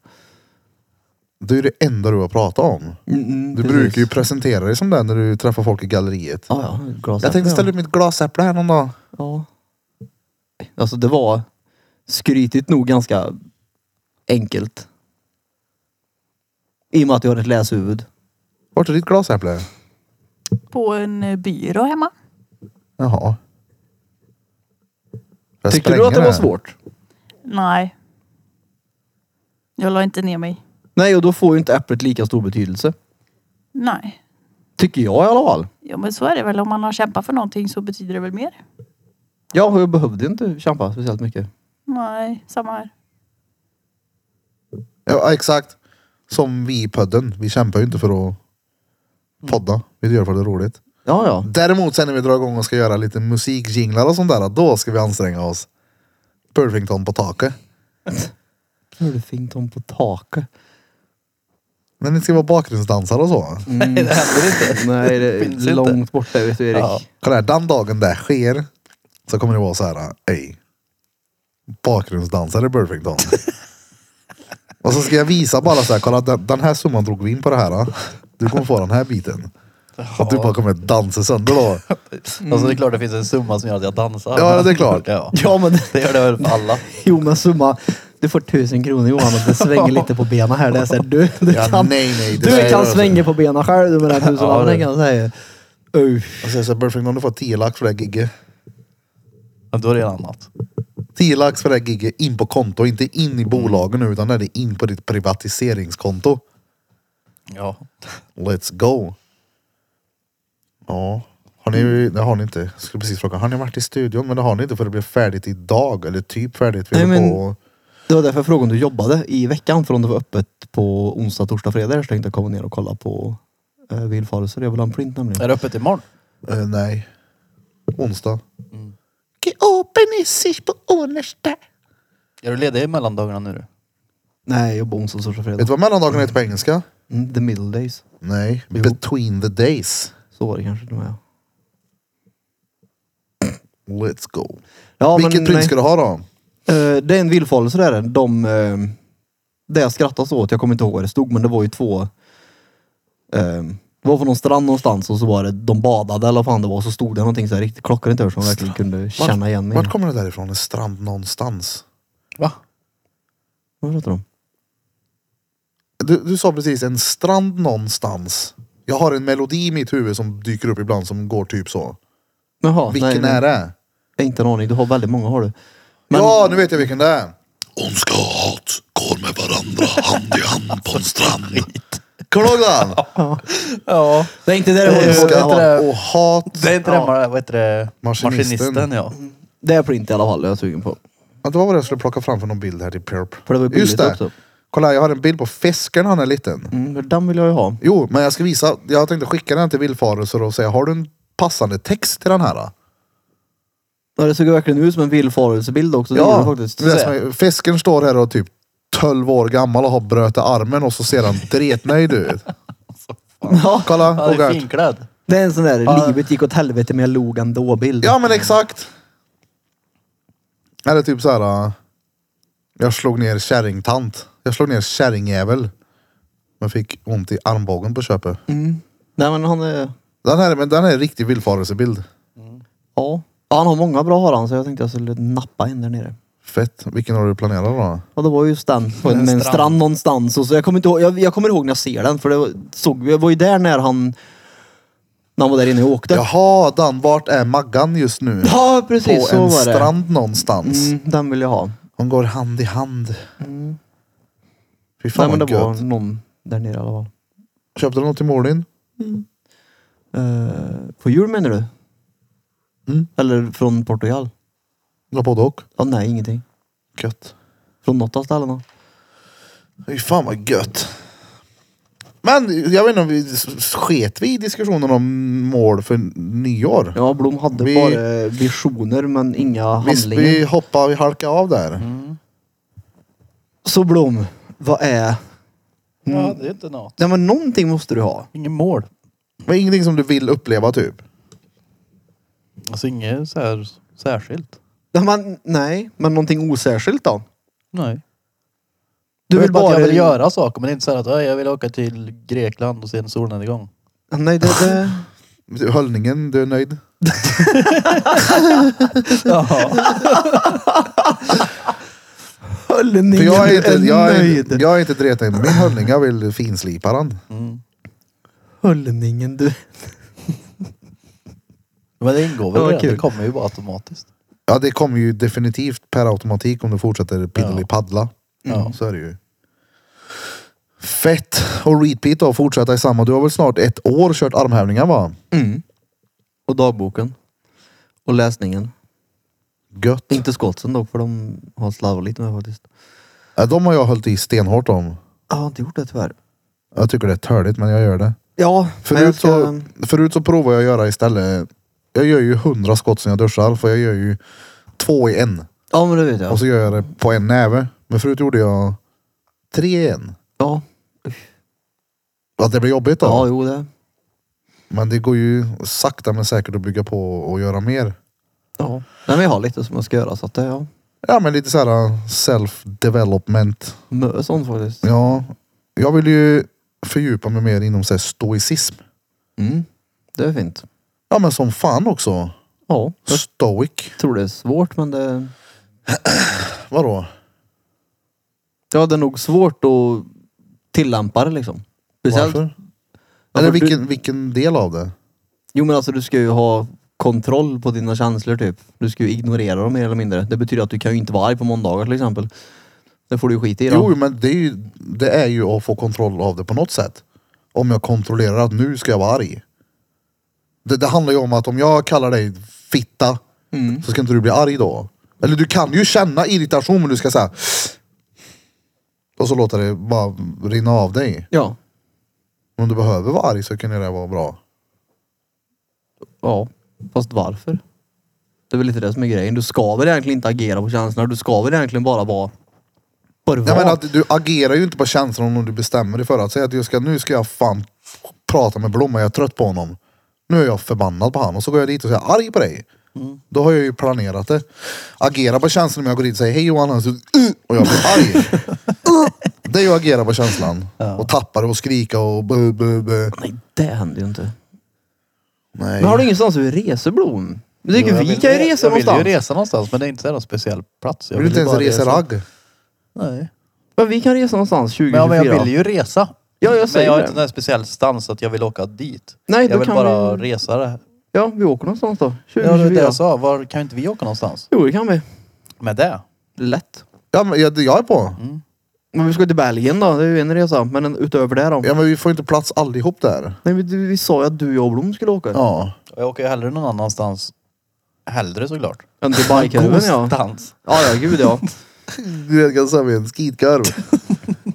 S1: Det är ju det enda du har pratat om. Mm, Du brukar ju presentera dig som det när du träffar folk i galleriet.
S2: Ja, ja. ett Glas
S1: Jag tänkte
S2: äpple,
S1: ställa ut mitt glasäpple här någon dag.
S2: ja. ja. Alltså det var skrytigt nog ganska enkelt. I och med att jag har ett läshuvud.
S1: Vart är ditt glasäpple?
S3: På en eh, byrå hemma.
S1: Jaha. Jag
S2: Tyckte du att det
S1: spränger
S2: var svårt?
S3: Nej. Jag la inte ner mig.
S2: Nej, och då får ju inte äpplet lika stor betydelse.
S3: Nej.
S2: Tycker jag i alla fall.
S3: Ja men så är det väl. Om man har kämpat för någonting så betyder det väl mer.
S2: Ja, och jag behövde inte kämpa speciellt mycket.
S3: Nej, samma här.
S1: Ja, exakt. Som vi i podden. Vi kämpar ju inte för att podda. Vi gör det för att det är roligt.
S2: Ja, ja.
S1: Däremot sen när vi drar igång och ska göra lite musikjinglar och sånt där, då ska vi anstränga oss. Purfington på taket.
S2: Pulfington på taket.
S1: Men det ska vara bakgrundsdansare och så.
S2: Nej, det händer inte. Mm. Nej, det
S4: Finns inte.
S2: är långt borta vet du Erik.
S4: Ja.
S1: Kolla här, den dagen det sker så kommer det vara så här. Ey. Bakgrundsdansare Burfington. och så ska jag visa bara så här. Kolla den, den här summan drog vi in på det här. då. Du kommer få den här biten. Att du bara kommer dansa sönder då.
S4: Alltså det är klart det finns en summa som gör att jag dansar.
S1: Ja, det är klart.
S4: Ja.
S2: Ja men
S4: Det gör det väl för alla.
S2: jo men summa. Du får tusen kronor Johan och det svänger lite på benen här. Det är så här, du, du
S1: Ja,
S2: kan,
S1: nej, nej, det
S2: du
S1: där
S2: kan
S1: rör sig.
S2: svänga på benen själv du med den här
S4: Ja,
S2: tusenlappen
S4: det-
S2: kan jag säga. Uff.
S1: Och så är det så här, Burfington du får 10 lax för det här gigget.
S4: Men då är det en annat.
S1: 10 lax för det här gigget in på konto. Inte in i bolagen nu utan det är in på ditt privatiseringskonto.
S4: Ja.
S1: Let's go. Ja, har
S2: Mm.
S1: ni, det har ni inte. Jag skulle precis fråga, har ni varit i studion? Men det har ni inte för det blev färdigt idag. Eller typ färdigt. Vi
S2: Nej,
S1: håller
S2: men-
S1: på och-
S2: Det var därför jag frågade om du jobbade i veckan för om det var öppet på onsdag, torsdag, fredag. Så tänkte jag komma ner och kolla på eh, villfarelser. Jag vill ha en print nämligen.
S4: Är det öppet imorgon?
S1: eh, nej. Onsdag.
S5: Geopen is sich på onsdag.
S4: Är du ledig i mellandagarna nu?
S2: Nej, jag jobbar onsdag, torsdag,
S1: Vet du
S2: fredag.
S1: vad mellandagarna heter på engelska?
S2: Mm, the middle days.
S1: Nej.
S2: Jo.
S1: Between the days.
S2: Så var det kanske till och med.
S1: Let's go.
S2: Ja,
S1: Vilket pris
S2: nej.
S1: ska du ha då?
S2: Eh, det är en villfarelse där. är det. De, eh, det jag skrattade åt, jag kommer inte ihåg vad det stod, men det var ju två... Eh, det var på någon strand någonstans och så var det, de badade eller vad fan det var, så stod det någonting så här riktigt klockrent över som jag verkligen kunde känna igen mig. i.
S1: Vart kommer det därifrån? En strand någonstans?
S4: Va?
S2: Vad pratar du om?
S1: Du, du sa precis en strand någonstans. Jag har en melodi i mitt huvud som dyker upp ibland som går typ så.
S2: Jaha,
S1: Vilken
S2: nej,
S1: är
S2: nej,
S1: det?
S2: Jag har inte en aning. Du har väldigt många har du. Men-
S1: Ja, nu vet jag vilken det är.
S7: Ondska och hat går med varandra hand i hand på en strand.
S1: Kommer du ihåg den?
S4: Ja.
S2: Det är inte det
S4: Det är
S2: det
S4: inte
S2: var.
S4: det.
S1: Ondska och hat.
S4: Det är inte
S1: ja.
S4: den vad heter det?
S1: Maskinisten.
S4: Maskinisten ja.
S2: Det är print i alla fall, jag är sugen på.
S1: Ja, Det var vad jag skulle plocka fram för någon bild här till Perp.
S2: För det var ju billigt
S1: Just det.
S2: också.
S1: Kolla, här, jag har en bild på fisken när han är liten.
S2: Mm, för den vill jag ju ha.
S1: Jo, men jag ska visa. Jag tänkte skicka den till villfarelser och säga, har du en passande text till den här? Då?
S2: Ja, det såg ju verkligen ut som en villfarelsebild också. Det gjorde
S1: Ja,
S2: det faktiskt.
S1: det är som är- fisken står här och är typ 12 år gammal och har bröt i armen och så ser han dretnöjd ut.
S2: Ja,
S1: Kolla,
S4: Han är
S1: Bogart.
S4: finklädd.
S2: det är en sån där, livet gick åt helvete men jag log ändå-bild.
S1: Ja men exakt. Eller typ så här. äh, Jag slog ner kärringtant. Jag slog ner kärringjävel. Men fick ont i armbågen på köpet.
S2: Nej men han är...
S1: Den här, men den här är en riktig villfarelsebild.
S2: Ja. ja. Han har många bra har han så jag tänkte jag skulle nappa en där nere.
S1: Fett. Vilken har du planerat då?
S2: Ja det var just den. På en, med en
S4: strand.
S2: strand någonstans. Och så, jag, kommer inte ihåg, jag, jag kommer ihåg när jag ser den för det var, såg, jag var ju där när han... När han var där inne och åkte.
S1: Jaha Dan, vart är Maggan just nu?
S2: Ja,
S1: På
S2: precis. så
S1: en
S2: var
S1: strand någonstans.
S2: det. Mm, den vill jag ha.
S1: De går hand i hand. Fy
S2: Nej
S1: fan
S2: men det
S1: vad
S2: var
S1: gött.
S2: någon där nere i alla fall.
S1: Köpte du något till Molin?
S2: Eh, på jul menar du?
S1: Mm.
S2: Eller från Portugal?
S1: La på dock.
S2: Ja, nej, ingenting.
S1: Gött.
S2: Från något av ställena.
S1: Fy fan vad gött. Men jag vet inte om vi sket vi i diskussionen om mål för nyår.
S2: Ja, Blom hade
S1: Vi-
S2: bara visioner men inga
S1: Visst,
S2: handlingar.
S1: vi hoppade, vi halkade av där.
S2: Så Blom, vad är...
S4: Ja, det är inte något.
S2: Nej men någonting måste du ha.
S4: Inget mål.
S1: Men ingenting som du vill uppleva typ.
S4: Alltså inget så här särskilt.
S2: Nej men, nej, men någonting osärskilt då?
S4: Nej.
S2: Du
S4: jag
S2: vill
S4: vet bara...
S2: bara...
S4: att jag vill göra saker men det är inte så här att "Oj, jag vill åka till Grekland och se en solnedgång.
S2: Nej, det, det...
S1: Höllningen, du är nöjd?
S4: Ja.
S1: För
S2: Höllningen
S1: jag är inte, jag är,
S2: nöjd.
S1: inte- jag är inte dreten. Min höllning, jag vill finslipa den.
S2: Höllningen, du...
S4: Men det ingår väl
S2: Det var
S4: redan.
S2: kul.
S4: Det kommer ju bara automatiskt.
S1: Ja det kommer ju definitivt per automatik om du fortsätter piddelipaddla.
S4: Ja.
S1: Mm, Så är det ju. Fett! Och repeat då, fortsätta i samma. Du har väl snart ett år kört armhävningar va?
S2: Mm. Och dagboken. Och läsningen.
S1: Gött!
S2: Inte skotsen dock, för de har slarvat lite med faktiskt.
S1: Ja, De har jag hållit i stenhårt om.
S2: Jag har inte gjort det tyvärr.
S1: Jag tycker det är törligt men jag gör det.
S2: Ja, men
S1: Förut,
S2: jag
S1: så, förut så provade jag att göra istället. Jag gör ju hundra skott som jag duschar för jag gör ju två i en.
S2: Ja, men det vet jag.
S1: Och så gör jag det på en näve. Men förut gjorde jag tre i en.
S2: Ja,
S1: Att det blir jobbigt då.
S2: ja jo det.
S1: Men det går ju sakta men säkert att bygga på och göra mer.
S2: Ja. Nej, men jag har lite som jag ska göra så att det, ja.
S1: Ja men lite så här uh, self-development.
S2: Mö sånt faktiskt.
S1: Ja, jag vill ju fördjupa mig mer inom så här stoicism.
S2: Mm. Det är fint.
S1: Ja men som fan också.
S2: Ja, jag
S1: Stoic.
S2: tror det är svårt men det...
S1: Vadå?
S2: Ja, det är nog svårt att tillämpa det liksom. Speciellt-
S1: Varför?
S2: Ja,
S1: Eller
S2: för du-
S1: vilken, vilken del av det?
S2: Jo men alltså du ska ju ha kontroll på dina känslor typ. Du ska ju ignorera dem mer eller mindre. Det betyder att du kan ju inte vara arg på måndagar till exempel. Det får du ju skita i då.
S1: Jo men det är, ju, det är ju att få kontroll av det på något sätt. Om jag kontrollerar att nu ska jag vara arg. Det, det handlar ju om att om jag kallar dig fitta så ska inte du bli arg då. Eller du kan ju känna irritation men du ska säga och så låta det bara rinna av dig.
S2: Ja.
S1: Om du behöver vara arg så kan det där vara bra.
S2: Ja. Fast varför? Det är väl lite det som är grejen. Du ska väl egentligen inte agera på känslorna. Du ska väl egentligen bara vara... Bara
S1: Jag
S2: vara.
S1: menar att du agerar ju inte på känslan om du bestämmer dig för att säga att jag ska, nu ska jag fan prata med Blomma, jag är trött på honom. Nu är jag förbannad på honom och så går jag dit och säger arg på dig. Då har jag ju planerat det. Agera på känslan om jag går dit och säger hej Johan och, så, "Uh", och jag blir arg. Uh. det är ju att agera på känslan. Och tappa det och skrika och bu, bu, bu.
S2: Nej det händer ju inte.
S1: Nej.
S2: Men har du ingenstans du reser Blom? Men det är
S4: Jo, jag
S2: ju vi
S4: vill
S2: kan ju
S4: re-
S2: resa
S4: Jag
S2: någonstans.
S4: vill ju resa någonstans men det är inte så någon speciell plats. Jag
S1: vill du inte
S4: ju
S1: ens
S4: bara
S1: resa ragg?
S4: Nej.
S2: Men vi kan resa någonstans 2024.
S4: Men, ja, men jag vill ju resa.
S2: Ja, jag
S4: men
S2: säger
S4: jag har
S2: det.
S4: inte någon speciell stans att jag vill åka dit.
S2: Nej, då
S4: jag vill
S2: kan
S4: bara
S2: vi-
S4: resa det. här.
S2: Ja, vi åker någonstans då.
S4: Ja, det är
S2: 2024.
S4: det jag sa. Var kan inte vi åka någonstans?
S2: Jo det kan vi.
S4: Med det?
S2: Lätt.
S1: Ja, men jag, jag är på.
S2: Men vi ska till Belgien då, det är ju en resa. Men en- utöver det då?
S1: Ja, men vi får inte plats allihop där.
S2: Nej men du, vi sa ju att du, jag och Blom skulle åka.
S1: Ja.
S4: Jag åker ju hellre någon annanstans. Hellre såklart.
S2: En Dubai-kurven ja.
S4: Någonstans.
S2: Ja ja, gud ja.
S1: Du vet, jag sa vi är en skitkurv.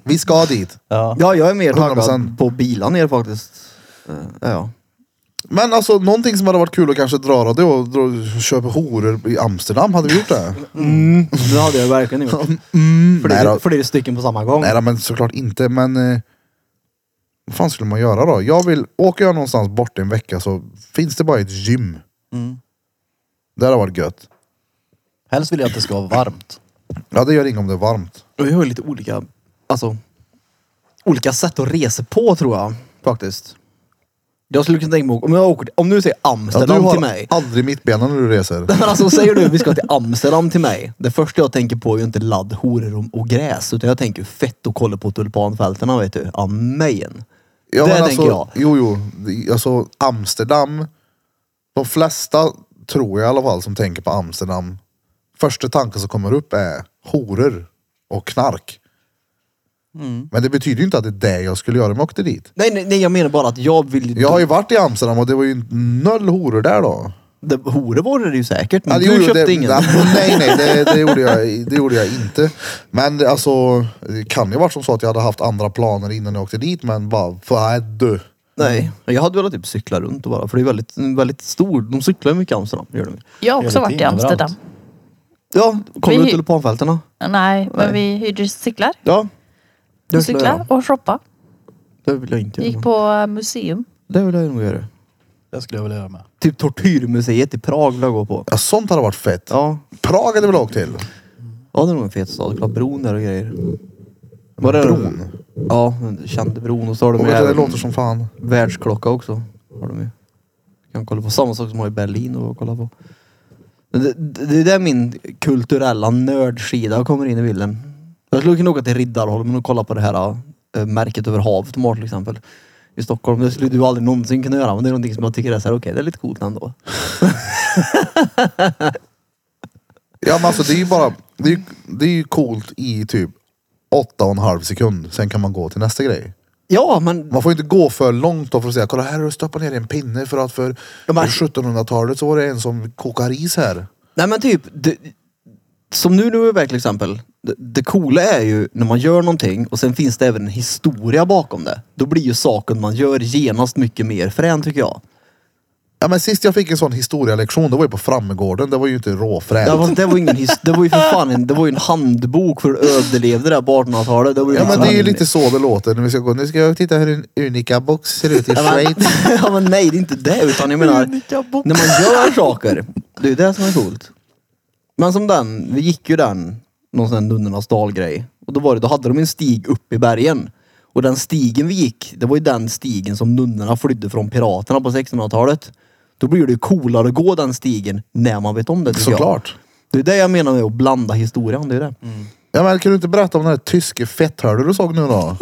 S1: vi ska dit.
S4: Ja.
S2: Ja jag är mer taggad
S1: 100%.
S2: på bilar ner faktiskt. Eh, Ja.
S1: Men alltså någonting som hade varit kul att kanske dra då, och dra- köpa horor i Amsterdam, hade vi gjort det?
S2: Mm. Det hade jag verkligen gjort.
S1: Mm. nej,
S2: Flera,
S1: då,
S2: flera stycken på samma gång.
S1: nej då, men såklart inte. Men eh, vad fan skulle man göra då? Jag vill, åker jag någonstans bort en vecka så finns det bara ett gym.
S4: Mm.
S1: Det hade varit gött.
S4: Helst vill jag att det ska vara varmt.
S1: Ja det gör inget om det är varmt.
S2: Och vi har ju lite olika, alltså, olika sätt att resa på tror jag faktiskt. Jag skulle kunna tänka mig, om jag åker, om du säger
S1: Ja, du
S2: Amsterdam till
S1: har
S2: mig.
S1: aldrig mittbena när du reser.
S2: Men alltså säger du vi ska till Amsterdam till mig. Det första jag tänker på är ju inte ladd, horor och, och gräs. Utan jag tänker fett och kolla på tulpanfältena vet du. Amen.
S1: Ja,
S2: Det
S1: men
S2: tänker jag.
S1: alltså, Jo, jo. Det- Alltså Amsterdam. De flesta, tror jag i alla fall, som tänker på Amsterdam. Första tanken som kommer upp är horor och knark.
S2: Mm.
S1: Men det betyder ju inte att det är det jag skulle göra om jag åkte dit.
S2: Nej, nej, nej jag menar bara att jag vill
S1: Jag har ju varit i Amsterdam och det var ju noll horor där då.
S2: det, Horor var det ju säkert. Men
S1: Ja, det
S2: du
S1: gjorde-
S2: köpte
S1: det,
S2: ingen.
S1: Nej, nej, det, det, gjorde jag, det gjorde jag inte. Men det- alltså, det kan ju varit som så att jag hade haft andra planer innan jag åkte dit, men bara, vad du?
S2: nej. Jag hade velat typ cykla runt och bara. För det är väldigt, väldigt stor. De cyklar ju mycket i Amsterdam. Gör de. ju.
S3: Jag har
S4: Det är
S3: också
S4: lite
S3: varit i
S4: överallt.
S3: Amsterdam.
S2: Ja, kommer du
S3: Vi-
S2: till tulpanfältena?
S3: Nej,
S2: Nej.
S3: men vi hyrde cyklar.
S2: Ja.
S3: Vi
S2: Det skulle
S3: cyklade
S2: jag.
S3: och shoppade.
S2: Det vill jag inte göra.
S3: Gick på eh, museum.
S2: Det vill jag nog göra.
S4: Det skulle jag vilja göra med.
S2: Typ tortyrmuseet i Prag vill jag gå på.
S1: Ja, sånt hade varit fett.
S2: Ja.
S1: Prag hade jag väl åkt till.
S2: Ja, det är nog en fet stad. Klart bron där och grejer. Var det
S1: Bron?
S2: Ja, den kände bron. Och så har de
S1: Och
S2: ju
S1: vet du, det
S2: även
S1: låter som fan.
S2: världsklocka också. Har de ju. Kan kolla på samma sak som har i Berlin och kolla på. Men Det, det det är där min kulturella nördsida kommer in i bilden. Jag skulle kunna åka till Riddarholmen och kolla på det här äh, märket över havet imorgon till exempel. I Stockholm. Det skulle du aldrig någonsin kunna göra. Men det är någonting som jag tycker är så här, okej det är lite coolt ändå.
S1: Ja men alltså det är ju bara, det är, ju- det är ju coolt i typ åtta och en halv sekund. Sen kan man gå till nästa grej.
S2: Ja, men
S1: Man får ju inte gå för långt då för att säga, kolla här har du stoppat ner en pinne för att för
S2: Ja, men-
S1: 1700-talet så var det en som kokar ris här.
S2: Nej men typ, det, som nu Nuremberg till exempel. Det, det coola är ju när man gör någonting och sen finns det även en historia bakom det. Då blir ju saken man gör genast mycket mer frän tycker jag.
S1: Ja, men sist jag fick en sån historielektion, det var ju på Frammegården. Det var ju inte råfränt.
S2: Ja, fast det var ingen his- Det var ju för fan en, det var ju en handbok för hur överlevde det där på 1800-talet. Det var ju
S1: Ja men
S2: liksom
S1: det är ju
S2: en-
S1: lite så det låter när vi ska gå. Nu ska jag titta hur en Unica-box ser ut i Schweiz.
S2: ja men nej, det är inte det. Utan jag menar, när man gör saker. Det är ju det som är coolt. Men som den, vi gick ju den, någon sån här Nunnornas dalgrej. Och då var det, då hade de en stig upp i bergen. Och den stigen vi gick, det var ju den stigen som nunnorna flydde från piraterna på 1600-talet. Då blir det ju coolare att gå den stigen när man vet om det tycker jag.
S1: Såklart.
S2: Det är det jag menar med att blanda historien. Det är det.
S1: Ja men kan du inte berätta om den här tyske fetthörden du såg nu då?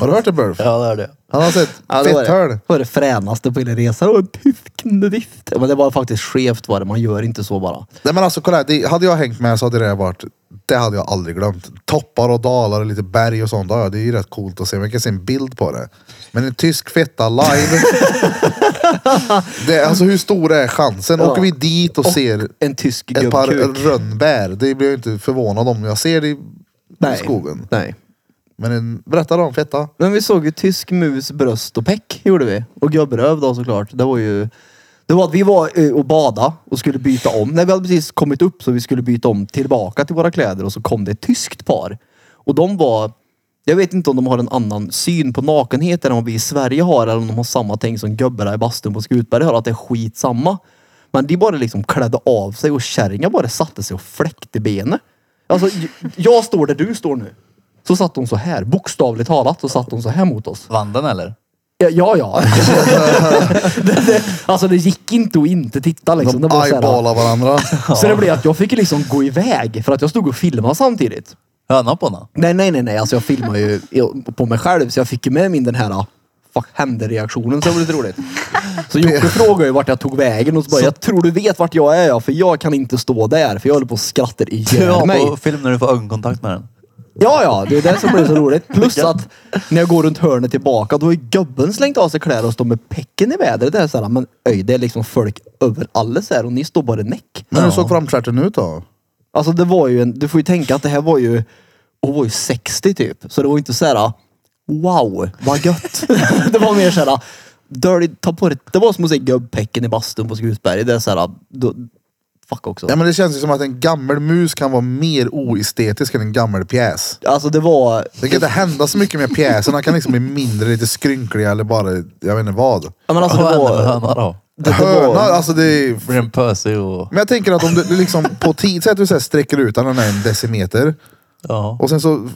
S1: Har du hört det Burf?
S4: Ja, det är det.
S1: Han har sett
S2: Ja, det var det.
S1: fetthörd.
S2: Det var det fränaste på hela resan. Och en tysk nudist. Men det var faktiskt skevt var det. Man gör inte så bara.
S1: Nej men alltså kolla här, det, hade jag hängt med så hade det där varit, det hade jag aldrig glömt. Toppar och dalar och lite berg och sånt, ja det är ju rätt coolt att se. Man kan se en bild på det. Men en tysk fetta live. det, alltså hur stor är chansen?
S2: Ja.
S1: Åker vi dit och, ser
S2: En tysk
S1: ett par
S2: gubbkuk.
S1: rönnbär, det blir jag inte förvånad om jag ser det i i skogen.
S2: Nej.
S1: Men en, berätta då om fetta.
S2: Men vi såg ju tysk mus, bröst och peck gjorde vi. Och gubbröv då såklart. Det var ju... Det var att vi var eh, och bada och skulle byta om. När vi hade precis kommit upp så vi skulle byta om tillbaka till våra kläder och så kom det ett tyskt par. Och de var... Jag vet inte om de har en annan syn på nakenhet än vad vi i Sverige har eller om de har samma tänk som gubbarna i bastun på Skutberg har, att det är skitsamma. Men de bara liksom klädde av sig och kärringar bara satte sig och fläckte benet. Alltså, j- jag står där du står nu. Så satt hon så här, bokstavligt talat, så satt hon så här mot oss.
S4: Vann den eller?
S2: Ja, ja. ja. det, det, alltså det gick inte att inte titta liksom. Det
S1: De
S2: var så, här,
S1: eyeballar varandra.
S2: så det blev att jag fick liksom gå iväg för att jag stod och filmade samtidigt.
S4: Hönan på honom?
S2: Nej, nej, nej, nej. Alltså jag filmar ju på mig själv så jag fick ju med min den här ah, fuck hände-reaktionen så det var lite roligt. Så Jocke frågade ju vart jag tog vägen och så bara, jag tror du vet vart jag är ja, för jag kan inte stå där för jag håller på och skrattar ihjäl mig.
S4: Ja, på film när du får ögonkontakt med den.
S2: Ja, ja, det är det som blir så roligt. Plus att när jag går runt hörnet tillbaka, då har ju gubben slängt av sig kläder och står med pecken i vädret. Det är så här, men öj, det är liksom folk överalles här och ni står bara näck.
S1: Men hur såg framstjärten ut då?
S2: Alltså det var ju en, du får ju tänka att det här var ju, hon var ju 60 typ. Så det var ju inte så här, wow, vad gött. det var mer så här, dirty, ta på det. Det var som att se gubbpecken i bastun på Skutberg. Det är så här, då, fuck också.
S1: Ja, men det känns ju som att en gammal mus kan vara mer oestetisk än en gammal pjäs.
S2: Alltså det var,
S1: Det kan inte hända så mycket med pjäsen. Han kan liksom bli mindre, lite skrynklig eller bara, jag vet inte vad.
S2: ja men alltså
S4: Vad
S2: det
S4: hände med
S2: var,
S4: hönan då?
S2: det, det
S1: Höna,
S2: var
S1: alltså det är...
S4: Blir den pösig och...
S1: Men jag tänker att om du liksom på tid, säg att du så här sträcker ut den här en decimeter
S4: Ja.
S1: och sen så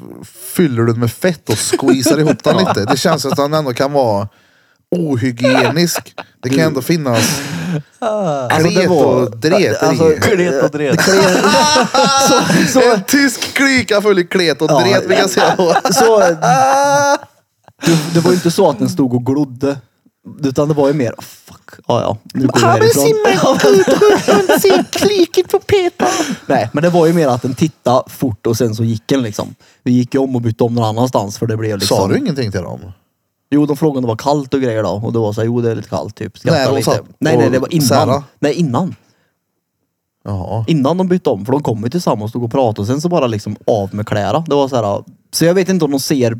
S1: fyller du den med fett och squeezar ihop den lite. Det känns som att den ändå kan vara ohygienisk. Det kan ändå finnas
S2: alltså, det
S1: klet
S2: var-
S1: och dreter
S2: alltså,
S1: i.
S4: Klet och dret.
S2: så,
S1: En tysk klyka full i klet och
S2: Ja.
S1: dret vill jag säga.
S2: så, du, det var ju inte så att den stod och glodde. Utan det var ju mer, "Ah, fuck, ja ja, nu går vi
S5: Har vi
S2: härifrån.
S5: simmat ut och ser kliken på Peter?
S2: Nej, men det var ju mer att den tittade fort och sen så gick den liksom. Vi gick ju om och bytte om någon annanstans för det blev liksom.
S1: Sa du ingenting till dem?
S2: Jo, de frågade om det var kallt och grejer då. Och då var så här, jo det är lite kallt typ.
S1: Nej,
S2: Skratta
S1: de
S2: lite.
S1: satt
S2: Nej, nej, det var
S1: och sära.
S2: innan. Nej, innan.
S1: Jaha.
S2: Innan de bytte om, för de kom ju tillsammans och stod och pratade och sen så bara liksom av med kläderna. Det var så här, så jag vet inte om de ser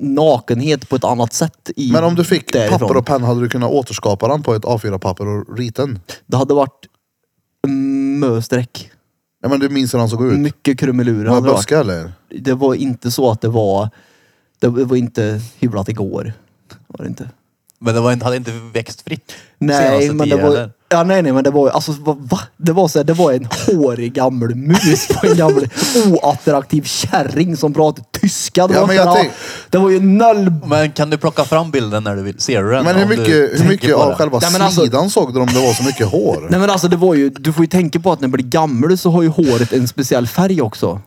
S2: nakenhet på ett annat sätt i
S1: Men om du fick
S2: därifrån.
S1: papper och penna hade du kunnat återskapa den på ett A4-papper och rita den?
S2: Det hade varit mösträck.
S1: Ja men du minns hur han såg ut?
S2: Mycket krumelurer
S1: Med
S2: hade det varit.
S1: buskar eller?
S2: Det var inte så att det var... Det var inte hyvlat igår. Var det inte.
S4: Men det var inte, hade inte växt fritt
S2: Nej,
S4: senaste
S2: men det
S4: tio,
S2: var...
S4: eller?
S2: Ja, nej, nej, men det var alltså, va, va? Det var så här, det var en hårig gammal mus på en gammal oattraktiv kärring som pratade tyska. Det,
S1: Ja,
S2: var,
S1: men jag
S2: inte-
S1: tänk-
S2: det var ju noll...
S4: Men kan du plocka fram bilden när du vill? Ser du den?
S1: Men hur
S4: Om du
S1: mycket, hur
S4: tänker
S1: mycket
S4: på
S1: av
S4: den?
S1: själva
S2: Nej, men alltså-
S1: slidan såg du om det var så mycket hår?
S2: Nej men alltså det var ju, du får ju tänka på att när man blir gammal så har ju håret en speciell färg också.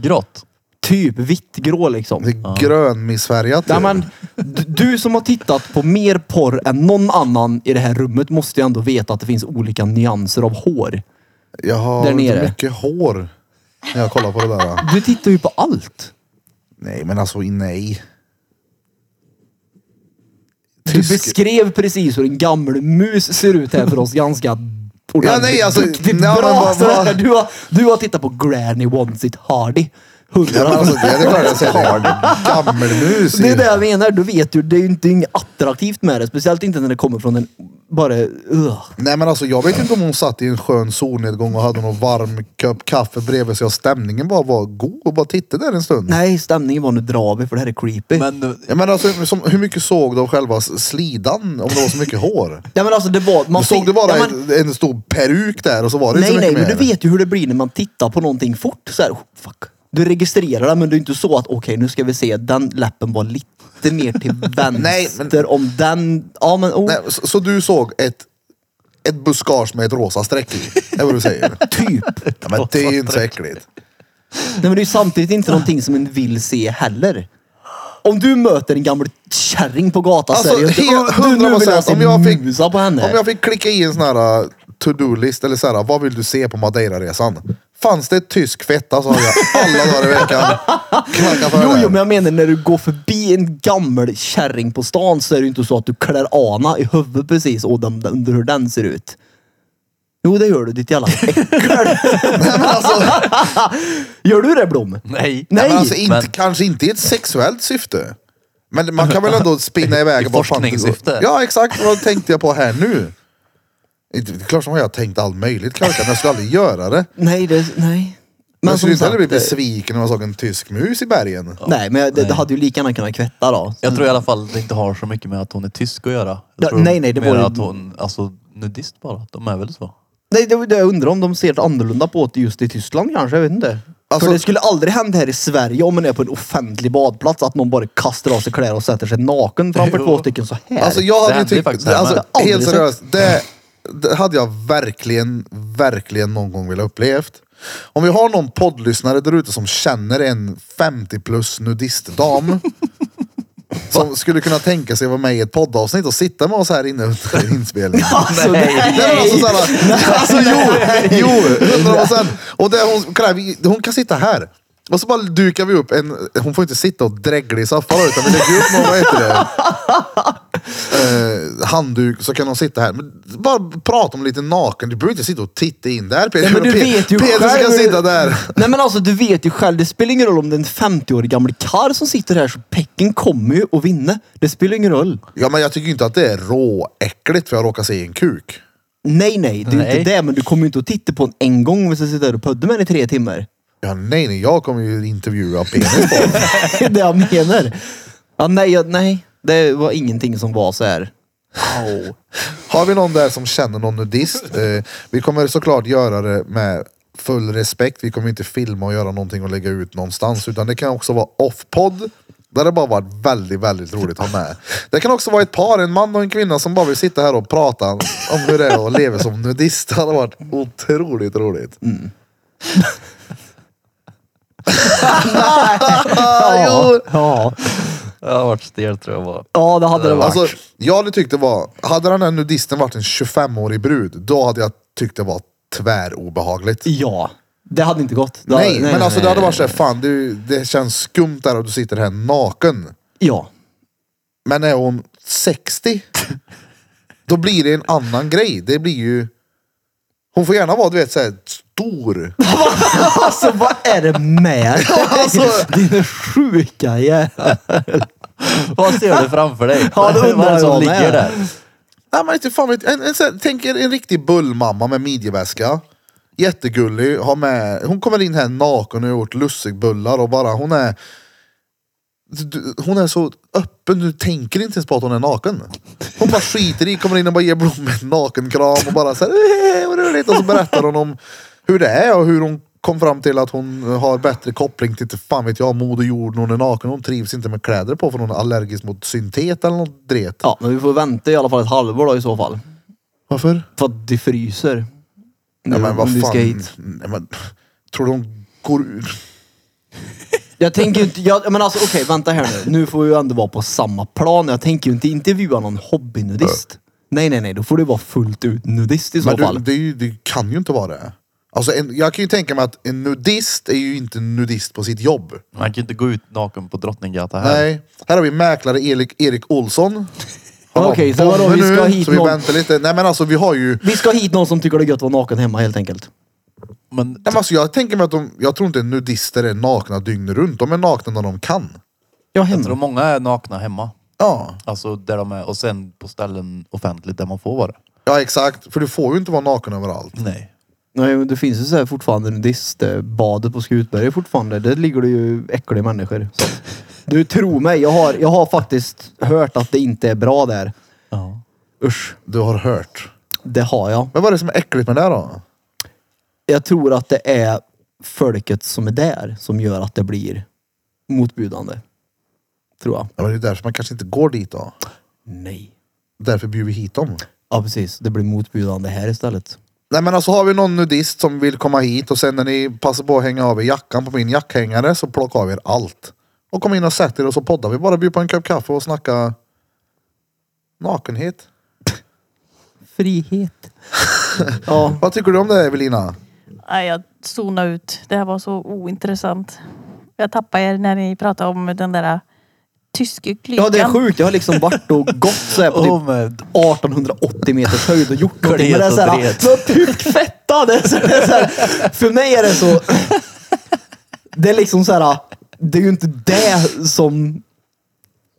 S4: Grått?
S2: Typ vittgrå liksom.
S1: Det är grönmissfärgat. typ.
S2: Nej,
S1: ju.
S2: men, d- du som har tittat på mer porr än någon annan i det här rummet måste ju ändå veta att det finns olika nyanser av hår.
S1: Jag har
S2: där
S1: inte
S2: nere.
S1: mycket hår när jag kollar på det där.
S2: Du tittar ju på allt.
S1: Nej men alltså nej.
S2: Du
S1: Tysk-
S2: beskrev precis hur en gammal mus ser ut här för oss ganska ordentligt.
S1: Ja, nej, alltså,
S2: duktigt
S1: nej, men
S2: bra.
S1: vad-
S2: Så här,
S1: vad-
S2: Du, har, du har tittat på Granny Wants It Hardy.
S1: Ja, men
S2: Hundra
S1: alltså, det är klart jag ser det. Gammelmus.
S2: Det
S1: ju.
S2: är det jag menar. Du vet ju, det är ju inte inget attraktivt med det. Speciellt inte när det kommer från en bara... Ugh.
S1: Nej men alltså jag vet inte om hon satt i en skön solnedgång och hade någon varm kopp kaffe bredvid sig och stämningen bara var god och bara tittade där en stund.
S2: Nej, stämningen var nu drabig för det här är creepy.
S4: Men eh,
S1: Ja, men alltså, som, hur mycket såg du av själva s- slidan? Om det var så mycket hår?
S2: Ja, men alltså det var... Man
S1: såg du bara
S2: ja, man,
S1: en, en stor peruk där och så var det
S2: Nej,
S1: inte så
S2: nej,
S1: mycket
S2: men du
S1: mer?
S2: vet ju hur det blir när man tittar på någonting fort. Så här, oh, fuck. Du registrerar det, men det är inte så att okej, nu ska vi se, den läppen var lite mer till vänster
S1: Nej, men-
S2: om den... Ja, men... Oh,
S1: Nej, så, så du såg ett, ett buskage med ett rosa streck i? Det är vad du säger?
S2: Typ.
S1: Ja, men det är ju inte så äckligt.
S2: Nej, men det är ju samtidigt inte någonting som en vill se heller. Om du möter en gammal kärring på gatan
S1: Alltså,
S2: seriöst,
S1: helt-
S2: "Åh, du, nu vill jag
S1: 100%
S2: se
S1: om jag fick-
S2: musa på henne.
S1: Om jag fick klicka i en sån här uh, to-do-list eller så här, uh, vad vill du se på Madeira-resan? Fanns det tysk fetta så hade jag alla dagar i veckan knackat för
S2: Jo,
S1: det.
S2: jo, men jag menar när du går förbi en gammal kärring på stan så är det ju inte så att du klär ana i huvudet precis och den, den, hur den ser ut. Jo, det gör du. Ditt jävla äckel.
S1: alltså,
S2: Gör du det Blom?
S4: nej.
S1: Nej,
S2: Nej.
S1: men alltså, inte,
S4: men-
S1: kanske inte i ett sexuellt syfte. Men man kan väl ändå spinna iväg.
S4: I
S1: vad fan det går.
S4: forskningssyfte.
S1: Ja, exakt. Vad tänkte jag på här nu? Inte- Det är klart som jag har tänkt allt möjligt klart, men jag skulle aldrig göra det.
S2: Nej, det, nej.
S1: Men jag skulle inte heller bli
S2: eh,
S1: besviken om jag såg en tysk mus i bergen.
S2: Nej, men jag- det, det hade ju lika gärna kunnat kvätta då.
S4: Jag tror i alla fall att det inte har så mycket med att hon är tysk att göra. Jag
S2: Ja,
S4: tror
S2: nej, nej, det
S4: mer
S2: var ju-
S4: att hon, alltså nudist bara. De är väl så.
S2: Nej, det, det, jag undrar om de ser annorlunda på det just i Tyskland kanske. Jag vet inte.
S1: Alltså-
S2: För det skulle aldrig hända här i Sverige om man är på en offentlig badplats att någon bara kastar av sig kläder och sätter sig naken framför
S4: Jo.
S2: två stycken så här.
S1: Alltså jag hade
S4: Det
S1: ju
S4: hände ju
S1: tyckt,
S4: faktiskt här
S1: alltså,
S4: med.
S2: Det har jag
S1: helt
S2: aldrig
S1: seriöst, det, det hade jag verkligen, verkligen någon gång velat upplevt. Om vi har någon poddlyssnare där ute som känner en 50 plus nudistdam som skulle kunna tänka sig att vara med i ett poddavsnitt och sitta med oss här inne under en inspelning.
S2: Alltså, nej.
S1: Nej, men alltså, såhär, alltså jo, jo, hundra procent. Och det, hon, kolla här, vi- hon kan sitta här. Och så bara dukar vi upp en, hon får inte sitta och dregla i soffan då, utan vi lägger upp någon, vad heter det? Eh, handduk så kan hon sitta här. Men bara prata om lite naken. Du behöver inte sitta och titta in där Peter.
S2: Nej, men du
S1: Pe-
S2: vet ju
S1: Peter ska
S2: själv-
S1: sitta där.
S2: Nej men alltså du vet ju själv, det spelar ingen roll om det är en 50-årig gammal karl som sitter här så pecken kommer ju att vinna. Det spelar ingen roll.
S1: Ja men jag tycker ju inte att det är råäckligt för jag råkar se en kuk.
S2: Nej nej, det är
S4: Nej.
S2: inte det. Men du kommer ju inte att titta på en en gång om vi ska sitta där och pudda med den i tre timmar.
S1: Ja, nej nej, jag kommer ju intervjua Peter.
S2: det är det jag menar. Ja nej, jag, nej. Det var ingenting som var så här. Au.
S1: Har vi någon där som känner någon nudist? Eh, vi kommer såklart göra det med full respekt. Vi kommer inte filma och göra någonting och lägga ut någonstans. Utan det kan också vara off-podd. Där det bara varit väldigt, väldigt roligt att ha med. Det kan också vara ett par, en man och en kvinna som bara vill sitta här och prata om hur det är att leva som nudist. Det hade varit otroligt roligt.
S2: Ja, ja.
S4: Jag har varit stel tror jag bara.
S2: ja, det hade det varit.
S1: Alltså, jag hade tyckt det var, hade den här nudisten varit en 25-årig brud, då hade jag tyckt det var tvärobehagligt.
S2: ja, det hade inte gått. Det
S1: Nej,
S2: hade-
S1: men alltså det hade varit såhär, fan du, det känns skumt där och du sitter här naken.
S2: Ja.
S1: Men är hon 60, då blir det en annan grej. Det blir ju... Hon får gärna vara, du vet, såhär stor.
S2: Alltså vad är det med dig?
S1: Alltså-
S2: Din sjuka jävel.
S4: Vad ser du framför dig?
S2: Ja, det undrar
S4: Vad är det som
S2: jag
S4: ligger
S2: med.
S4: där?
S1: Nej, men inte fan vet en, en, sån här- Tänk er en riktig bullmamma med midjeväska. Jättegullig. Har med, hon kommer in här naken och har gjort lussebullar och bara hon är... du- Hon är så öppen, du tänker inte ens på att hon är naken. Hon bara skiter i, kommer in och bara ger Blom en nakenkram och bara så här, "Eh, vad roligt. Och så berättar hon om hur det är och hur hon kom fram till att hon har bättre koppling till, till fan vet jag, moder jord när hon är naken. Hon trivs inte med kläder på för hon är allergisk mot syntet eller något dret.
S2: Ja, men vi får vänta i alla fall ett halvår då i så fall.
S1: Varför?
S2: För att det fryser.
S1: Ja,
S2: Nu,
S1: men vad
S2: om vi
S1: fan.
S2: ska hit.
S1: Nej, men, tror du de går ur?
S2: Jag tänker ju inte, jag, men alltså okej vänta här nu. Nu får vi ju ändå vara på samma plan. Jag tänker ju inte intervjua någon hobbynudist. Nej nej nej, då får du vara fullt ut nudist i så
S1: Men du,
S2: fall.
S1: det, är ju, det kan ju inte vara det. Alltså en, jag kan ju tänka mig att en nudist är ju inte nudist på sitt jobb.
S4: Man kan ju inte gå ut naken på Drottninggatan här.
S1: Nej. Här har vi mäklare Erik, Erik Olsson. Han har
S2: Okej, så vadå,
S1: bomber
S2: vi ska
S1: nu,
S2: hit
S1: Så vi
S2: någon-
S1: väntar lite. Nej men alltså vi har ju...
S2: Vi ska hit någon som tycker det är gött att vara naken hemma helt enkelt.
S4: Men
S1: Nej, men alltså, jag tänker mig att de, jag tror inte nudister är nakna dygnet runt. De är nakna när de kan.
S2: Ja,
S4: jag tror
S2: hemma.
S4: många är nakna hemma.
S1: Ja.
S4: Alltså där de är och sen på ställen offentligt där man får vara.
S1: ja, exakt. För du får ju inte vara naken överallt.
S4: Nej.
S2: Nej, men det finns ju så här fortfarande nudistbadet på Skutberget fortfarande. Där ligger det ju äckliga människor. Så. att- Du, tro mig. Jag har, jag har faktiskt hört att det inte är bra där.
S4: Ja.
S2: Usch,
S1: Du har hört.
S2: det har jag.
S1: Men vad är det som är äckligt med det då?
S2: Jag tror att det är folket som är där som gör att det blir motbjudande. Tror jag.
S1: Ja, men det är därför man kanske inte går dit då.
S2: Nej.
S1: Därför bjuder vi hit dem.
S2: Ja, precis. Det blir motbjudande här istället.
S1: Nej men alltså har vi någon nudist som vill komma hit och sen när ni passar på att hänga av er jackan på min jackhängare så plocka av er allt. Och kom in och sätt er och så poddar vi bara, bjud på en kopp kaffe och snacka nakenhet.
S2: Frihet. ja.
S1: Vad tycker du om det Evelina?
S3: Nej, jag zonade ut. Det här var så ointressant. Jag tappade er när ni pratade om den där eh, tyske klykan.
S2: ja, det är sjukt. Jag har liksom varit och gått så här på typ
S4: Oh, men,
S2: 1880 meters höjd och gjort någonting. Men det är
S4: och
S2: såhär,
S4: dret.
S2: så puckfetta. Det är så det är så här, för mig är det så... Det är liksom såhär, det är ju inte det som,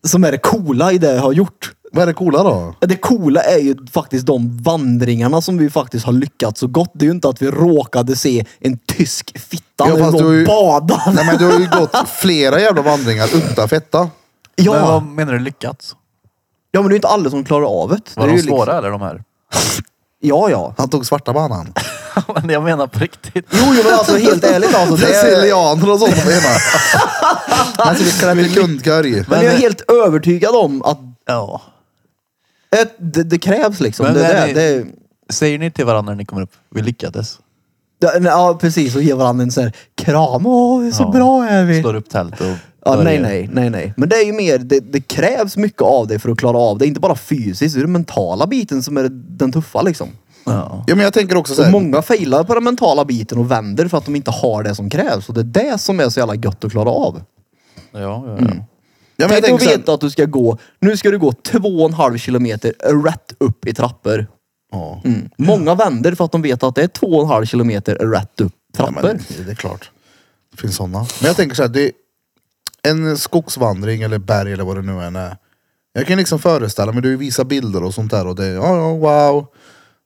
S2: som är det coola i det jag har gjort.
S1: Vad är det coola då?
S2: Det coola är ju faktiskt de vandringarna som vi faktiskt har lyckats så gott. Det är ju inte att vi råkade se en tysk fitta
S1: Ja,
S2: när vi
S1: fast du har
S2: låg
S1: ju-
S2: och badade.
S1: Nej men du har ju gått flera jävla vandringar utan fetta.
S4: men
S2: Ja,
S4: vad menar du lyckats?
S2: ja, men det är ju inte alla som klarar av det.
S4: Var
S2: det är
S4: de
S2: ju
S4: svåra
S2: Liksom,
S4: eller de här?
S2: ja, ja.
S1: Han tog svarta banan.
S4: men jag menar på riktigt.
S2: Jo, jo, men alltså helt ärligt alltså. Det är,
S1: Brasilianer och sånt menar. Han skulle klämma kundkorg.
S2: men jag är helt övertygad om att
S4: Ja.
S2: Ett, det, det krävs liksom.
S4: Men
S2: det,
S4: när
S2: är
S4: ni-
S2: det, det,
S4: Säger ni till varandra när ni kommer upp? Vi lyckades.
S2: det, nej, ja, precis. Och ge varandra en sån här kram. Åh, så
S4: Ja.
S2: bra är vi.
S4: Slår upp tält och
S2: Ja, nej,
S4: börjar.
S2: nej, nej, nej. Men det är ju mer, det, det krävs mycket av dig för att klara av det. Inte bara fysiskt, det är den mentala biten som är den tuffa liksom.
S4: Ja.
S1: Ja men jag tänker också så
S2: Och
S1: här.
S2: många failar på den mentala biten och vänder för att de inte har det som krävs. Och det är det som är så jävla gött att klara av.
S4: Ja, ja, ja.
S1: Ja, men jag
S2: Tänk
S1: tänker
S2: att
S1: så här,
S2: veta att du ska gå, nu ska du gå två och en halv kilometer rätt upp i trappor.
S1: Ja.
S2: Mm. Många vänder för att de vet att det är två och en halv kilometer rätt upp trappor.
S1: Ja, men det är klart. Det finns sådana. Men jag tänker så här, det är en skogsvandring eller berg eller vad det nu än är. Jag kan liksom föreställa mig, du visar bilder och sånt där och det, ja ja wow.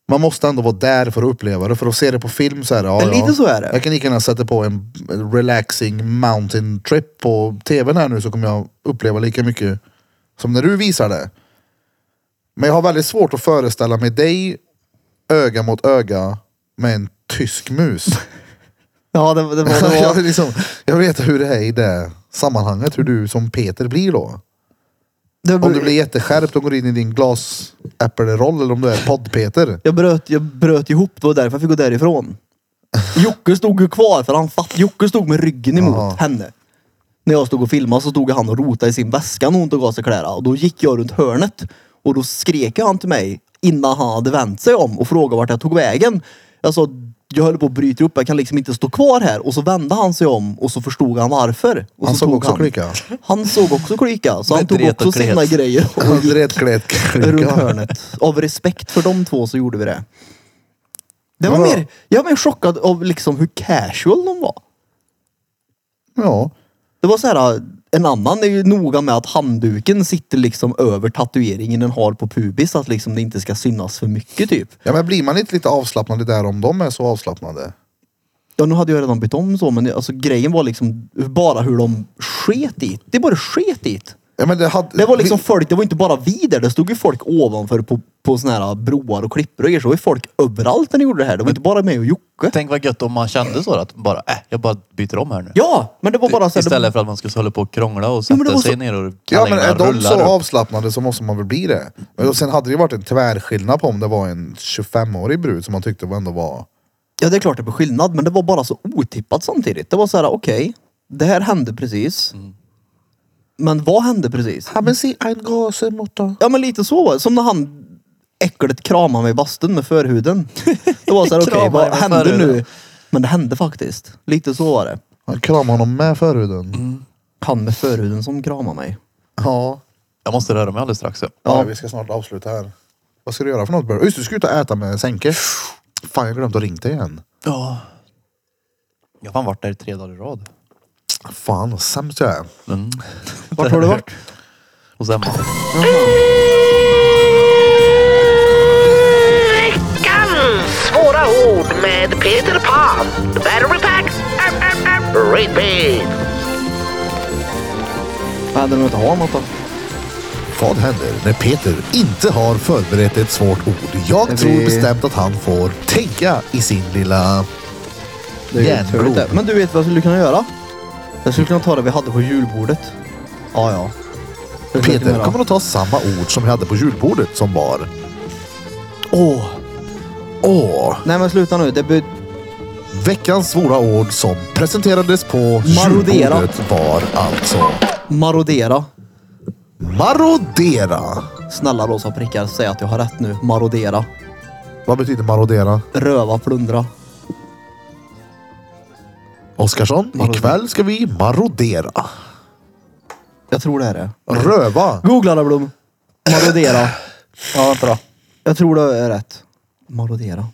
S1: Man måste ändå vara där för att uppleva det, för att se det på film så är det, ja,
S2: Men lite
S1: ja.
S2: så är det.
S1: Jag kan lika gärna sätta på en relaxing mountain trip på tvn här nu så kommer jag uppleva lika mycket som när du visar det. Men jag har väldigt svårt att föreställa mig dig öga mot öga med en tysk mus.
S2: Ja, det, det var, det
S1: jag,
S2: var.
S1: vill liksom, jag vill veta hur det är i det sammanhanget, hur du som Peter blir då.
S2: Det
S1: Om du blir jätteskärpt och går in i din glasäppelroll eller om du är podd-Peter.
S2: jag, bröt, jag bröt ihop, det var därför jag fick gå därifrån. Jocke stod ju kvar för han fatt, Jocke stod med ryggen emot
S1: Ja.
S2: henne. När jag stod och filmade så stod han och rotade i sin väska när hon tog av sig kläderna. Och då gick jag runt hörnet och då skrek han till mig innan han hade vänt sig om och frågade vart jag tog vägen. Jag sa, jag höll på att bryta upp, jag kan liksom inte stå kvar här. Och så vände han sig om och så förstod han varför. Och
S1: Han
S2: så
S1: såg
S2: tog
S1: också klyka.
S2: Han såg också klyka. Så han
S4: Med
S2: tog
S4: dret
S2: också
S4: och klet.
S2: sina grejer och gick
S1: Rätt klädd
S2: runt
S1: klyka.
S2: hörnet. Av respekt för de två så gjorde vi det. Det var
S1: Men vad-
S2: mer, jag var mer chockad av liksom hur casual de var.
S1: Ja.
S2: Det var så här, eh, en annan är ju noga med att handduken sitter liksom över tatueringen den har på pubis. Att liksom det inte ska synas för mycket typ.
S1: ja, men blir man inte lite avslappnad i det här om de är så avslappnade?
S2: Ja nu hade jag redan bytt om så men alltså, grejen var liksom bara hur de sket i det. Det bara sket i det.
S1: Ja, men det, hade,
S2: Det var liksom folk, det var inte bara vi där. Det stod ju folk ovanför på, på såna här broar och klippor och grejer. Så var ju folk överallt när ni gjorde det här. Det var inte bara mig och Jocke.
S4: Tänk vad gött om man kände så att bara, äh, jag bara byter om här nu.
S2: Ja, men det var bara så här,
S4: Istället för att man skulle hålla på och krångla och
S2: Ja, men det
S4: sätta
S2: var
S4: sig
S2: så-
S4: ner och
S1: Ja men
S4: kallingarna
S1: är de
S4: rullar
S1: så
S4: upp.
S1: avslappnade så måste man väl bli det. Och sen hade det ju varit en tvärskillnad på om det var en 25-årig brud som man tyckte ändå var...
S2: Ja, det är klart det blir skillnad, men det var bara så otippat samtidigt. Det var så här, okej, det här hände precis.
S4: Mm.
S2: Men vad hände precis?
S1: Haben Sie ein große Mutter?
S2: Ja, men lite så var det. Som när han äcklet kramade mig i bastun med förhuden. Det var så här, okej,
S4: Kramade
S2: vad
S4: med
S2: hände
S4: förhuden.
S2: nu? Men det hände faktiskt. Lite så var det.
S1: Han kramade honom med förhuden.
S2: Mm. Han med förhuden som kramade mig.
S1: Ja.
S4: Jag måste röra mig alldeles strax. ja.
S1: Ja, vi ska snart avsluta här. Vad ska du göra för något? Börje? Just det, du ska ut och äta med Sänke. Fan, jag glömde att ringa dig igen.
S4: Ja. Jag har fan varit där i tre dagar i rad.
S1: Fan, vad sämst jag är.
S2: Vart har du varit?
S4: hos Emma.
S5: Veckans svåra ord med Peter Pan. Battery pack. App, app, app. Repeat.
S2: Vad hade de inte har något då?
S1: Vad händer när Peter inte har förberett ett svårt ord? Jag
S2: Det
S1: tror
S2: blir-
S1: bestämt att han får tänka i sin lilla...
S2: Det är ju
S1: Järnbro.
S2: otroligt det. Men du vet vad jag skulle kunna göra? Jag skulle kunna ta det vi hade på julbordet. Ja, ja. Det skulle jag kunna
S1: Peter
S2: göra.
S1: kommer att ta samma ord som jag hade på julbordet som var...
S2: Åh!
S1: Åh!
S2: Nej men sluta nu. Det be...
S1: Veckans svåra ord som presenterades på
S2: Marodera.
S1: julbordet var alltså...
S2: Marodera.
S1: Marodera!
S2: Snälla rosa prickar, säg att jag har rätt nu. Marodera.
S1: Vad betyder marodera?
S2: Röva, plundra.
S1: Oskarsson,
S2: Marodera.
S1: ikväll ska vi marodera.
S2: Jag tror det är det.
S1: Röva.
S2: Googla det Blom. Marodera. ja, vänta då. Jag tror det är rätt. Marodera.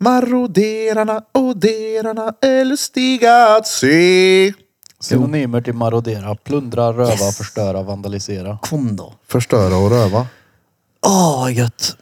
S1: Maroderarna och derarna är lustiga att se.
S4: Synonymer till marodera. Plundra, röva, förstöra, vandalisera.
S2: Kom då.
S1: Förstöra och röva.
S2: Åh, Ah, vad gött.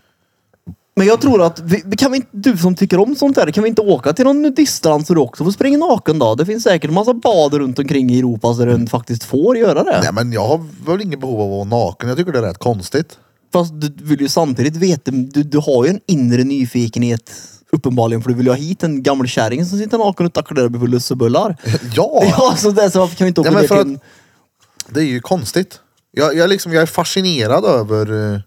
S2: Men jag tror att, vi, kan vi inte, du som tycker om sånt här, kan vi inte åka till någon nudiststrand så du också får springa naken då? Det finns säkert en massa bad runt omkring i Europa så den faktiskt får göra det.
S1: Nej men jag har väl inget behov av att vara naken. Jag tycker det är rätt konstigt.
S2: Fast du vill ju samtidigt veta, du, du har ju en inre nyfikenhet uppenbarligen för du vill ju ha hit en gammal kärring som sitter naken och tacklar upp i lussebullar.
S1: Ja!
S2: Ja, så det, så varför kan vi inte åka
S1: Ja, men
S2: ner
S1: för
S2: till en...
S1: Det är ju konstigt. Jag, jag, liksom, jag är fascinerad över eh,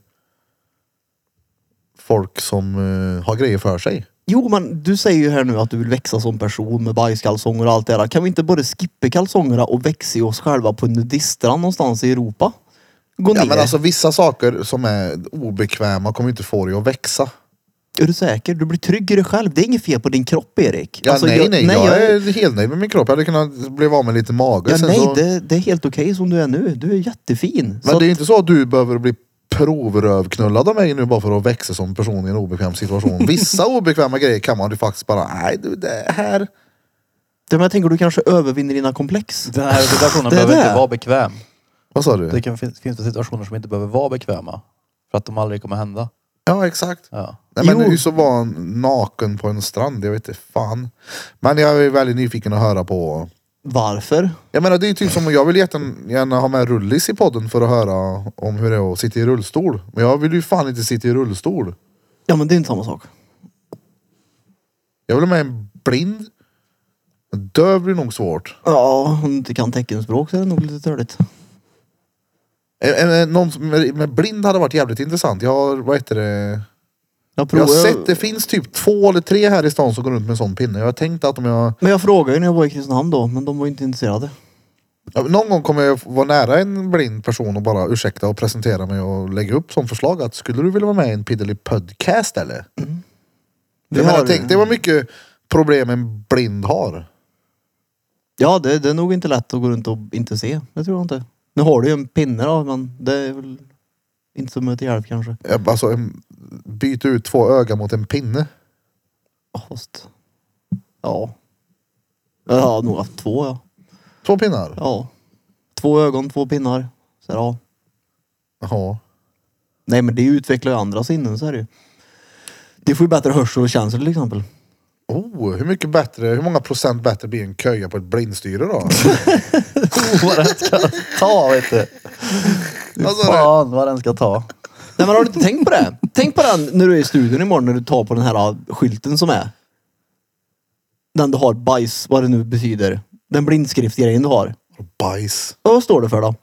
S1: folk som eh, har grejer för sig.
S2: Jo, men du säger ju här nu att du vill växa som person med bajskalsonger och allt det där. Kan vi inte bara skippa kalsongerna och växa i oss själva på en nudiststrand någonstans i Europa? Gå ner.
S1: Ja, men alltså, vissa saker som är obekväma kommer ju inte få dig att växa.
S2: Är du säker? Du blir trygg i dig själv. Det är inget fel på din kropp, Erik.
S1: Ja,
S2: Alltså,
S1: nej, nej, jag,
S2: jag-
S1: är helt nöjd med min kropp. Jag hade kunnat bli av med lite mage.
S2: Ja,
S1: sen
S2: nej,
S1: så...
S2: det, det är helt okej som du är nu. Du är jättefin.
S1: Men
S2: Så
S1: det är ju
S2: att-
S1: inte så att du behöver bli provrövknullad av mig nu bara för att växa som person i en obekväm situation. Vissa obekväma grejer kan man ju faktiskt bara, nej du det här.
S2: Ja, men jag tänker du kanske övervinner dina komplex.
S4: Den här situationen
S2: Det är
S4: behöver
S2: det.
S4: inte vara bekväm.
S1: Vad sa du?
S4: Det kan, finns, finns det situationer som inte behöver vara bekväma. För att de aldrig kommer hända.
S1: Ja exakt.
S4: Ja.
S1: Nej, men
S2: Jo.
S1: nu så var han naken på en strand, jag vet inte fan. Men jag är väldigt nyfiken att höra på.
S2: Varför?
S1: Jag menar det är ju typ som, jag vill jättegärna ha med Rullis i podden för att höra om hur det är att sitta i rullstol. Men jag vill ju fan inte sitta i rullstol.
S2: Ja, men det är inte samma sak.
S1: Jag vill ha med en blind. Döv blir nog svårt.
S2: Ja, om du inte kan teckenspråk så är det nog lite törligt.
S1: Eh, eh, Någon som- med med blind hade varit jävligt intressant. Jag har, vad heter det?
S2: Jag
S1: Jag
S2: provar,
S1: har sett, det finns typ två eller tre här i stan som går runt med en sån pinne. Jag har tänkt att om jag,
S2: Men jag frågade ju när jag var i Kristinehamn då, men de var ju inte intresserade.
S1: ja, någon gång kommer jag vara nära en blind person och bara ursäkta och presentera mig och lägga upp som förslag att skulle du vilja vara med i en Piddly podcast eller?
S2: Vi
S1: Jag menar,
S2: Mm. har-
S1: tänk det var mycket problem en blind har.
S2: Ja, det, det är nog inte lätt att gå runt och inte se. Det tror jag inte. Nu har du ju en pinne då, men det är väl inte så mycket till hjälp kanske.
S1: Ja, Alltså en, byta ut två ögon mot en pinne.
S2: Ja, Fast... Ja. Jag har nog haft två, ja.
S1: Två pinnar?
S2: ja. Två ögon, två pinnar. Så här, ja.
S1: Ja.
S2: Nej, men det utvecklar ju andra sinnen, så är det ju. Det får ju bättre hörsel och känsel till exempel.
S1: Oh, hur mycket bättre, hur många procent bättre blir en köja på ett blindstyre då?
S4: Vad den ska ta vet du.
S1: Alltså,
S4: Fan vad den ska ta.
S2: Nej men har du inte tänkt på det? Tänk på den när du är i studion imorgon när du tar på den här äh, skylten som är. Den du har, bajs, vad det nu betyder. Den blindskriftgrejen du har.
S1: Bajs.
S2: Och vad står det för då?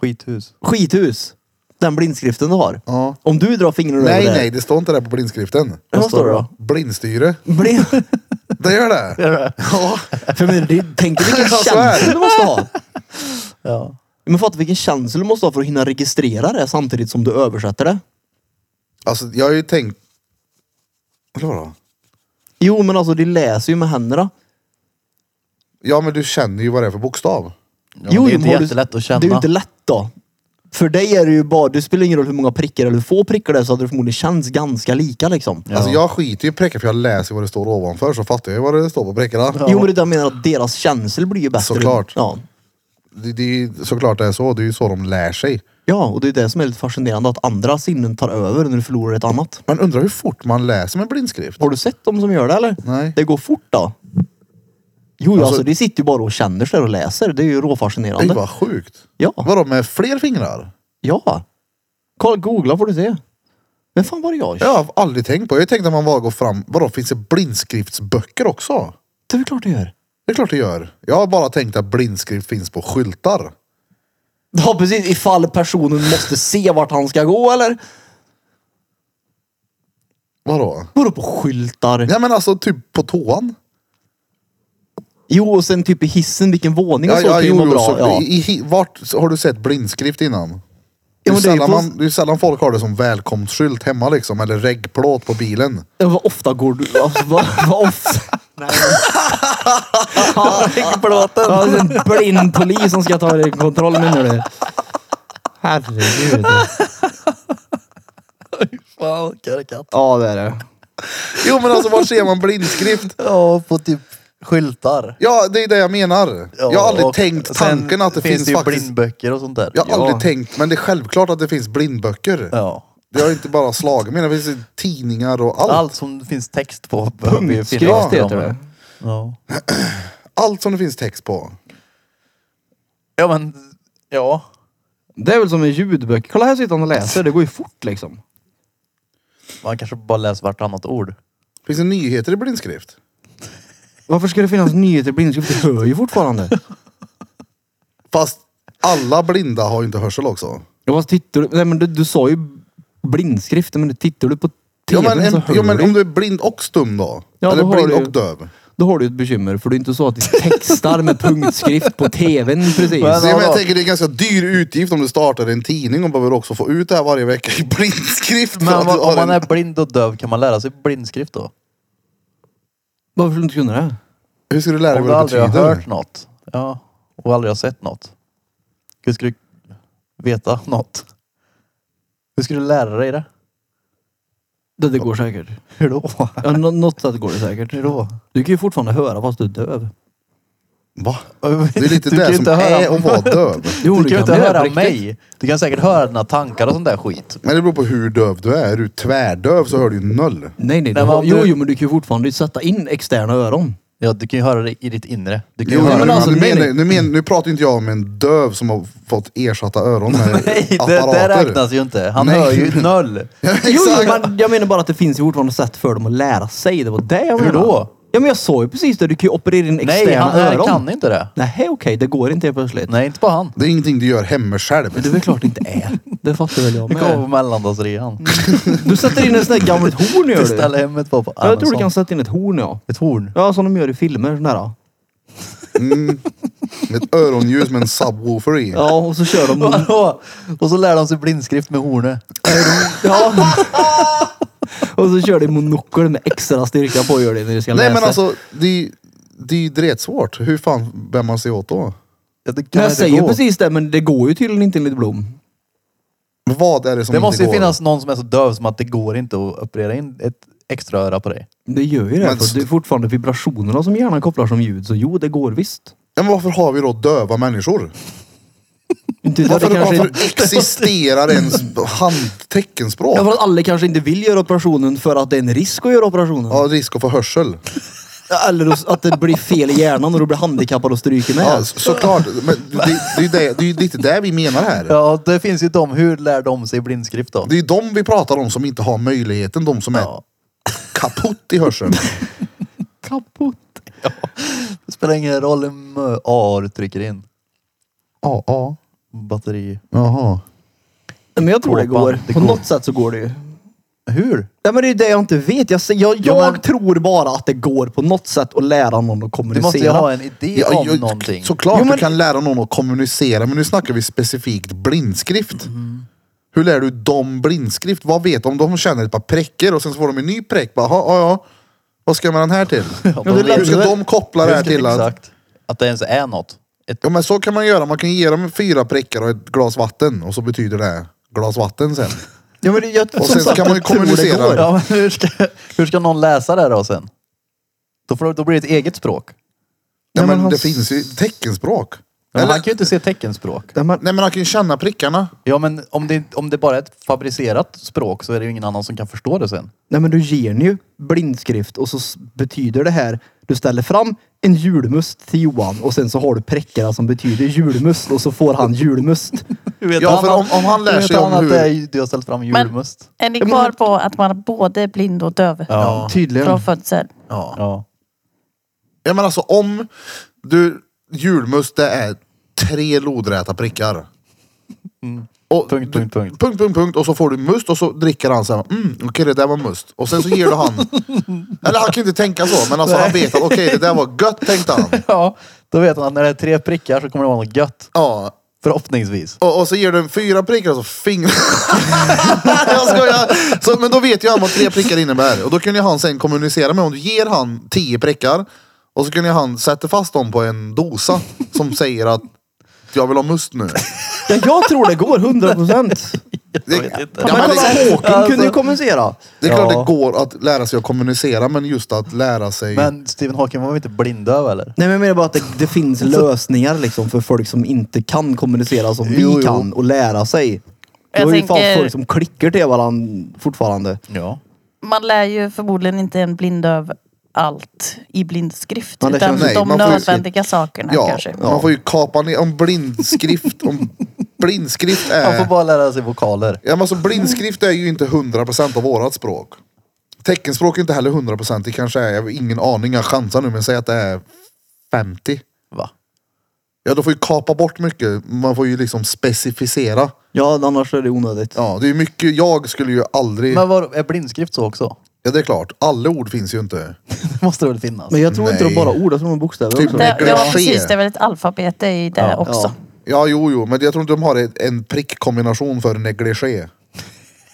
S4: Skithus.
S2: Skithus. Den blindskriften du har.
S1: Ja.
S2: Om du drar fingrarna
S1: Nej,
S2: över det.
S1: nej, det står inte det på blindskriften.
S2: Ja, Vad står det då?
S1: Blindstyre.
S2: Blind...
S1: Det gör det. Ja.
S2: För men, det, tänk dig vilken
S1: Ja, så är det.
S2: känsla du måste ha.
S4: Ja.
S2: Men fatta vilken känsla du måste ha för att hinna registrera det samtidigt som du översätter det.
S1: Alltså, jag har ju tänkt... Eller vadå?
S2: Jo men alltså det läser ju med händerna.
S1: Ja, men du känner ju vad det är för bokstav.
S4: Ja, det är ju
S2: men
S4: inte
S2: har du-
S4: jättelätt att känna.
S2: Det är ju inte lätt då. För dig är det ju bara, det spelar ingen roll hur många prickar eller hur få prickar det är så hade det förmodligen känts ganska lika liksom.
S1: Alltså, jag skiter ju i prickar för jag läser vad det står ovanför så fattar jag ju vad det står på prickarna.
S2: Jo men det är det jag menar att deras känsel blir ju bättre.
S1: Såklart.
S2: Ja.
S1: Det, det är ju såklart det är så. Det är ju så de lär sig.
S2: Ja, och det är det som är lite fascinerande att andra sinnen tar över när du förlorar ett annat.
S1: Man undrar hur fort man läser med blindskrift.
S2: Har du sett dem som gör det eller?
S1: Nej.
S2: Det går fort då. Jo, alltså,
S1: Alltså-
S2: de sitter ju bara och känner sig och läser. Det är ju
S1: Det
S2: råfascinerande.
S1: var sjukt.
S2: Ja.
S1: Vadå med fler fingrar?
S2: Ja. Kolla, googla får du se. Men fan var det jag?
S1: Jag har aldrig tänkt på. Jag tänkte att man bara går fram. Vadå finns det blindskriftsböcker också?
S2: Det är väl klart det gör.
S1: Det är klart det gör. Jag har bara tänkt att blindskrift finns på skyltar.
S2: Ja precis, ifall personen måste se vart han ska gå eller?
S1: Vadå?
S2: Går på skyltar?
S1: Ja men alltså typ på toan.
S2: Jo och sen typ i hissen, vilken våning och
S1: Ja,
S2: så
S1: ja,
S2: kan ju
S1: jo,
S2: vara
S1: jo,
S2: bra.
S1: så,
S2: ja.
S1: i, i, vart så har du sett blindskrift innan? Det är,
S2: Ja, men det är ju
S1: sällan,
S2: på-
S1: man, det är sällan folk har det som välkomstskylt hemma liksom, eller reggplåt på bilen.
S2: Ja, Vad ofta går du... Alltså, vad, vad ofta? Ringplåten. Ja, en blind polis som ska ta dig i kontroll menar du? Herregud.
S4: Fan, karikatyr.
S2: Ja det är det.
S1: Jo men alltså var ser man blindskrift?
S4: Ja, på typ skyltar.
S1: Ja det är det jag menar. jag har aldrig
S4: och
S1: tänkt
S4: sen
S1: tanken att det finns,
S4: det ju
S1: faktiskt.
S4: blindböcker och sånt där.
S1: Jag har aldrig tänkt, men det är självklart att det finns blindböcker.
S4: Ja.
S1: Det har inte bara slagit mig, det finns ju tidningar och allt. Allt,
S4: Allt som det finns text på behöver ju
S2: Punktskrift
S4: finnas.
S2: heter det.
S4: Ja.
S1: som det finns text på.
S4: ja, men ja.
S2: Det är väl som en ljudbok. Kolla här sitter han och läser. Det går ju fort liksom.
S4: Man kanske bara läser vartannat ord.
S1: Finns det nyheter i blindskrift?
S2: Varför ska det finnas nyheter i blindskrift? Det hör ju fortfarande.
S1: Fast alla blinda har ju inte hörsel också.
S2: Ja, fast tittar du, nej, men du, du sa ju blindskrift, men tittar du på
S1: Jo
S2: tvn
S1: men,
S2: så
S1: en,
S2: hör
S1: jo men
S2: du.
S1: om du är blind och stum då?
S2: Ja,
S1: Eller
S2: då har
S1: blind
S2: du ju-
S1: och döv?
S2: Då har du ju ett bekymmer, för det är inte så att du textar med punktskrift på tvn precis.
S4: Men-
S1: Nej, men jag
S4: då.
S1: tänker det är en ganska dyr utgift om du startar en tidning och behöver också få ut det här varje vecka i blindskrift. för
S4: Men
S1: att
S4: om,
S1: du har
S4: om man
S1: en-
S4: är blind och döv, kan man lära sig blindskrift då?
S2: Varför skulle du inte kunna det?
S1: Hur ska du lära dig
S4: Om du
S1: vad det
S4: aldrig har hört
S1: betyder?
S4: något. Ja. Och aldrig har sett något. Hur skulle du veta något? Hur skulle du lära dig det?
S2: Det, det går säkert.
S4: Hur då?
S2: Ja, nå- något sätt går det säkert.
S4: Hur då?
S2: Du kan ju fortfarande höra fast du är döv.
S1: Va?
S4: Det
S1: Det är lite det som är att vara döv.
S2: Jo,
S4: Du kan ju inte
S2: det på
S4: höra
S2: riktigt.
S4: mig. Du kan säkert höra dina tankar och sånt där skit.
S1: Men det beror på hur döv du är. Är du tvärdöv så hör du ju noll.
S2: Nej, nej.
S4: Nej,
S2: du,
S4: men
S2: har-
S4: om
S2: jo,
S4: du-
S2: jo, men du kan ju fortfarande sätta in externa öron.
S4: Ja, du kan ju höra det i ditt inre. Du kan ju
S1: Jo,
S4: höra
S1: men
S2: men
S4: det.
S2: alltså,
S1: nu,
S2: Erik-
S1: menar, nu, men, nu pratar inte jag om en döv som har fått ersatta öron med
S4: Nej, det,
S1: apparater.
S4: det räknas ju inte. Han
S1: Nej.
S4: hör ju noll.
S1: Ja,
S2: Jo, jo,
S1: Exakt.
S2: men jag menar bara att det finns ju fortfarande sätt för dem att lära sig. Det var det jag
S4: Hur
S2: menade.
S4: då?
S2: Ja, men jag sa ju precis det. Du kan ju operera in externa
S4: Nej, han
S2: öron.
S4: han kan inte det.
S2: Nej, okej. det går inte helt plötsligt.
S4: Nej, inte på han.
S1: Det är ingenting du gör hemma
S2: Men
S1: själv.
S2: det är väl klart det inte är. Det fattar väl jag
S4: Det kommer på
S2: med.
S4: mellandagsrean.
S2: Du sätter in en sån där gammalt horn gör du.
S4: Beställa hem ett par på
S2: Ja,
S4: Amazon.
S2: jag tror du kan sätta in ett horn ja.
S4: Ett horn.
S2: Ja, som de gör i filmer. Sån där.
S1: Ett öronljus Mm. med en subwoofer i.
S2: Ja, och så kör de...
S4: Vadå? Och så lär de sig blindskrift med hornet.
S2: Ja. och så kör de monokel med extra styrka på gör det när du ska
S1: Nej
S2: läsa.
S1: men alltså, det är det är ju dretsvårt. Hur fan bär man sig åt då?
S4: Ja, det
S2: Men
S4: kan
S2: jag
S4: inte
S2: säger
S4: gå.
S2: precis det, men det går ju tydligen inte enligt Blom.
S1: Vad är det som
S4: Det
S1: inte
S4: måste ju
S1: går?
S4: finnas någon som är så döv som att det går inte att operera in ett extra öra på dig.
S2: Det gör ju det,
S1: Men
S2: för det är fortfarande vibrationerna som hjärnan kopplar som ljud. Så jo, det går visst.
S1: Ja, Men varför har vi då döva människor?
S2: Inte, det
S1: Varför,
S2: kanske,
S1: varför existerar ens hand, teckenspråk?
S2: Ja, för att alla kanske inte vill göra operationen för att det är en risk att göra operationen.
S1: Ja, risk att få hörsel.
S2: Eller att det blir fel i hjärnan och du blir handikappad och stryker med.
S1: Ja, så- såklart. Men det, det, är ju det, det är ju lite det vi menar här.
S4: Ja, det finns ju de. Hur lär de sig blindskrift då?
S1: Det är ju de vi pratar om som inte har möjligheten. De som är kaputt i hörseln.
S2: Kaputt.
S4: Det spelar ingen roll hur mö- A du trycker in.
S1: Ja, ja.
S4: Batteri.
S1: Jaha.
S2: Men jag tror det
S4: Kåpan,
S2: går.
S4: det
S2: På
S4: går.
S2: något sätt så går det ju.
S4: Hur?
S2: Nej men det är ju det jag inte vet. Jag, säger- jag, jag
S4: Ja, men-
S2: tror bara att det går på något sätt att lära någon att
S4: Du
S2: kommunicera.
S4: måste ju ha en idé om någonting.
S1: Såklart
S2: Jo, men-
S1: du kan lära någon att kommunicera, men nu snackar vi specifikt blindskrift. Hur lär du dem blindskrift? Vad vet de? Om de känner ett par prickar och sen så får de en ny prick. Bara, "Jaha, ja, ja. Vad ska jag med den här till?
S4: men det
S1: Hur ska
S4: lär-
S1: de koppla det här till att...
S4: Exakt. Att det ens är något. Ett,
S1: Ja men så kan man göra. Man kan ge dem fyra prickar och ett glas vatten och så betyder det glas vatten sen.
S2: Ja, men det- jag, som
S1: Och sen så
S2: sagt,
S1: kan man ju
S2: jag tror det
S1: kommunicera.
S2: går.
S4: ja, men hur, ska, hur ska någon läsa det då sen? Då, får, då blir det ett eget språk.
S1: Ja,
S2: Nej,
S1: men
S2: men
S1: det
S2: han-
S1: finns ju teckenspråk.
S4: Men
S1: Eller-
S4: han kan ju inte se teckenspråk.
S2: Där man,
S1: Nej men han kan ju känna prickarna.
S4: Ja, men om det, om det bara är ett fabricerat språk så är det ju ingen annan som kan förstå det sen.
S2: nej men du ger den ju blindskrift och så s- betyder det här. Du ställer fram en julmust till Johan och sen så har du präckarna som betyder julmust och så får han julmust.
S4: Vet
S1: Ja, för om- om han lär
S4: hur vet
S1: sig om
S4: han
S1: hur-
S4: att det är, du har ställt fram
S3: Men-
S4: julmust.
S3: Är ni
S2: men-
S3: kvar på att man är både blind och döv?
S4: Ja.
S2: Tydligen.
S3: Från födsel?
S1: Ja.
S4: Ja.
S1: ja men alltså om du, julmust det är tre lodräta prickar. Och
S4: Mm. Punkt,
S1: du,
S4: punkt, punkt.
S1: punkt, punkt, punkt. Och så får du must och så dricker han så här. Mm, okej det där var must. Och sen så ger du han. Eller han kan ju inte tänka så men alltså han vet att okej det där var gött tänkte han.
S4: ja, då vet han att när det är tre prickar så kommer det vara något gött.
S1: Ja.
S4: Förhoppningsvis.
S1: Och, och så ger du en fyra prickar och så fingrar. jag skojar. Så, men då vet ju han vad tre prickar innebär. Och då kunde ju han sen kommunicera med om du ger han tio prickar. Och så kunde ju han sätta fast dem på en dosa som säger att jag vill ha must nu.
S2: Ja, jag tror det går 100 procent.
S1: Det,
S2: Ja,
S1: ja,
S2: men
S1: men
S2: kolla,
S1: det, Alltså,
S2: Håkan kunde ju
S4: alltså-
S2: kommunicera.
S1: det är klart
S4: Ja.
S1: det går att lära sig att kommunicera men just att lära sig.
S4: Men Stephen Hawking var väl inte blindöv eller?
S2: Nej men jag menar bara att det, det finns
S4: Alltså-
S2: lösningar liksom för folk som inte kan kommunicera som vi
S4: Jo, jo.
S2: kan och lära sig. Det
S3: Jag
S2: är ju fan
S3: tänker-
S2: folk som klickar till varandra fortfarande.
S4: Ja.
S3: Man lär ju förmodligen inte en blindöv allt i blindskrift.
S2: Ja, det
S3: utan
S2: känns- nej,
S3: de
S1: man får ju-
S3: nödvändiga sakerna
S1: ja,
S3: kanske.
S1: man får ju kapa ner. Om blindskrift, om blindskrift
S4: Han får
S1: är...
S4: bara lära sig vokaler.
S1: Ja, men alltså, blindskrift är ju inte 100% av vårat språk. Teckenspråk är inte heller 100%. Det kanske är, jag har ingen aning, jag chansar nu, men säg att det är 50.
S4: Va?
S1: Ja, då får ju kapa bort mycket. Man får ju liksom specificera.
S2: Ja, annars är det onödigt.
S1: Ja, det är ju mycket. Jag skulle ju aldrig...
S4: Men var, är blindskrift så också?
S1: Ja, det är klart. Alla ord finns ju inte.
S4: Det måste det väl finnas?
S2: Men jag tror inte det
S1: Nej.
S2: var bara ord, jag tror det var bokstäver
S1: Typ
S2: också.
S3: Det,
S1: Det-
S3: ja,
S1: det
S3: precis.
S1: sker.
S3: Det är väl ett alfabet i det
S4: Ja.
S3: också.
S1: Ja, jo, jo, men jag tror inte de har ett- en prickkombination för negligé.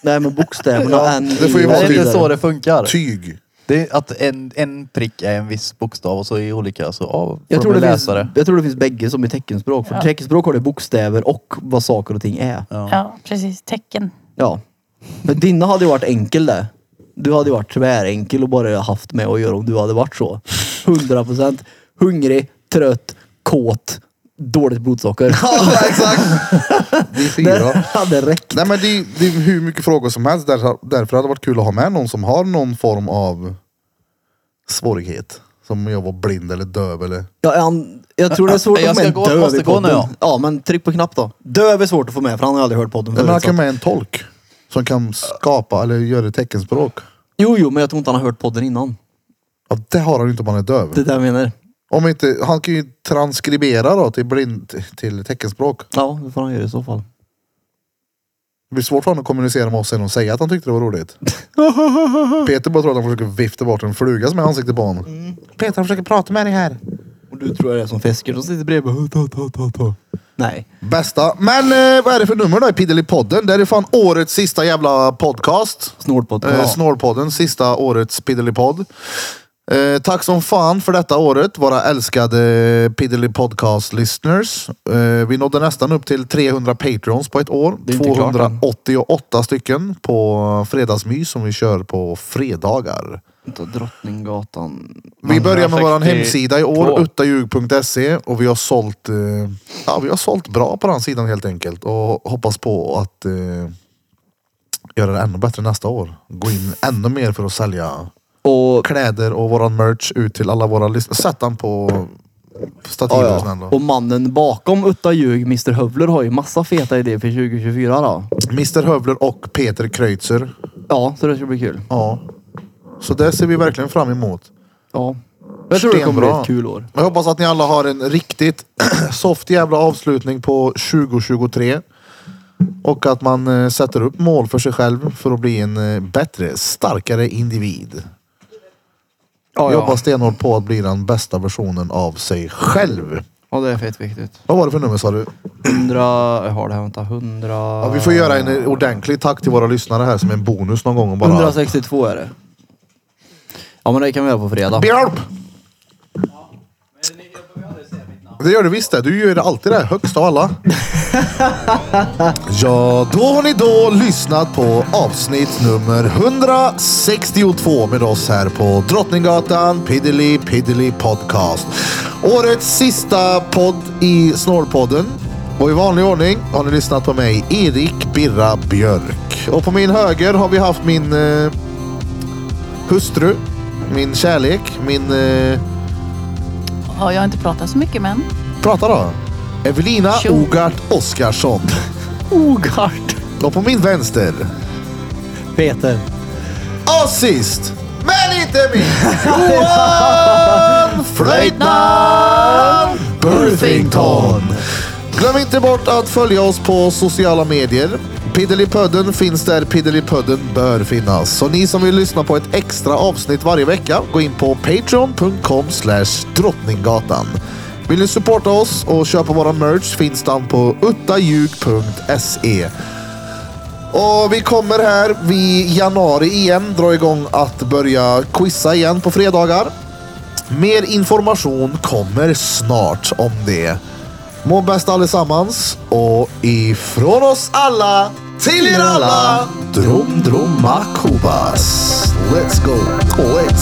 S2: Nej men bokstäverna.
S4: Ja,
S2: en,
S1: det får ju
S2: i och
S4: Men
S1: vara
S4: det är
S2: så
S4: inte
S2: vidare.
S4: så det funkar.
S1: Tyg.
S4: Det är att en, en prick är en viss bokstav och så är olika så ja, får
S2: Jag
S4: de
S2: tror,
S4: bli
S2: det finns,
S4: läsare.
S2: jag tror det finns bägge som i teckenspråk. För teckenspråk har det bokstäver och vad saker och ting är. Ja.
S3: Ja, precis. Tecken.
S2: Men dina hade ju varit enkel det. Du hade ju varit tvärenkel och bara haft med att göra om du hade varit så. 100 procent. Hungrig, trött, kåt, dåligt blodsocker.
S1: Ja, exakt. Vi fyra.
S2: Det hade räckt.
S1: Nej men det är, det är hur mycket frågor som helst. Där, därför hade det varit kul att ha med någon som har någon form av svårighet. Som jag var blind eller döv eller...
S2: Ja, han, jag tror det är svårt
S4: Jag
S2: att få med
S4: ska gå-
S2: döv
S4: måste
S2: i
S4: gå
S2: podden.
S4: nu, ja.
S2: ja, men tryck på knapp då. Döv är svårt att få med för han har aldrig hört podden
S1: Nej, men han
S2: förut.
S1: kan
S2: så.
S1: med en tolk. Som kan skapa eller göra teckenspråk.
S2: Jo, jo, men jag tror inte han har hört podden innan.
S1: Ja, det har han ju inte om han är döv.
S2: Det är det jag menar.
S1: Om inte, han kan ju transkribera då till, blind, till teckenspråk.
S2: Ja, det får han göra i så fall.
S1: Det blir svårt för honom att kommunicera med oss sen och säga att han tyckte det var roligt. Peter bara tror att han försöker vifta bort en fluga som är i ansiktet på honom.
S5: Peter han försöker prata med dig här.
S2: Och du tror jag det är som fiskar som sitter bredvid. och Ta, ta, ta, ta. Nej.
S1: Bästa. Men eh, vad är det för nummer då i Piddelipodden? Det är ju fan årets sista jävla podcast.
S2: Snorpodd.
S1: Eh, Snårpodden, sista årets Piddelipodd. Eh, tack som fan för detta året, våra älskade Piddly Podcast listeners. Eh, vi nådde nästan upp till 300 Patreons på ett år.
S2: Det är inte klart än.
S1: 288 stycken på Fredagsmys som vi kör på fredagar.
S2: Vänta, Drottninggatan.
S1: Vi börjar med vår
S4: 162.
S1: hemsida i år, uttaljug.se och vi har sålt, eh, ja, vi har sålt bra på den sidan helt enkelt och hoppas på att eh, göra det ännu bättre nästa år. Gå in ännu mer för att sälja
S2: Och,
S1: kläder och våran merch ut till alla våra lyssnare. Sätt den på
S2: ja,
S1: stativet
S2: ja.
S1: snälla.
S2: och mannen bakom Utta Ljug, Mr Hövler, har ju massa feta idéer för 2024 då.
S1: Mr Hövler och Peter Kreutzer.
S2: Ja, så det ska bli kul.
S1: Ja. Så det ser vi verkligen fram emot.
S2: Ja. Jag tror det kommer bli
S1: Stenbra.
S2: ett kul år.
S1: Jag hoppas att ni alla har en riktigt soft jävla avslutning på 2023. Och att man eh, sätter upp mål för sig själv för att bli en eh, bättre, starkare individ.
S2: Ja,
S1: Jobba
S2: ja.
S1: stenhårt på att bli den bästa versionen av sig själv.
S2: ja, det är fett viktigt.
S1: Vad var det för nummer sa du?
S2: 100... Jag har det här, vänta. 100...
S1: Ja, vi får göra en eh, ordentlig tack till våra lyssnare här som en bonus någon gång. Och bara...
S2: 162 är det. Ja, men det kan vi göra på fredag.
S1: Björp! Det gör du visst det. Du gör det alltid det högst av alla. ja, då har ni då lyssnat på avsnitt nummer 162 med oss här på Drottninggatan Piddly Piddly Podcast. Årets sista podd i Snålpodden. Och i vanlig ordning har ni lyssnat på mig, Erik Birra Björk. Och på min höger har vi haft min eh, hustru, min kärlek, min... Eh,
S3: Ja, jag har inte pratat så mycket men.
S1: prata då! Evelina
S3: Tjo.
S1: Ogart Oskarsson.
S2: Ogart.
S1: Och på min vänster,
S2: Peter.
S1: och sist, men inte minst, Johan Flöjtnant Burfington. Glöm inte bort att följa oss på sociala medier. Piddelipödden finns där Piddelipödden bör finnas. Så ni som vill lyssna på ett extra avsnitt varje vecka, gå in på patreon.com slash drottninggatan. Vill ni supporta oss och köpa våra merch finns den på uttaljug.se. Och vi kommer här vid januari igen dra igång att börja quizza igen på fredagar. Mer information kommer snart om det. Må bäst allesammans och ifrån oss alla till er alla. Drom droma kubas. Let's go. Let's